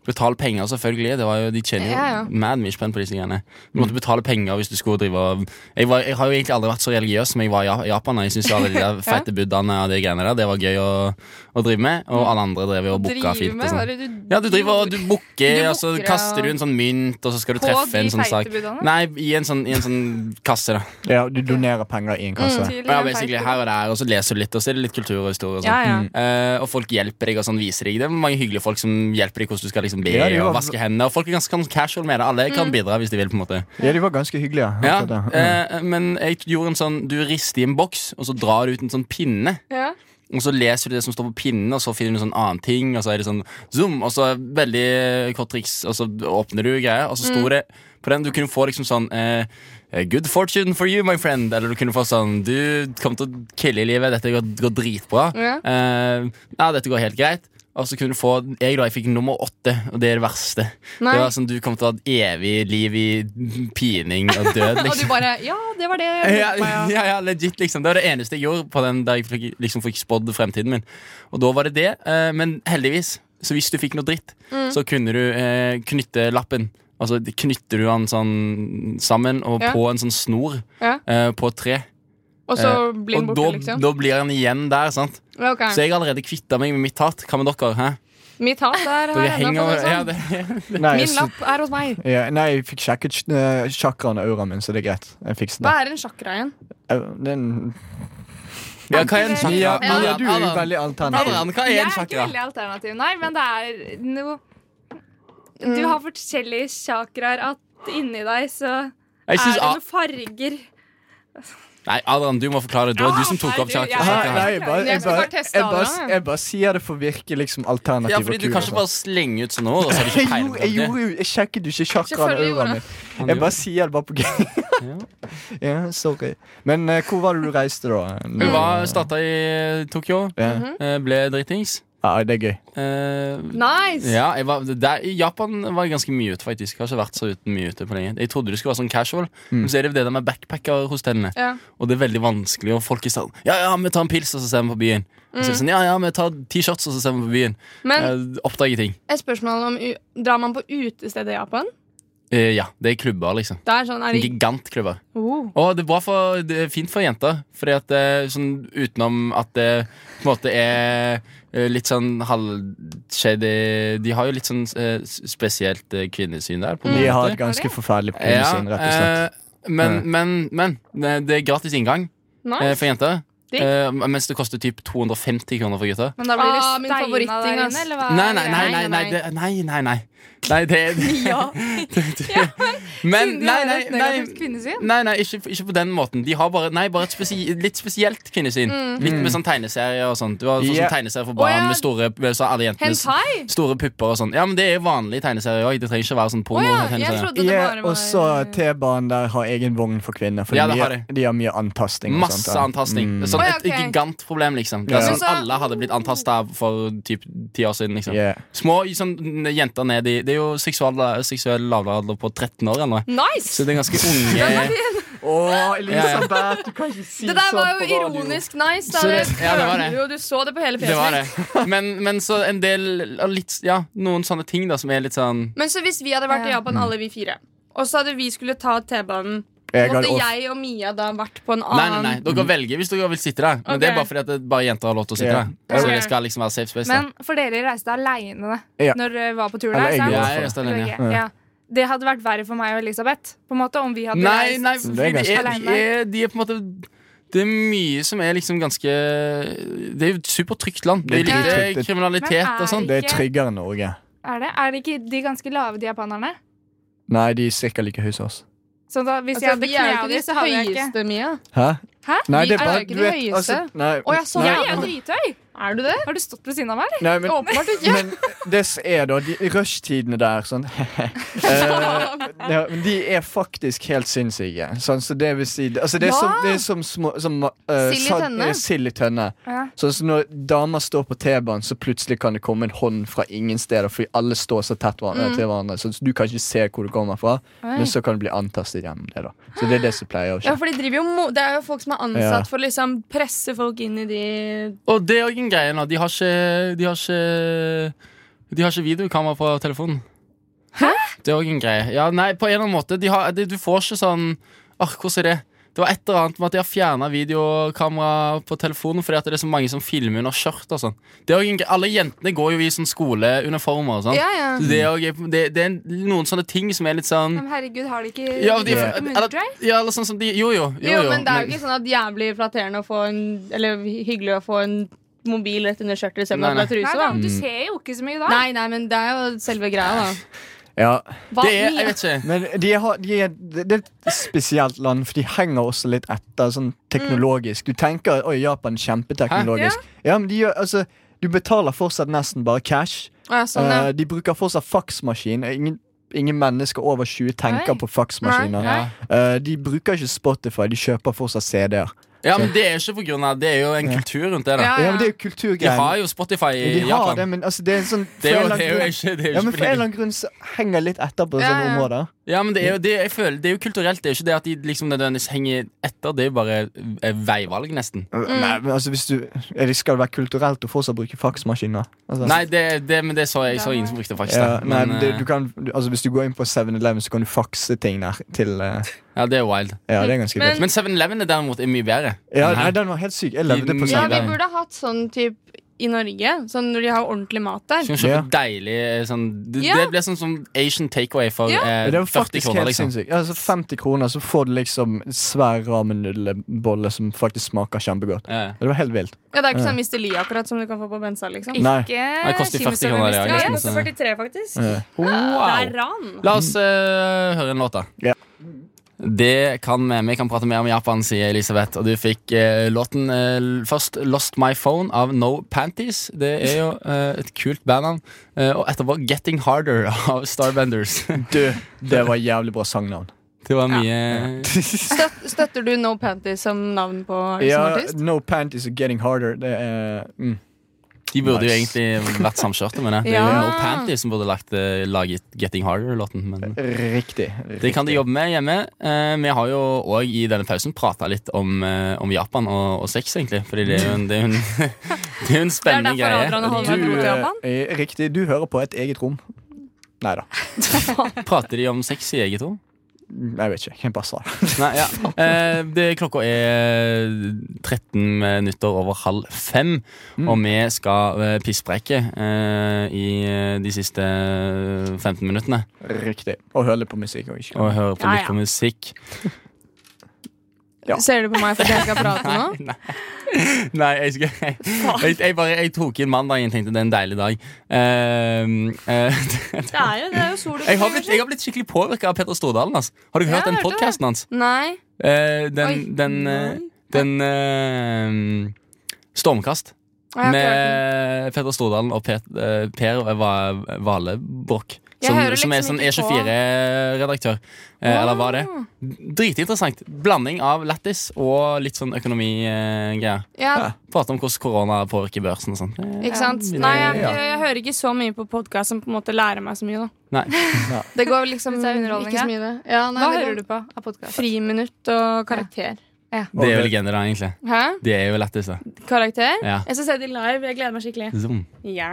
[SPEAKER 1] Betal penger, selvfølgelig. Det var jo, de tjener jo
[SPEAKER 4] Ja, ja.
[SPEAKER 1] mad mye spenn på disse greiene. Du måtte betale penger hvis du skulle drive og- jeg, var, jeg har jo egentlig aldri vært så religiøs som jeg var i Ja- Japan. og Jeg synes alle de
[SPEAKER 4] *laughs*
[SPEAKER 1] der feite buddhaene og de greiene der, det var gøy å, å drive med. Og alle andre drev jo og booka fint. Og
[SPEAKER 4] med,
[SPEAKER 1] sånn.
[SPEAKER 4] bare du,
[SPEAKER 1] ja, du driver og du booker,
[SPEAKER 4] Du
[SPEAKER 1] og så
[SPEAKER 4] booker,
[SPEAKER 1] kaster
[SPEAKER 4] ja.
[SPEAKER 1] du en sånn mynt, og så skal du
[SPEAKER 5] På
[SPEAKER 1] treffe
[SPEAKER 5] de
[SPEAKER 1] en sånn
[SPEAKER 5] feite
[SPEAKER 1] sak.
[SPEAKER 5] buddhaene?
[SPEAKER 1] Nei, i en sånn, i en sånn kasse, da.
[SPEAKER 2] Ja, Du donerer penger i en
[SPEAKER 4] Mm,
[SPEAKER 2] kasse.
[SPEAKER 5] Til
[SPEAKER 1] Ja,
[SPEAKER 5] en
[SPEAKER 1] basically,
[SPEAKER 5] feil.
[SPEAKER 1] her og der, og så leser du litt, og så er det litt kultur og historie. Og sånn.
[SPEAKER 5] Ja, ja.
[SPEAKER 1] Eh, og folk hjelper deg og sånn, viser deg. Det er mange hyggelige folk som hjelper deg hvordan du skal liksom be
[SPEAKER 2] Ja, det var-
[SPEAKER 1] og vaske hendene. Og folk er ganske sånn casual med det. Alle kan
[SPEAKER 5] Mm.
[SPEAKER 1] bidra hvis de vil. på en måte
[SPEAKER 2] Ja, de var ganske hyggelige.
[SPEAKER 1] ja,
[SPEAKER 2] akkurat det.
[SPEAKER 1] eh, Men jeg gjorde en sånn du rister i en boks, og så drar du ut en sånn pinne.
[SPEAKER 5] Ja.
[SPEAKER 1] Og så leser du det som står på pinnen, og så finner du en sånn annen ting. Og så er det sånn zoom, og så veldig eh, kort triks, og så åpner du greier. Og så
[SPEAKER 4] Mm.
[SPEAKER 1] sto det på den Du kunne få liksom sånn eh, Good fortune for you, my friend. Eller du kunne få sånn Du kommer til å kille i livet. Dette går, går dritbra.
[SPEAKER 4] Ja.
[SPEAKER 1] Eh, ja, dette går helt greit. Og så kunne du få Jeg da, jeg fikk nummer åtte, og det er det verste.
[SPEAKER 4] Nei.
[SPEAKER 1] Det var sånn Du kommer til å ha et evig liv i pining og død,
[SPEAKER 4] og du
[SPEAKER 1] liksom.
[SPEAKER 4] bare Ja, det var det.
[SPEAKER 1] Ja, ja, ja, legit liksom Det var det eneste jeg gjorde på den der jeg fikk, liksom fikk spådd fremtiden min. Og da var det det, eh, men heldigvis. Så hvis du fikk noe dritt, så kunne du eh, knytte lappen. Altså knytter du den sånn sammen og
[SPEAKER 4] Ja.
[SPEAKER 1] på en sånn snor
[SPEAKER 4] Ja.
[SPEAKER 1] eh, på et tre.
[SPEAKER 4] Og så
[SPEAKER 1] Eh,
[SPEAKER 4] blir den
[SPEAKER 1] og
[SPEAKER 4] borte,
[SPEAKER 1] da,
[SPEAKER 4] liksom.
[SPEAKER 1] da blir den igjen der, sant.
[SPEAKER 4] Ja, ok.
[SPEAKER 1] Så jeg har allerede kvitta meg med mitt hat. Hva med dere? Hæ?
[SPEAKER 4] Mitt hat er
[SPEAKER 1] Dere
[SPEAKER 4] her
[SPEAKER 1] henger
[SPEAKER 4] ennå. for å si det
[SPEAKER 1] ja,
[SPEAKER 4] sånn.
[SPEAKER 1] det,
[SPEAKER 2] Mm. Nei, jeg
[SPEAKER 4] Min
[SPEAKER 2] s-
[SPEAKER 4] lapp er hos meg.
[SPEAKER 2] Ja, nei, jeg fikk sjekket eh, chakraen og auraen min, så det er greit. Jeg fikset
[SPEAKER 4] Hva
[SPEAKER 2] det.
[SPEAKER 4] er en sjakra igjen?
[SPEAKER 2] Eh, Den,
[SPEAKER 1] ja, hva er en sjakk?
[SPEAKER 2] ja,
[SPEAKER 1] Adrian,
[SPEAKER 2] Maria, du er jo
[SPEAKER 1] Adrian,
[SPEAKER 2] veldig alternativ.
[SPEAKER 1] Adrian, hva
[SPEAKER 5] Jeg
[SPEAKER 1] er
[SPEAKER 5] er
[SPEAKER 1] en
[SPEAKER 5] ikke
[SPEAKER 1] sjakra?
[SPEAKER 5] veldig alternativ, nei, men det er noe Du har forskjellige chakraer at inni deg, så
[SPEAKER 1] Jeg
[SPEAKER 5] er
[SPEAKER 1] synes,
[SPEAKER 5] det
[SPEAKER 1] ah,
[SPEAKER 5] noen farger.
[SPEAKER 1] nei, Adrian, du må forklare. Det var du som tok
[SPEAKER 5] nei,
[SPEAKER 1] opp
[SPEAKER 5] du, jeg-
[SPEAKER 1] sjakra.
[SPEAKER 2] Nei, nei, jeg bare,
[SPEAKER 4] Jeg
[SPEAKER 2] jeg
[SPEAKER 4] skal
[SPEAKER 2] bare,
[SPEAKER 4] bare teste
[SPEAKER 2] jeg bare,
[SPEAKER 4] Adrian, jeg.
[SPEAKER 2] jeg bare sier det for å virke liksom alternativ
[SPEAKER 1] Ja,
[SPEAKER 2] og
[SPEAKER 1] fordi du
[SPEAKER 2] kul
[SPEAKER 1] kan
[SPEAKER 2] og
[SPEAKER 1] ikke
[SPEAKER 2] sånn.
[SPEAKER 1] bare slenge ut sånne ord.
[SPEAKER 2] *laughs*
[SPEAKER 1] Og så har du
[SPEAKER 2] Jeg
[SPEAKER 1] ikke peiling
[SPEAKER 2] gjorde,
[SPEAKER 1] på
[SPEAKER 2] jeg,
[SPEAKER 1] det.
[SPEAKER 2] gjorde, jo- jeg sjekket jo ikke chakraen og
[SPEAKER 4] Selvfølgelig
[SPEAKER 2] auraen
[SPEAKER 4] gjorde
[SPEAKER 2] min. Jeg bare sier det bare på gøy.
[SPEAKER 1] Ja.
[SPEAKER 2] ja, sorry. Men eh, hvor var det du reiste, da?
[SPEAKER 1] Hun var starta i Tokyo,
[SPEAKER 2] ja.
[SPEAKER 4] Mhm.
[SPEAKER 1] eh, ble dritings.
[SPEAKER 2] ja, det er gøy.
[SPEAKER 1] Eh,
[SPEAKER 4] Nice!
[SPEAKER 1] ja, jeg var, der, I Japan var jeg ganske mye ute, faktisk. Jeg har ikke vært så uten mye ute på lenge. Jeg trodde det skulle være sånn casual,
[SPEAKER 2] Mm.
[SPEAKER 1] men så er det det der med backpackerhotellene.
[SPEAKER 4] Ja.
[SPEAKER 1] eh, Og det er veldig vanskelig, og folk er sånn Ja, ja, vi tar en pils, og så ser vi på byen. Og så er det sånn, ja, ja, vi tar T-shirts, og så ser vi på byen.
[SPEAKER 4] Men
[SPEAKER 1] Eh, oppdager ting.
[SPEAKER 4] et spørsmål om u- Drar man på utested i Japan?
[SPEAKER 1] Eh, ja, det er klubber, liksom.
[SPEAKER 4] Det er sånn, er det,
[SPEAKER 1] Gigantklubber.
[SPEAKER 4] oh.
[SPEAKER 1] Og det er, bra for, det er fint for jenter, fordi at eh, sånn utenom at det på en måte er eh, litt sånn halvshady De har jo litt sånn eh, s- spesielt eh, kvinnesyn der, på en
[SPEAKER 2] De har
[SPEAKER 1] måte.
[SPEAKER 2] et ganske forferdelig
[SPEAKER 1] Ja,
[SPEAKER 2] kvinnesyn, rett og slett.
[SPEAKER 1] eh, men,
[SPEAKER 2] Ja.
[SPEAKER 1] men, men eh, det er gratis inngang eh,
[SPEAKER 4] nice.
[SPEAKER 1] for jenter.
[SPEAKER 4] Digg.
[SPEAKER 1] eh, mens det koster typ 250 kroner for gutter.
[SPEAKER 5] Men da blir det
[SPEAKER 4] Ah, min
[SPEAKER 5] steina
[SPEAKER 4] favoritting,
[SPEAKER 5] der
[SPEAKER 4] ass.
[SPEAKER 5] inne, eller hva?
[SPEAKER 1] Nei, nei,
[SPEAKER 5] er
[SPEAKER 1] nei. nei,
[SPEAKER 5] greia?
[SPEAKER 4] nei,
[SPEAKER 1] nei,
[SPEAKER 4] nei.
[SPEAKER 1] det, nei, nei, nei. nei det,
[SPEAKER 5] Ja.
[SPEAKER 1] men
[SPEAKER 5] Siden de
[SPEAKER 1] nei,
[SPEAKER 5] har
[SPEAKER 1] nei,
[SPEAKER 5] et
[SPEAKER 1] nei,
[SPEAKER 5] negativt kvinnesyn.
[SPEAKER 1] Nei, nei, ikke, ikke på den måten. De har bare, nei, bare et spesi litt spesielt kvinnesyn. Litt med sånn tegneserier og sånt. Du har sånn
[SPEAKER 2] Mm. Ja.
[SPEAKER 1] tegneserier for barn
[SPEAKER 4] Mm. Å, ja.
[SPEAKER 1] med store med så alle jentenes
[SPEAKER 4] Hentai?
[SPEAKER 1] store pupper og sånn. Ja, men det er jo vanlige tegneserier òg. Det trenger ikke være sånn
[SPEAKER 4] Å
[SPEAKER 1] porno.
[SPEAKER 4] ja, jeg
[SPEAKER 1] tegneserier.
[SPEAKER 4] trodde det
[SPEAKER 2] Ja,
[SPEAKER 4] bare var
[SPEAKER 2] og så T-banen der har egen vogn for kvinner, for
[SPEAKER 1] Ja,
[SPEAKER 2] de,
[SPEAKER 1] det har
[SPEAKER 2] har, de har mye antasting. og sånt,
[SPEAKER 1] Masse
[SPEAKER 2] ja. Mm.
[SPEAKER 1] antasting. Det er Sånn
[SPEAKER 4] Å, ja,
[SPEAKER 1] et
[SPEAKER 4] ok.
[SPEAKER 1] gigantproblem, liksom. Det
[SPEAKER 2] Ja.
[SPEAKER 1] er
[SPEAKER 4] Men
[SPEAKER 1] sånn
[SPEAKER 4] så-
[SPEAKER 1] alle hadde blitt antasta for typ ti år siden, liksom.
[SPEAKER 2] Yeah.
[SPEAKER 1] Små sånn, jenter ned i Det er jo seksual, seksuell lavalder på 13 år ennå.
[SPEAKER 4] Nice! *laughs*
[SPEAKER 1] Så det er ganske unge,
[SPEAKER 2] Å, Elisabeth, du kan ikke si
[SPEAKER 4] Det der
[SPEAKER 2] sånn
[SPEAKER 4] var jo
[SPEAKER 2] på radio.
[SPEAKER 4] ironisk nice. Da.
[SPEAKER 1] Så
[SPEAKER 4] Det,
[SPEAKER 1] det- ja, det var
[SPEAKER 4] hørte
[SPEAKER 1] det.
[SPEAKER 4] du jo, du så det på hele
[SPEAKER 1] Det var
[SPEAKER 4] fjeset.
[SPEAKER 1] det. Men, men så en del av litt, Ja, noen sånne ting da som er litt sånn
[SPEAKER 4] Men så hvis vi hadde vært i Japan, alle vi fire, og så hadde vi skulle ta T-banen,
[SPEAKER 2] Jeg hadde også-
[SPEAKER 4] måtte jeg og Mia da vært på en
[SPEAKER 1] Nei, nei,
[SPEAKER 4] annen
[SPEAKER 1] nei, dere velger hvis dere vil sitte der. Men det er
[SPEAKER 4] Ok.
[SPEAKER 1] bare fordi at det bare jenter har lov til å sitte
[SPEAKER 2] Um. Ja.
[SPEAKER 1] der. Så
[SPEAKER 4] Ok.
[SPEAKER 1] det skal liksom være safe space. da.
[SPEAKER 5] Men for dere reiste aleine
[SPEAKER 2] Ja.
[SPEAKER 5] når dere var på tur
[SPEAKER 2] Eller
[SPEAKER 5] der. sant?
[SPEAKER 2] jeg
[SPEAKER 1] Ja, jeg reiste alene, ja.
[SPEAKER 5] Ok, ja. Det hadde vært verre for meg og Elisabeth på en måte, om vi hadde
[SPEAKER 1] Nei,
[SPEAKER 5] reist.
[SPEAKER 1] nei,
[SPEAKER 2] er
[SPEAKER 1] fordi de
[SPEAKER 2] ganske-
[SPEAKER 1] er, de, er, de er på en måte Det er mye som er liksom ganske Det er jo et supertrygt land. Det er
[SPEAKER 2] Det er
[SPEAKER 1] lite
[SPEAKER 2] dritrygt.
[SPEAKER 5] Men
[SPEAKER 1] kriminalitet
[SPEAKER 5] er
[SPEAKER 1] og sånn.
[SPEAKER 2] Det er tryggere enn Norge.
[SPEAKER 5] Er det? Er det ikke de ganske lave, de japanerne?
[SPEAKER 2] Nei, de er sikkert like høye som oss.
[SPEAKER 5] Så da, hvis
[SPEAKER 4] Altså,
[SPEAKER 5] jeg hadde
[SPEAKER 4] vi er jo
[SPEAKER 5] knea
[SPEAKER 4] ikke
[SPEAKER 5] de,
[SPEAKER 4] de
[SPEAKER 5] så hadde jeg ikke
[SPEAKER 4] høyeste, Mia.
[SPEAKER 2] Hæ?
[SPEAKER 5] Hæ?
[SPEAKER 2] Nei,
[SPEAKER 4] Vi
[SPEAKER 2] det er
[SPEAKER 4] er
[SPEAKER 2] bare
[SPEAKER 4] jo ikke
[SPEAKER 2] du
[SPEAKER 4] de
[SPEAKER 2] vet,
[SPEAKER 4] høyeste.
[SPEAKER 2] altså, nei,
[SPEAKER 4] Å, jeg så
[SPEAKER 2] nei,
[SPEAKER 5] Jeg er drithøy!
[SPEAKER 4] Er du det?
[SPEAKER 5] Har du stått ved siden av meg, eller?
[SPEAKER 2] nei, men,
[SPEAKER 4] Åpenbart ikke.
[SPEAKER 2] men det som er da de rushtidene der sånn eh, ja, men De er faktisk helt sinnssyke. Sånn, så det vil si altså, det, er
[SPEAKER 4] Ja.
[SPEAKER 2] som, det er som små som, eh,
[SPEAKER 4] Sild i
[SPEAKER 2] sand-
[SPEAKER 4] tønne.
[SPEAKER 2] eh, Sild i tønne.
[SPEAKER 5] Ja.
[SPEAKER 2] Sånn som når damer står på T-banen, så plutselig kan det komme en hånd fra ingen steder, fordi alle står så tett hverandre,
[SPEAKER 4] Mm.
[SPEAKER 2] til hverandre. Sånn, Så du kan ikke se hvor du kommer fra, men så kan du bli antastet gjennom det. da Så det er det som pleier å
[SPEAKER 4] Ja,
[SPEAKER 2] skje.
[SPEAKER 4] for de driver jo mo Det er jo folk som er
[SPEAKER 2] Ja.
[SPEAKER 4] ansatt for å liksom presse folk inn i de
[SPEAKER 1] Og det er òg en greie nå. De har ikke De har ikke De har ikke videokamera på telefonen. Hæ? Det er òg en greie. Ja, nei, på en eller annen måte. De har, de, du får ikke sånn Arr, hvordan er det? Det var et eller annet med at de har fjerna videokamera på telefonen fordi at det er så mange som filmer under skjørt og sånn. Det er også en greie. Alle jentene går jo i sånn skoleuniformer og sånn.
[SPEAKER 4] Ja, ja.
[SPEAKER 1] Så Det er, også- det, det er noen sånne ting som er litt sånn
[SPEAKER 5] Men herregud, har de ikke
[SPEAKER 1] ja, de,
[SPEAKER 2] Ja.
[SPEAKER 1] eller, ja, eller sånn som de Jo, jo. jo,
[SPEAKER 4] Jo,
[SPEAKER 1] jo
[SPEAKER 4] men det er jo ikke sånn at jævlig flatterende å få en Eller hyggelig å få en mobil rett under skjørtet istedenfor
[SPEAKER 1] Nei,
[SPEAKER 4] at det
[SPEAKER 5] Nei,
[SPEAKER 4] er truse,
[SPEAKER 5] da,
[SPEAKER 4] da.
[SPEAKER 5] men du ser jo ikke så mye da.
[SPEAKER 4] Nei, nei, men det er jo selve greia, da.
[SPEAKER 2] Ja.
[SPEAKER 4] Hva,
[SPEAKER 1] det er, jeg
[SPEAKER 4] Mia?
[SPEAKER 1] vet ikke.
[SPEAKER 2] Men de har, de er, det det er et spesielt land, for de henger også litt etter sånn teknologisk. Du tenker oi, Japan er kjempeteknologisk. Ja, men de gjør, altså, du betaler fortsatt nesten bare cash.
[SPEAKER 4] Å, ja, sånn, ja.
[SPEAKER 2] Eh, de bruker fortsatt faksmaskin. Ingen, ingen mennesker over 20 tenker
[SPEAKER 5] Nei.
[SPEAKER 2] på faksmaskiner.
[SPEAKER 1] Ja.
[SPEAKER 2] Eh, de bruker ikke Spotify, de kjøper fortsatt CD-er.
[SPEAKER 1] ja, men det er ikke på grunn av Det er jo en kultur rundt det. da
[SPEAKER 4] Ja,
[SPEAKER 2] Ja, men det er jo
[SPEAKER 1] De har
[SPEAKER 2] kulturgreier.
[SPEAKER 1] jo Spotify i
[SPEAKER 2] De har
[SPEAKER 1] Japan.
[SPEAKER 2] det, men altså, det er sånn
[SPEAKER 1] Det er
[SPEAKER 2] for en
[SPEAKER 1] jo,
[SPEAKER 2] eller
[SPEAKER 1] det er jo
[SPEAKER 2] annen grunn-
[SPEAKER 1] ikke, det er jo
[SPEAKER 2] ja,
[SPEAKER 1] ikke
[SPEAKER 2] men
[SPEAKER 1] på
[SPEAKER 2] For en
[SPEAKER 1] linje.
[SPEAKER 2] eller annen grunn så henger jeg litt etter på
[SPEAKER 4] Ja,
[SPEAKER 2] sånne
[SPEAKER 4] ja.
[SPEAKER 2] områder.
[SPEAKER 1] Ja, men det er jo, det, jeg føler, det er jo kulturelt. Det er jo ikke det at de liksom nødvendigvis henger etter. Det er jo bare eh, veivalg, nesten.
[SPEAKER 2] Nei, men altså hvis du er det- Skal det være kulturelt å fortsatt bruke faksmaskiner? Altså,
[SPEAKER 1] Nei, det, det, men det så jeg så ingen som brukte faktisk.
[SPEAKER 2] ja,
[SPEAKER 1] da.
[SPEAKER 2] nei,
[SPEAKER 1] Men,
[SPEAKER 2] men det,
[SPEAKER 1] eh,
[SPEAKER 2] du kan, du, altså Hvis du går inn på 7-Eleven, så kan du fakse ting der til eh,
[SPEAKER 1] ja, det er wild.
[SPEAKER 2] Ja, det er ganske
[SPEAKER 4] Men-
[SPEAKER 2] vilt.
[SPEAKER 1] Men 7-Eleven er derimot er mye bedre.
[SPEAKER 2] Ja,
[SPEAKER 1] Den her.
[SPEAKER 2] nei, den var helt syk. Jeg levde på
[SPEAKER 4] ja, vi
[SPEAKER 2] 7-Eleven.
[SPEAKER 4] burde hatt sånn type i Norge, sånn når de har ordentlig mat
[SPEAKER 1] Så
[SPEAKER 4] der.
[SPEAKER 1] kan du kjøpe
[SPEAKER 2] Ja.
[SPEAKER 1] deilig eh, sånn Det,
[SPEAKER 4] Ja.
[SPEAKER 1] det blir sånn som Asian takeaway for
[SPEAKER 4] Ja.
[SPEAKER 1] eh,
[SPEAKER 2] Ja, Det var
[SPEAKER 1] 40
[SPEAKER 2] faktisk
[SPEAKER 1] kroner,
[SPEAKER 2] helt
[SPEAKER 1] liksom.
[SPEAKER 2] sinnssykt. Altså 50 kroner, så får du liksom en svær ramenudelbolle som faktisk smaker kjempegodt.
[SPEAKER 1] Ja.
[SPEAKER 2] Det var helt vilt.
[SPEAKER 4] Ja, Det er ikke sånn Misteli akkurat som du kan få på Bensa, liksom.
[SPEAKER 2] Nei.
[SPEAKER 5] Ikke
[SPEAKER 1] det koster 40 kroner, ja,
[SPEAKER 5] kimosaurus.
[SPEAKER 1] nesten. sånn.
[SPEAKER 4] koster 43, faktisk.
[SPEAKER 2] Eh,
[SPEAKER 4] Det
[SPEAKER 1] Wow.
[SPEAKER 4] er ran.
[SPEAKER 1] La oss eh, høre en låt, da.
[SPEAKER 2] Ja.
[SPEAKER 1] Det kan vi. Vi kan prate mer om Japan, sier Elisabeth. Og du fikk eh, låten eh, først 'Lost My Phone' av No Panties. Det er jo eh, et kult bandnavn. Eh, og etterpå 'Getting Harder' av Starbenders. *laughs*
[SPEAKER 2] Du, det var jævlig
[SPEAKER 5] *laughs*
[SPEAKER 2] bra sangnavn.
[SPEAKER 1] Det var mye
[SPEAKER 4] Støt, støtter du No Panties som navn på som
[SPEAKER 2] Ja,
[SPEAKER 4] artist?
[SPEAKER 2] No Panties Are Getting Harder. Det er mm.
[SPEAKER 1] De burde jo
[SPEAKER 2] Nice.
[SPEAKER 1] egentlig vært samkjørte med det. Det er
[SPEAKER 4] Ja.
[SPEAKER 1] jo No Panties som burde lagt, eh, laget 'Getting Harder'-låten. Men
[SPEAKER 2] Riktig.
[SPEAKER 1] Det kan de
[SPEAKER 2] riktig.
[SPEAKER 1] jobbe med hjemme. Eh, vi har jo òg i denne pausen prata litt om, eh, om Japan og, og sex, egentlig. Fordi det er jo en, det er jo en, *laughs* det er jo en spennende
[SPEAKER 4] Det er derfor
[SPEAKER 1] greie.
[SPEAKER 4] Adrian og Halvard dro
[SPEAKER 2] Du,
[SPEAKER 4] til Japan.
[SPEAKER 2] eh, er riktig, du hører på et eget rom. Nei da.
[SPEAKER 1] Prater de om sex i eget rom?
[SPEAKER 2] Jeg vet ikke. Jeg bare sa det.
[SPEAKER 1] Nei,
[SPEAKER 4] *laughs*
[SPEAKER 1] ja. Eh, det, klokka er 13 minutter over halv fem,
[SPEAKER 4] Mm.
[SPEAKER 1] og vi skal eh, pisspreike eh, i eh, de siste 15 minuttene.
[SPEAKER 2] *laughs* Riktig. Og høre litt på musikk. Og ikke.
[SPEAKER 1] Og høre på
[SPEAKER 4] Ja,
[SPEAKER 1] litt
[SPEAKER 4] ja.
[SPEAKER 1] musikk.
[SPEAKER 2] Ja.
[SPEAKER 4] Ser du på meg fordi jeg skal prate nå?
[SPEAKER 1] *laughs* Nei, jeg, skal, jeg, jeg, jeg, bare, jeg tok inn mandagen og tenkte det er en deilig dag. Eh, eh,
[SPEAKER 4] *laughs*
[SPEAKER 1] *laughs*
[SPEAKER 4] Det er jo, det er jo sol
[SPEAKER 1] Jeg har blitt, jeg har blitt skikkelig påvirka av Petter Stordalen. ass. Har du
[SPEAKER 4] Ja,
[SPEAKER 1] hørt den
[SPEAKER 4] jeg hørte det.
[SPEAKER 1] podkasten hans?
[SPEAKER 4] Nei.
[SPEAKER 1] Eh,
[SPEAKER 4] Oi.
[SPEAKER 1] den den, eh, den eh, Stormkast
[SPEAKER 4] Jeg har ikke hørt den.
[SPEAKER 1] med Petter Stordalen og Pet, eh, Per Vale Valebråk.
[SPEAKER 4] Jeg
[SPEAKER 1] Som,
[SPEAKER 4] hører
[SPEAKER 1] som er
[SPEAKER 4] liksom
[SPEAKER 1] sånn
[SPEAKER 4] ikke på.
[SPEAKER 1] E24-redaktør. Eh, eller var det? Dritinteressant. Blanding av lættis og litt sånn økonomigreier.
[SPEAKER 4] Ja,
[SPEAKER 1] Prate om hvordan korona påvirker børsen og sånn. Eh,
[SPEAKER 4] ikke sant?
[SPEAKER 1] mine-
[SPEAKER 4] Nei, jeg, jeg, jeg hører ikke så mye på podkast som på en måte lærer meg så mye, da. *laughs*
[SPEAKER 1] Nei.
[SPEAKER 4] Det går *laughs* liksom
[SPEAKER 5] Dette er underholdning,
[SPEAKER 4] ikke så mye, det. Ja, nei,
[SPEAKER 5] Hva
[SPEAKER 4] det
[SPEAKER 5] hører
[SPEAKER 4] går-
[SPEAKER 5] du på av podkast?
[SPEAKER 4] Friminutt og karakter.
[SPEAKER 1] Det er jo legende, da, egentlig.
[SPEAKER 4] Hæ?
[SPEAKER 1] Det er jo lættis, det.
[SPEAKER 4] Karakter?
[SPEAKER 1] Ja.
[SPEAKER 4] Jeg skal se de live. Jeg gleder meg skikkelig.
[SPEAKER 1] Zoom.
[SPEAKER 4] Ja.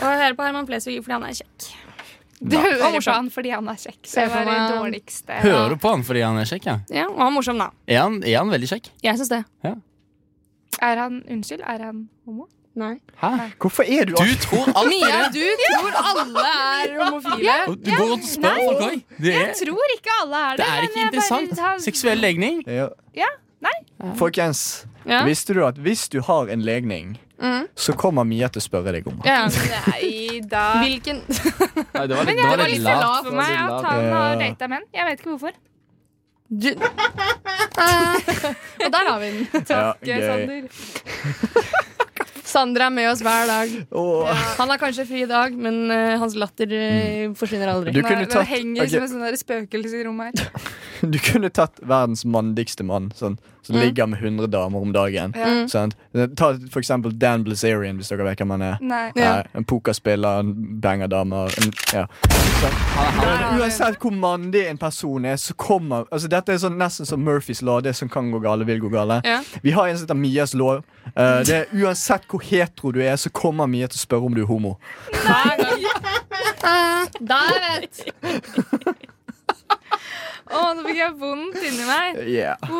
[SPEAKER 4] Og jeg hører på Herman Flesvig fordi han er kjekk.
[SPEAKER 5] Du
[SPEAKER 4] Og
[SPEAKER 5] hører på
[SPEAKER 4] morsom.
[SPEAKER 5] han fordi han er kjekk.
[SPEAKER 4] Se
[SPEAKER 5] Det
[SPEAKER 4] for
[SPEAKER 5] var det
[SPEAKER 4] meg-
[SPEAKER 5] dårligste.
[SPEAKER 1] Hører du på han fordi han er kjekk? Ja?
[SPEAKER 4] Ja, Og han er morsom, da.
[SPEAKER 1] Er, han, er han veldig kjekk?
[SPEAKER 4] Jeg syns det.
[SPEAKER 5] Er han Unnskyld, er han homo?
[SPEAKER 4] Nei.
[SPEAKER 1] Hæ?
[SPEAKER 2] Hvorfor er du
[SPEAKER 1] Du tror
[SPEAKER 5] *laughs*
[SPEAKER 1] alt
[SPEAKER 4] Mia, du tror alle er homofile.
[SPEAKER 1] Og Du går rundt og spør folk òg. Det,
[SPEAKER 5] Jeg
[SPEAKER 1] er-
[SPEAKER 5] tror ikke alle er
[SPEAKER 1] det
[SPEAKER 5] det.
[SPEAKER 1] er
[SPEAKER 5] men
[SPEAKER 1] ikke
[SPEAKER 5] jeg bare
[SPEAKER 1] interessant.
[SPEAKER 5] har-
[SPEAKER 1] Seksuell legning
[SPEAKER 2] Ja.
[SPEAKER 5] Ja,
[SPEAKER 2] Folkens,
[SPEAKER 4] Ja.
[SPEAKER 2] visste du at hvis du har en legning,
[SPEAKER 4] Mm.
[SPEAKER 2] så kommer Mia til å spørre deg om det.
[SPEAKER 4] Ja.
[SPEAKER 5] Nei da.
[SPEAKER 4] Hvilken *laughs*
[SPEAKER 1] Nei, det var litt,
[SPEAKER 5] Det var litt for lavt for meg
[SPEAKER 1] lavt.
[SPEAKER 5] at han har
[SPEAKER 2] Ja.
[SPEAKER 5] data menn. Jeg vet ikke hvorfor.
[SPEAKER 4] du... *laughs* Og der har vi den.
[SPEAKER 2] Takk,
[SPEAKER 5] Gøy, Sander.
[SPEAKER 4] Sander er med oss hver dag.
[SPEAKER 2] Åh.
[SPEAKER 4] Han har kanskje fri i dag, men eh, hans latter eh, forsvinner aldri.
[SPEAKER 2] Du
[SPEAKER 5] Nei,
[SPEAKER 2] kunne
[SPEAKER 5] det
[SPEAKER 2] tatt,
[SPEAKER 5] henger
[SPEAKER 2] ok,
[SPEAKER 5] som en sånn der spøkelse i rommet her.
[SPEAKER 2] du kunne tatt verdens mandigste mann, sånn, som ligger med 100 damer om dagen.
[SPEAKER 4] Mm.
[SPEAKER 2] Sant? Ta for eksempel Dan Blazarian, hvis dere vet hvem han er.
[SPEAKER 5] Nei.
[SPEAKER 4] Ja.
[SPEAKER 2] Eh, En pokerspiller, en banger damer en, ja. Men Uansett hvor mandig en person er, så kommer altså Dette er sånn, nesten som Murphys lov. Det som kan gå gale, vil gå gale.
[SPEAKER 4] Ja.
[SPEAKER 2] Vi har en som heter Mias lov. Eh, det er, uansett hvor hetero du er, så kommer Mia til å spørre om du er homo.
[SPEAKER 4] Der vet
[SPEAKER 5] Å, nå fikk jeg vondt inni meg.
[SPEAKER 2] Yeah.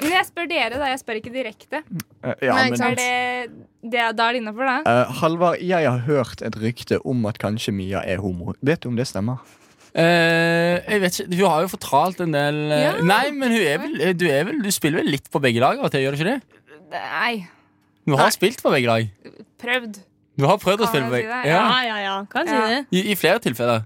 [SPEAKER 5] Men jeg spør dere, da. Jeg spør ikke direkte.
[SPEAKER 2] Eh, ja,
[SPEAKER 4] Nei, ikke
[SPEAKER 2] men,
[SPEAKER 5] Er
[SPEAKER 4] sant.
[SPEAKER 5] det, det da er det innafor, da?
[SPEAKER 2] Eh, Halvard, jeg har hørt et rykte om at kanskje Mia er homo. Vet du om det stemmer?
[SPEAKER 1] Eh, jeg vet ikke, Hun har jo fortalt en del eh,
[SPEAKER 4] Ja.
[SPEAKER 1] Nei, men hun er vel, du, er vel, du spiller vel litt på begge lag? av og til, Gjør du ikke det?
[SPEAKER 5] Nei.
[SPEAKER 1] Du har spilt på begge lag.
[SPEAKER 5] Prøvd.
[SPEAKER 1] Du har prøvd å
[SPEAKER 5] Kan
[SPEAKER 1] spille på
[SPEAKER 5] jeg si
[SPEAKER 1] begge
[SPEAKER 5] det?
[SPEAKER 1] ja.
[SPEAKER 4] Ja, ja, ja. Kan si
[SPEAKER 5] Ja.
[SPEAKER 4] det.
[SPEAKER 1] I, I flere tilfeller.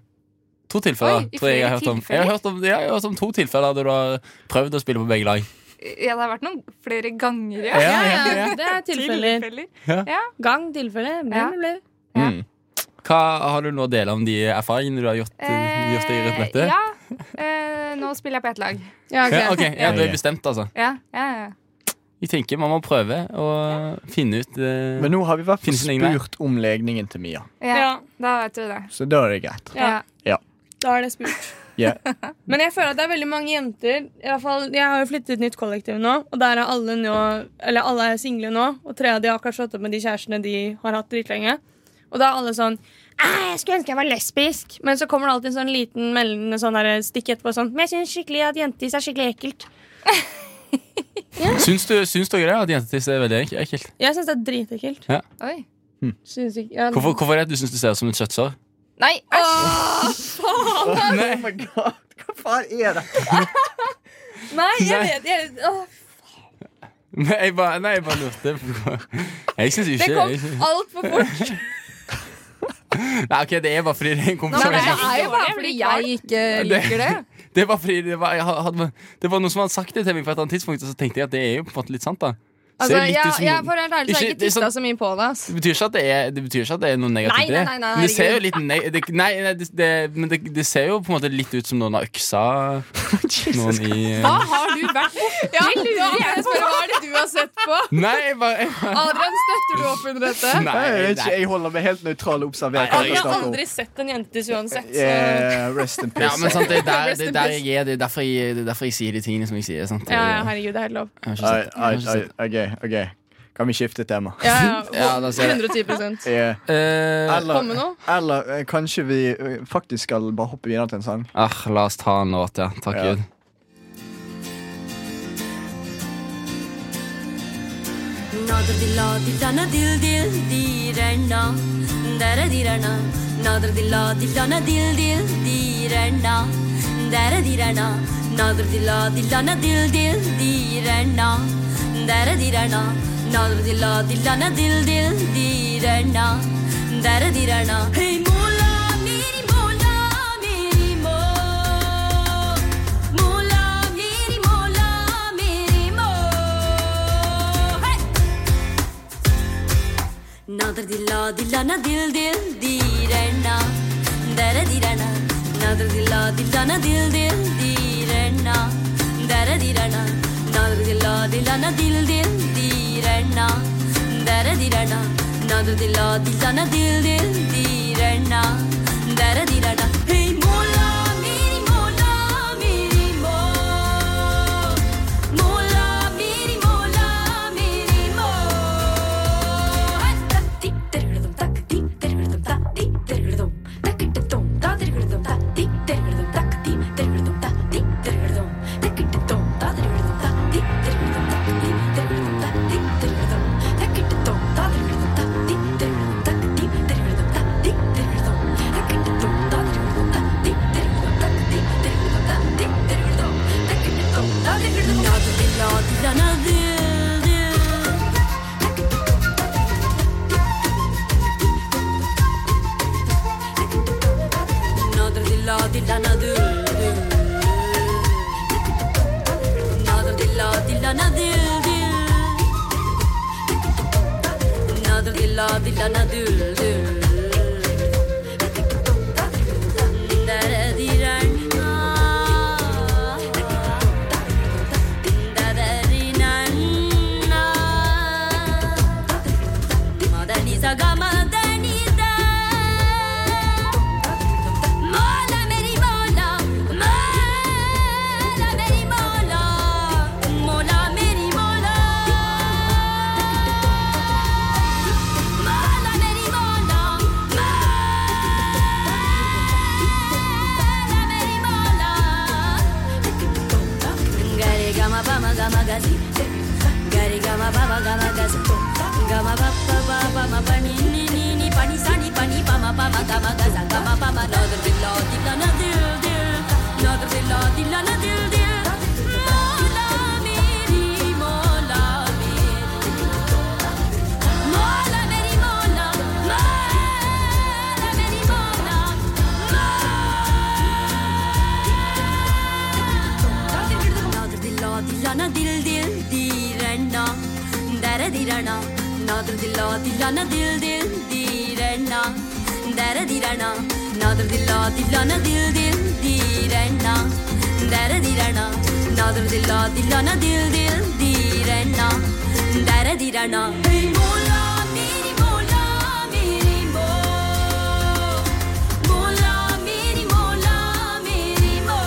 [SPEAKER 1] To tilfeller
[SPEAKER 5] Oi, i
[SPEAKER 1] tror jeg jeg har
[SPEAKER 5] flere
[SPEAKER 1] hørt om. Jeg har hørt om, ja, jeg har hørt om to tilfeller der du har prøvd å spille på begge lag.
[SPEAKER 5] Ja, det har vært noen flere ganger,
[SPEAKER 1] Ja,
[SPEAKER 5] ja.
[SPEAKER 1] ja, ja.
[SPEAKER 4] Det er tilfeller.
[SPEAKER 5] Tilfeller.
[SPEAKER 4] Gang, tilfelle.
[SPEAKER 5] Ja.
[SPEAKER 4] Ble, ble.
[SPEAKER 2] Mm.
[SPEAKER 1] Hva har du nå å dele om de erfaringene du har gjort, eh, gjort deg i
[SPEAKER 5] Eh,
[SPEAKER 1] Rødblettet?
[SPEAKER 5] ja. Eh, nå spiller jeg på ett lag.
[SPEAKER 4] Ja, ok.
[SPEAKER 1] Ja, ok, ja, du er bestemt, altså.
[SPEAKER 5] Ja, ja, ja.
[SPEAKER 1] Jeg tenker Man må prøve å finne ut eh,
[SPEAKER 2] Men nå har vi vært
[SPEAKER 1] Finnes det ingen
[SPEAKER 2] spurt om legningen til Mia,
[SPEAKER 5] ja.
[SPEAKER 4] Ja.
[SPEAKER 5] Da vet du det.
[SPEAKER 2] så da er det greit.
[SPEAKER 4] Ja.
[SPEAKER 5] Ja.
[SPEAKER 4] Da er det spurt.
[SPEAKER 2] Ja.
[SPEAKER 4] Men jeg føler at det er veldig mange jenter i hvert fall, Jeg har jo flyttet nytt kollektiv nå, og der er alle nå Eller alle er single nå, og tre av de har akkurat slått opp med de kjærestene de har hatt dritlenge. Og da er alle sånn «Æ, jeg skulle ønske jeg var lesbisk. Men så kommer det alltid en sånn liten meldende sånn der, stikk etterpå sånn Men jeg syns skikkelig at jentetiss er skikkelig ekkelt.
[SPEAKER 1] Syns, du, syns dere det? At jentetiss er veldig ek- ekkelt?
[SPEAKER 4] Jeg syns det er dritekkelt.
[SPEAKER 5] Oi.
[SPEAKER 4] Syns ikke ja.
[SPEAKER 1] Hvorfor, hvorfor er det du syns du ser ut som et kjøttsår?
[SPEAKER 5] Nei, æsj!
[SPEAKER 2] Oh my god, hva faen er det?
[SPEAKER 4] Nei, jeg
[SPEAKER 1] Nei.
[SPEAKER 4] vet jeg, åh,
[SPEAKER 1] Nei, jeg bare, nei, jeg bare lurte på Jeg syns ikke
[SPEAKER 4] Det kom
[SPEAKER 1] jeg synes-
[SPEAKER 4] altfor fort.
[SPEAKER 1] Nei, ok, Det er bare fordi det er en kompis
[SPEAKER 5] Nei,
[SPEAKER 1] av
[SPEAKER 5] men
[SPEAKER 1] meg.
[SPEAKER 5] det er jo bare fordi jeg
[SPEAKER 4] ikke
[SPEAKER 1] liker Det var fordi det var, jeg hadde, det var noen som hadde sagt det til meg på et eller annet tidspunkt, og så tenkte jeg at det er jo på en måte litt sant, da. Ser
[SPEAKER 4] Altså,
[SPEAKER 1] litt
[SPEAKER 4] jeg,
[SPEAKER 1] ut som-
[SPEAKER 4] jeg, for helt ærlig, så har jeg
[SPEAKER 1] Ikke- det
[SPEAKER 4] ikke
[SPEAKER 1] er
[SPEAKER 4] tista
[SPEAKER 1] sånn-
[SPEAKER 4] så mye på det. ass.
[SPEAKER 1] det betyr ikke at det er, det betyr ikke at det er noe negativt i
[SPEAKER 4] Nei,
[SPEAKER 1] det.
[SPEAKER 4] nei, nei, nei,
[SPEAKER 1] Men det ser jo
[SPEAKER 4] herregud.
[SPEAKER 1] litt ne det, Nei, nei det, det, men det, det ser jo på en måte litt ut som noen har
[SPEAKER 4] *laughs*
[SPEAKER 1] øksa noen i
[SPEAKER 5] Hva har du vært borti?
[SPEAKER 4] Ja, da må jeg spørre, Hva er det du har sett *laughs* på?
[SPEAKER 1] Nei, jeg bare, jeg bare
[SPEAKER 4] Adrian, støtter du opp under dette?
[SPEAKER 1] Nei,
[SPEAKER 2] Jeg, vet ikke,
[SPEAKER 1] nei.
[SPEAKER 2] jeg holder meg helt nøytral og observerer. hva
[SPEAKER 4] Adrian
[SPEAKER 2] dere
[SPEAKER 4] har
[SPEAKER 2] snakker om.
[SPEAKER 4] aldri sett en jentetiss uansett. Så.
[SPEAKER 2] Yeah, rest in
[SPEAKER 1] Ja,
[SPEAKER 2] peace.
[SPEAKER 1] men sånn- sant, det, er der,
[SPEAKER 4] Rest
[SPEAKER 1] det,
[SPEAKER 4] in
[SPEAKER 1] er der
[SPEAKER 4] peace.
[SPEAKER 1] jeg er, det er derfor jeg, det er derfor jeg sier de tingene som jeg sier. Sant?
[SPEAKER 4] Ja, ja, herregud, det er helt lov.
[SPEAKER 1] Jeg har ikke
[SPEAKER 2] Ai,
[SPEAKER 1] sett det. Jeg har
[SPEAKER 2] ai,
[SPEAKER 1] ikke
[SPEAKER 2] ai,
[SPEAKER 1] sett det.
[SPEAKER 2] ok, ok. Kan vi skifte tema?
[SPEAKER 4] Ja, ja,
[SPEAKER 1] *laughs* Ja, da ser jeg.
[SPEAKER 4] 110
[SPEAKER 2] Eh,
[SPEAKER 1] Eh,
[SPEAKER 4] Kom med
[SPEAKER 2] Eller,
[SPEAKER 4] noe.
[SPEAKER 2] eller eh, kanskje vi eh, faktisk skal bare hoppe videre til en sang?
[SPEAKER 1] ah, la oss ta en låt, ja. Takk
[SPEAKER 2] Ja.
[SPEAKER 1] Gud.
[SPEAKER 6] ನಾದರದಿಲ್ಲ ದಿಡ್ಡನ ದಿಲ್ ದಿಲ್ ದೀರಣ್ಣ ದರದಿರಣ ನಾದರದಿಲ್ಲ ದಿಡ್ಡನ ದಿಲ್ ದಿಲ್ ದೀರಣ್ಣ ದರದಿರಣ ನಾದರದಿಲ್ಲ ದಿಡ್ಡನ ದಿಲ್ ದಿಲ್ ದೀರಣ್ಣ ದರದಿರಣ ನಾದರದಿಲ್ಲ ದಿಡ್ಡನ ದಿಲ್ ದಿಲ್ ದೀರಣ್ಣ ದರದಿರಣ ಹೇ ಮೋಲಾ ಮೇರಿ ಮೋಲಾ ಮೇರಿ ಮೋ ಮೋಲಾ ಮೇರಿ ಮೋಲಾ ಮೇರಿ ಮೋ ಹೇ ನಾದರದಿಲ್ಲ ದಿಲ್ಲ ನ ದಿಲ್ ದಿಲ್ ದೀರಣ್ಣ ದರದಿರಣ ದಿಲ್ಲ ದಿಲ್ ದಿಲ್ ದೀರಣ್ಣ ದರ ದಿರಣ ನಾದ್ರ ದಿಲ್ಲ ದಿಲ್ಲನ ದಿಲ್ ದಿಲ್ ದೀರಣ್ಣ ದರ ದಿರಣ ನಾದ್ರ ದಿಲ್ಲ ದಿಲ್ಲನ ದಿಲ್ ದಿಲ್ ದೀರಣ್ಣ ದರ ದಿರಣ ಹೇ ಮೋಲಾ ಮೇರಿ ಮೋಲಾ ಮೇರಿ ಮೋ ಮೋಲಾ ಮೇರಿ ಮೋಲಾ ಮೇರಿ ಮೋ ತತ್ತಿ ತೆರಳಿದಂ ತಕ್ ತಿ ತೆರಳಿದಂ ತಕ್ ತಿ ತೆರಳಿದಂ ತಕ್ಕಿಟ್ಟತೋಂ ತಾ ತೆರಳಿದಂ ತಕ್ ತಿ ತೆರಳಿದಂ ತಕ್ ತಿ ತೆರಳಿದಂ ತಕ್ ತಿ ತೆರಳಿದಂ ತಕ್ಕಿಟ್ಟತೋಂ ತಾ ತೆರಳಿದಂ ತಕ್ ತಿ ತೆರಳಿದಂ ತಕ್ ತಿ ತೆರಳಿದಂ ತಕ್ ತಿ ತೆರಳಿದಂ ತಕ್ಕಿಟ್ಟತೋಂ ತಾ ತೆರಳಿದಂ ತಕ್ ತಿ ತೆರಳಿದಂ ತಕ್ ತಿ ತೆರಳಿದಂ ತಕ್ ತಿ ತೆರಳಿದಂ ತಕ್ಕಿಟ್ಟತೋಂ ತಾ ತೆರಳಿದಂ ತಕ್ ತಿ ತೆರಳಿದಂ ತಕ್ ತಿ ತೆರಳಿದಂ ತಕ್ ತಿ ತೆರಳಿದಂ ತಕ್ಕಿಟ್ಟತೋಂ ತಾ ತೆರಳಿದಂ ನಾದಿಲ್ಲ ದಿಲನದಿಲ್ Nader dilla dilla nadur Nader dilla dilla nadur Nader dilla dilla nadur Daradiran Ah. Dadarinan Madani sagamadani da Mola meri mola, mola meri mola, mola meri mola. Mola meri mola, mola meri mola. Gare gama bama gama gazi, gare gama bama gama gazi, gama bappa bama pani ni ni ni pani sani pani bama bama gama gaza gama bama nader billa dilla na dil dil nader billa dilla na dil dil. Mola meri mola meri, mola meri mola, mola meri mola, mola. நாதர் தில்லா தில்லான தில் தில் தீரண்ணா தர திரணா நாதர் தில்லா தில்லான தில் தில் தீரண்ணா தர திரணா நாதர் தில்லா தில்லான தில் தில் தீரண்ணா தர திரணா நாதர் தில்லா தில்லான தில் தில் தீரண்ணா தர திரணா மோலா மேரி மோலா மேரி மோ மோலா மேரி மோலா மேரி மோ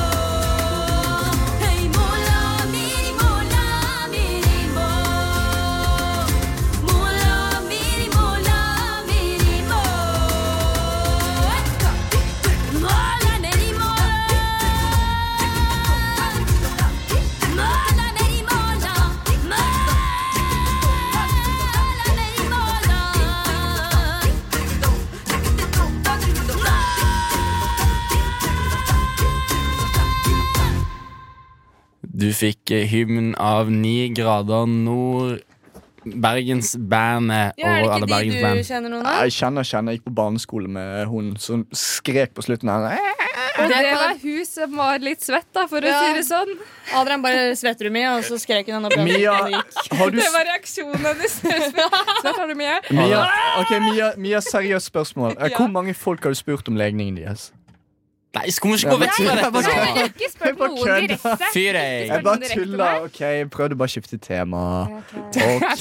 [SPEAKER 6] Hey mola meri mola meri mo Mola meri mola meri mo Mola meri mola Mola meri mola Mola meri mola
[SPEAKER 1] Du fikk eh, hymn av Ni grader nord. eh, Bergensbandet
[SPEAKER 4] Ja,
[SPEAKER 1] og
[SPEAKER 4] er
[SPEAKER 1] alle
[SPEAKER 4] det ikke de du
[SPEAKER 1] Bergensband.
[SPEAKER 4] kjenner noen av?
[SPEAKER 2] Jeg kjenner, kjenner. Jeg gikk på barneskole med hun som skrek på slutten her. «Eh!»
[SPEAKER 4] Det
[SPEAKER 5] Det
[SPEAKER 4] kan-
[SPEAKER 5] var hun som var litt svett, da, for
[SPEAKER 4] Ja.
[SPEAKER 5] å si det sånn.
[SPEAKER 4] Adrian bare svetter du mye, og så skrek hun han opp igjen.
[SPEAKER 2] Mia,
[SPEAKER 4] Og det gikk.
[SPEAKER 2] har du
[SPEAKER 5] Det var reaksjonen *laughs* hennes. Snart har du mye.
[SPEAKER 2] Mia, ok, Mia, Mia seriøst spørsmål. Eh, Hvor mange folk har du spurt om legningen deres?
[SPEAKER 1] Nei, skal vi ikke gå vekk fra
[SPEAKER 2] Jeg bare
[SPEAKER 1] dette? nå?
[SPEAKER 2] kødder.
[SPEAKER 5] Ikke
[SPEAKER 2] Jeg
[SPEAKER 5] spør
[SPEAKER 2] bare
[SPEAKER 5] noen
[SPEAKER 2] kødder.
[SPEAKER 5] direkte.
[SPEAKER 1] Fyr deg.
[SPEAKER 2] Jeg
[SPEAKER 5] Spør
[SPEAKER 2] bare
[SPEAKER 5] noen direkte
[SPEAKER 2] tuller. Ok, Jeg prøvde bare å skifte tema. Ok,
[SPEAKER 5] Tema?
[SPEAKER 1] Jeg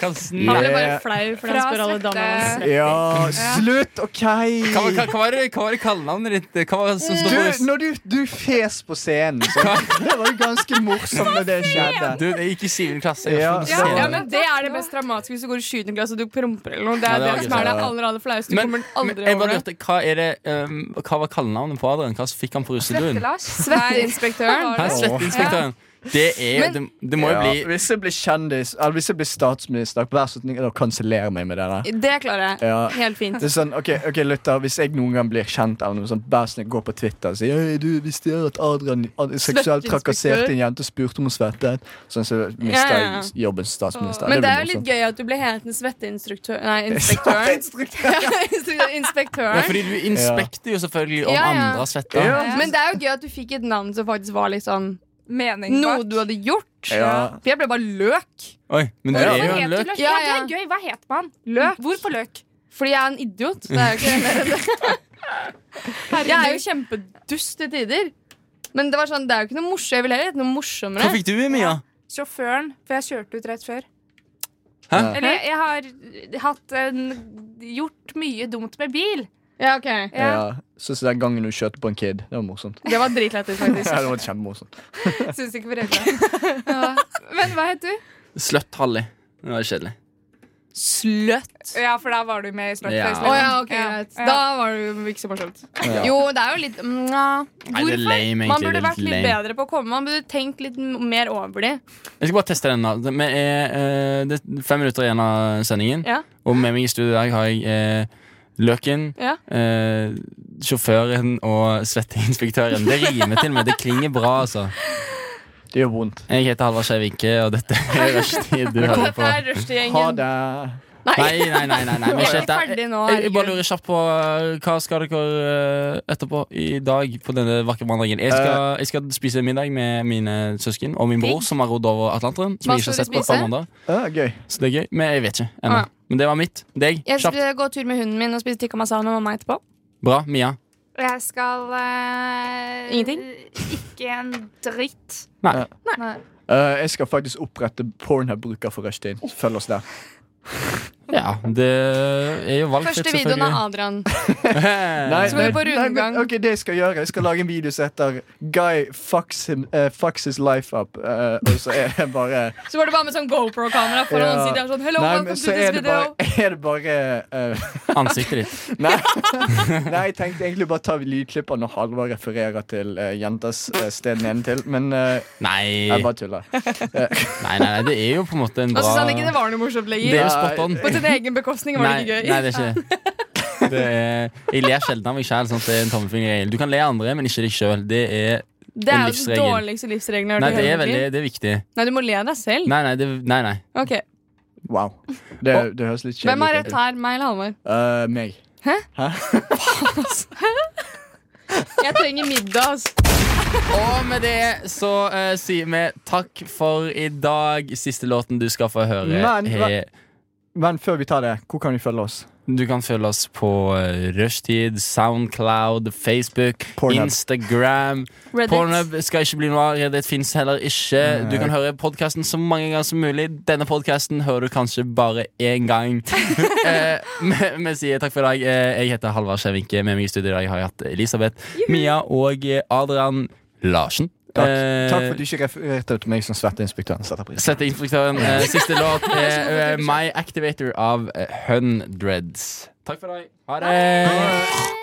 [SPEAKER 1] kan sn-
[SPEAKER 4] Han ble
[SPEAKER 2] Ja.
[SPEAKER 4] bare flau, for
[SPEAKER 5] Fra
[SPEAKER 4] han spør alle
[SPEAKER 5] svette-
[SPEAKER 4] damene hans.
[SPEAKER 2] Ja, slutt! OK!
[SPEAKER 1] Hva, hva, hva var det hva var det kallenavnet ditt? Hva var det som stod på
[SPEAKER 2] Du, når du, du fes på scenen, så *laughs* det var jo ganske morsomt når det skjedde.
[SPEAKER 1] Du, jeg gikk i 7. klasse. Jeg
[SPEAKER 2] Ja.
[SPEAKER 1] har ikke
[SPEAKER 4] Ja,
[SPEAKER 1] fått se
[SPEAKER 4] ja,
[SPEAKER 1] det.
[SPEAKER 4] men Det er det mest dramatiske hvis du går i 7. klasse og du promper eller noe. Det
[SPEAKER 1] Ja,
[SPEAKER 4] er
[SPEAKER 1] det er
[SPEAKER 4] det som er det
[SPEAKER 2] akkurat det.
[SPEAKER 4] aller aller flaueste. Du
[SPEAKER 1] Men,
[SPEAKER 4] kommer
[SPEAKER 1] men
[SPEAKER 4] aldri
[SPEAKER 1] jeg bare
[SPEAKER 4] over det.
[SPEAKER 1] lurte, hva, er det, ehm, hva var kallenavnet på Adrian? Hva fikk han på russeluen?
[SPEAKER 5] Lars.
[SPEAKER 4] Svetteinspektøren.
[SPEAKER 1] Hæ, Svetteinspektøren. Det, er, det, det må jo
[SPEAKER 2] Ja,
[SPEAKER 1] bli
[SPEAKER 2] Hvis jeg blir kjendis, eller hvis jeg blir statsminister, vær så snill å kansellere meg med det der.
[SPEAKER 4] Det klarer jeg.
[SPEAKER 2] Ja.
[SPEAKER 4] Helt fint.
[SPEAKER 2] Det er sånn, ok, ok, lytter, Hvis jeg noen gang blir kjent, eller noe sånt, vær så snill, gå på Twitter og si «Hei, du, visste dere at Adrian ad- seksuelt
[SPEAKER 4] Svetteinspektør.
[SPEAKER 2] trakasserte en jente og spurte om hun svettet? Sånn så mister
[SPEAKER 4] Ja, ja,
[SPEAKER 2] jeg jobben som statsminister.
[SPEAKER 4] Men det er jo
[SPEAKER 2] blir
[SPEAKER 4] litt gøy at du ble hetende svetteinstruktør Nei,
[SPEAKER 2] *laughs*
[SPEAKER 4] inspektøren. Instruktøren.
[SPEAKER 1] ja,
[SPEAKER 4] *laughs* Inspektøren.
[SPEAKER 1] Fordi du inspekter jo selvfølgelig om
[SPEAKER 4] Ja, ja.
[SPEAKER 1] andre svetter.
[SPEAKER 2] Ja.
[SPEAKER 4] Men det er jo gøy at du fikk et navn som faktisk var litt sånn
[SPEAKER 5] Mening
[SPEAKER 4] noe
[SPEAKER 5] bak.
[SPEAKER 4] du hadde gjort.
[SPEAKER 2] Ja.
[SPEAKER 4] For jeg ble bare løk.
[SPEAKER 1] Oi, men du
[SPEAKER 5] Hva
[SPEAKER 1] er jo
[SPEAKER 5] heter
[SPEAKER 1] en løk.
[SPEAKER 5] Lars?
[SPEAKER 4] Ja,
[SPEAKER 5] Ja,
[SPEAKER 4] ja.
[SPEAKER 5] det er gøy. Hva heter man?
[SPEAKER 4] Løk.
[SPEAKER 5] Hvorfor løk?
[SPEAKER 4] Fordi jeg er en idiot. Det er jo ikke mer enn det. Jeg er jo kjempedust til tider. Men det var sånn, det er jo ikke noe morsomt. Jeg vil heller hete noe
[SPEAKER 1] Hva
[SPEAKER 4] morsommere.
[SPEAKER 1] fikk du, Mia?
[SPEAKER 5] Sjåføren, for jeg kjørte ut rett før.
[SPEAKER 1] Hæ?
[SPEAKER 5] Eller jeg har hatt en, gjort mye dumt med bil.
[SPEAKER 4] Ja, ok
[SPEAKER 5] Ja.
[SPEAKER 2] Ja, Sånn som den gangen du kjørte på en kid. Det var morsomt.
[SPEAKER 4] Det var dritlættis, faktisk.
[SPEAKER 2] Ja, *laughs* det var kjempemorsomt.
[SPEAKER 5] Syns ikke foreldra. *laughs*
[SPEAKER 4] Men hva heter du?
[SPEAKER 1] Sløtt Halli. Det var kjedelig.
[SPEAKER 4] Sløtt.
[SPEAKER 5] Ja, for da var du med i
[SPEAKER 1] Ja.
[SPEAKER 5] Slutface.
[SPEAKER 4] Å ja, ok,
[SPEAKER 5] Ja.
[SPEAKER 4] greit.
[SPEAKER 5] Ja.
[SPEAKER 4] Da var det jo ikke så morsomt.
[SPEAKER 2] Ja.
[SPEAKER 4] Jo, det er jo litt mm, ja.
[SPEAKER 1] Nei, det er
[SPEAKER 4] Hvorfor?
[SPEAKER 1] lame, egentlig.
[SPEAKER 4] Man
[SPEAKER 1] Det
[SPEAKER 4] burde
[SPEAKER 1] er
[SPEAKER 4] vært litt
[SPEAKER 1] lame.
[SPEAKER 4] bedre på å komme. Man burde tenkt litt m- mer over det.
[SPEAKER 1] Jeg skal bare teste den. da Det- Vi er, eh, det er fem minutter igjen av sendingen.
[SPEAKER 4] Ja.
[SPEAKER 1] Og med meg i studio i dag har jeg eh, Løken,
[SPEAKER 4] Ja.
[SPEAKER 1] eh, sjåføren og svetteinspektøren. Det rimer til og med. Det klinger bra, altså.
[SPEAKER 2] Det gjør vondt.
[SPEAKER 1] Jeg heter Halvard Skei Vinke, og dette er Rushtid du
[SPEAKER 4] *laughs*
[SPEAKER 1] hører på.
[SPEAKER 4] Dette er
[SPEAKER 2] Ha
[SPEAKER 4] rushtid-gjengen.
[SPEAKER 2] det.
[SPEAKER 1] Nei, nei, nei. nei, nei.
[SPEAKER 4] Vi
[SPEAKER 1] vi er
[SPEAKER 4] er
[SPEAKER 1] ikke
[SPEAKER 4] ikke
[SPEAKER 1] der.
[SPEAKER 4] ferdig nå.
[SPEAKER 1] Jeg, jeg bare
[SPEAKER 4] herregud.
[SPEAKER 1] lurer kjapt på eh, hva skal dere eh, etterpå i dag på denne vakre mandagen. Jeg
[SPEAKER 2] Eh.
[SPEAKER 1] skal, jeg skal spise middag med mine søsken og min bror, som har rodd over Atlanteren. Som
[SPEAKER 4] Hva
[SPEAKER 1] jeg ikke har
[SPEAKER 4] skal
[SPEAKER 1] sett
[SPEAKER 4] du
[SPEAKER 1] på et par
[SPEAKER 4] spise?
[SPEAKER 1] måneder.
[SPEAKER 2] Ja, gøy.
[SPEAKER 1] Så det er gøy. Men jeg vet ikke ennå.
[SPEAKER 4] Ah.
[SPEAKER 1] Men det var mitt. Deg.
[SPEAKER 4] Jeg
[SPEAKER 1] Kjapt.
[SPEAKER 4] skal gå tur med hunden min og spise tikka masala med mamma etterpå.
[SPEAKER 1] Bra. Mia.
[SPEAKER 5] Jeg skal eh,
[SPEAKER 4] Ingenting?
[SPEAKER 5] Ikke en dritt.
[SPEAKER 1] Nei.
[SPEAKER 5] Nei.
[SPEAKER 2] Eh, jeg skal faktisk opprette Pornhub-bruker for rushtid. Følg oss der.
[SPEAKER 1] Ja, det er jo valgfritt,
[SPEAKER 4] Første videoen av Adrian.
[SPEAKER 2] Nei,
[SPEAKER 4] Eh, Skal vi på rundegang?
[SPEAKER 2] men- ok, det jeg skal gjøre Jeg skal lage en video som heter Guy fucks, him, eh, fucks his life up. eh, og så er jeg
[SPEAKER 4] *laughs*
[SPEAKER 2] bare
[SPEAKER 4] Så var det bare med sånn GoPro-kamera foran
[SPEAKER 2] Ja.
[SPEAKER 4] ansiktet. og Sånn, Hello,
[SPEAKER 2] Nei,
[SPEAKER 4] welcome
[SPEAKER 2] men
[SPEAKER 4] to
[SPEAKER 2] så er
[SPEAKER 4] this
[SPEAKER 2] det
[SPEAKER 4] video.
[SPEAKER 2] bare, *laughs* er det bare eh,
[SPEAKER 1] *laughs* Ansiktet ditt.
[SPEAKER 2] nei,
[SPEAKER 4] *laughs*
[SPEAKER 2] nei, jeg tenkte egentlig bare ta lydklipper når Halvard refererer til eh, jentas eh, sted nedentil, men eh,
[SPEAKER 1] Nei.
[SPEAKER 2] jeg
[SPEAKER 1] nei,
[SPEAKER 2] bare tuller.
[SPEAKER 1] nei, nei, det er jo på en måte en
[SPEAKER 4] Og
[SPEAKER 1] bra
[SPEAKER 4] så sa han ikke det var noe morsomt
[SPEAKER 1] Det er
[SPEAKER 4] lenger.
[SPEAKER 1] jo spot on.
[SPEAKER 4] På sin egen bekostning var det
[SPEAKER 1] Nei,
[SPEAKER 4] ikke gøy.
[SPEAKER 1] nei, det er ikke
[SPEAKER 4] *laughs*
[SPEAKER 1] det. Det er, jeg ler sjelden av meg sjæl. Sånn at det er en tommelfingerregel. Du kan le av andre, men ikke deg sjøl. Det er
[SPEAKER 4] Det er
[SPEAKER 1] en
[SPEAKER 4] jo den
[SPEAKER 1] livsregel.
[SPEAKER 4] dårligste livsregelen jeg
[SPEAKER 1] Nei,
[SPEAKER 4] har hørt
[SPEAKER 1] det
[SPEAKER 4] i
[SPEAKER 1] er,
[SPEAKER 4] hele mitt
[SPEAKER 1] veldig,
[SPEAKER 4] liv.
[SPEAKER 1] det er viktig.
[SPEAKER 4] Nei, du må le av deg selv.
[SPEAKER 1] Nei, nei, det, nei, nei.
[SPEAKER 4] Ok,
[SPEAKER 2] Wow. Det, det høres litt
[SPEAKER 4] Hvem er
[SPEAKER 2] kjedelig
[SPEAKER 4] rett
[SPEAKER 2] ut.
[SPEAKER 4] her? Meg eller Halvor?
[SPEAKER 2] Eh, meg.
[SPEAKER 4] Jeg trenger middag, ass.
[SPEAKER 1] Og med det så eh, sier vi takk for i dag. Siste låten du skal få høre,
[SPEAKER 2] Men,
[SPEAKER 1] er
[SPEAKER 2] Men før vi tar det, hvor kan vi følge oss?
[SPEAKER 1] Du kan følge oss på eh, Rushtid, Soundcloud, Facebook,
[SPEAKER 2] Pornhub.
[SPEAKER 1] Instagram.
[SPEAKER 4] Reddit.
[SPEAKER 1] Pornhub skal ikke bli noe av. Reddit fins heller ikke. Du kan høre podkasten så mange ganger som mulig. Denne podkasten hører du kanskje bare én gang. *laughs* Eh, Vi vi sier takk for i dag. Eh, Jeg heter Halvard Skjevinke. Med meg i studio i dag har jeg hatt Elisabeth, Mia og eh, Adrian Larsen.
[SPEAKER 2] Takk,
[SPEAKER 1] Eh,
[SPEAKER 2] Takk for at du ikke refererte til meg som svetteinspektøren. Setter pris.
[SPEAKER 1] Sette inspektøren.
[SPEAKER 2] *laughs*
[SPEAKER 1] Eh, siste låt er eh, My Activator av eh, Hundreds. Takk for i dag. Ha det.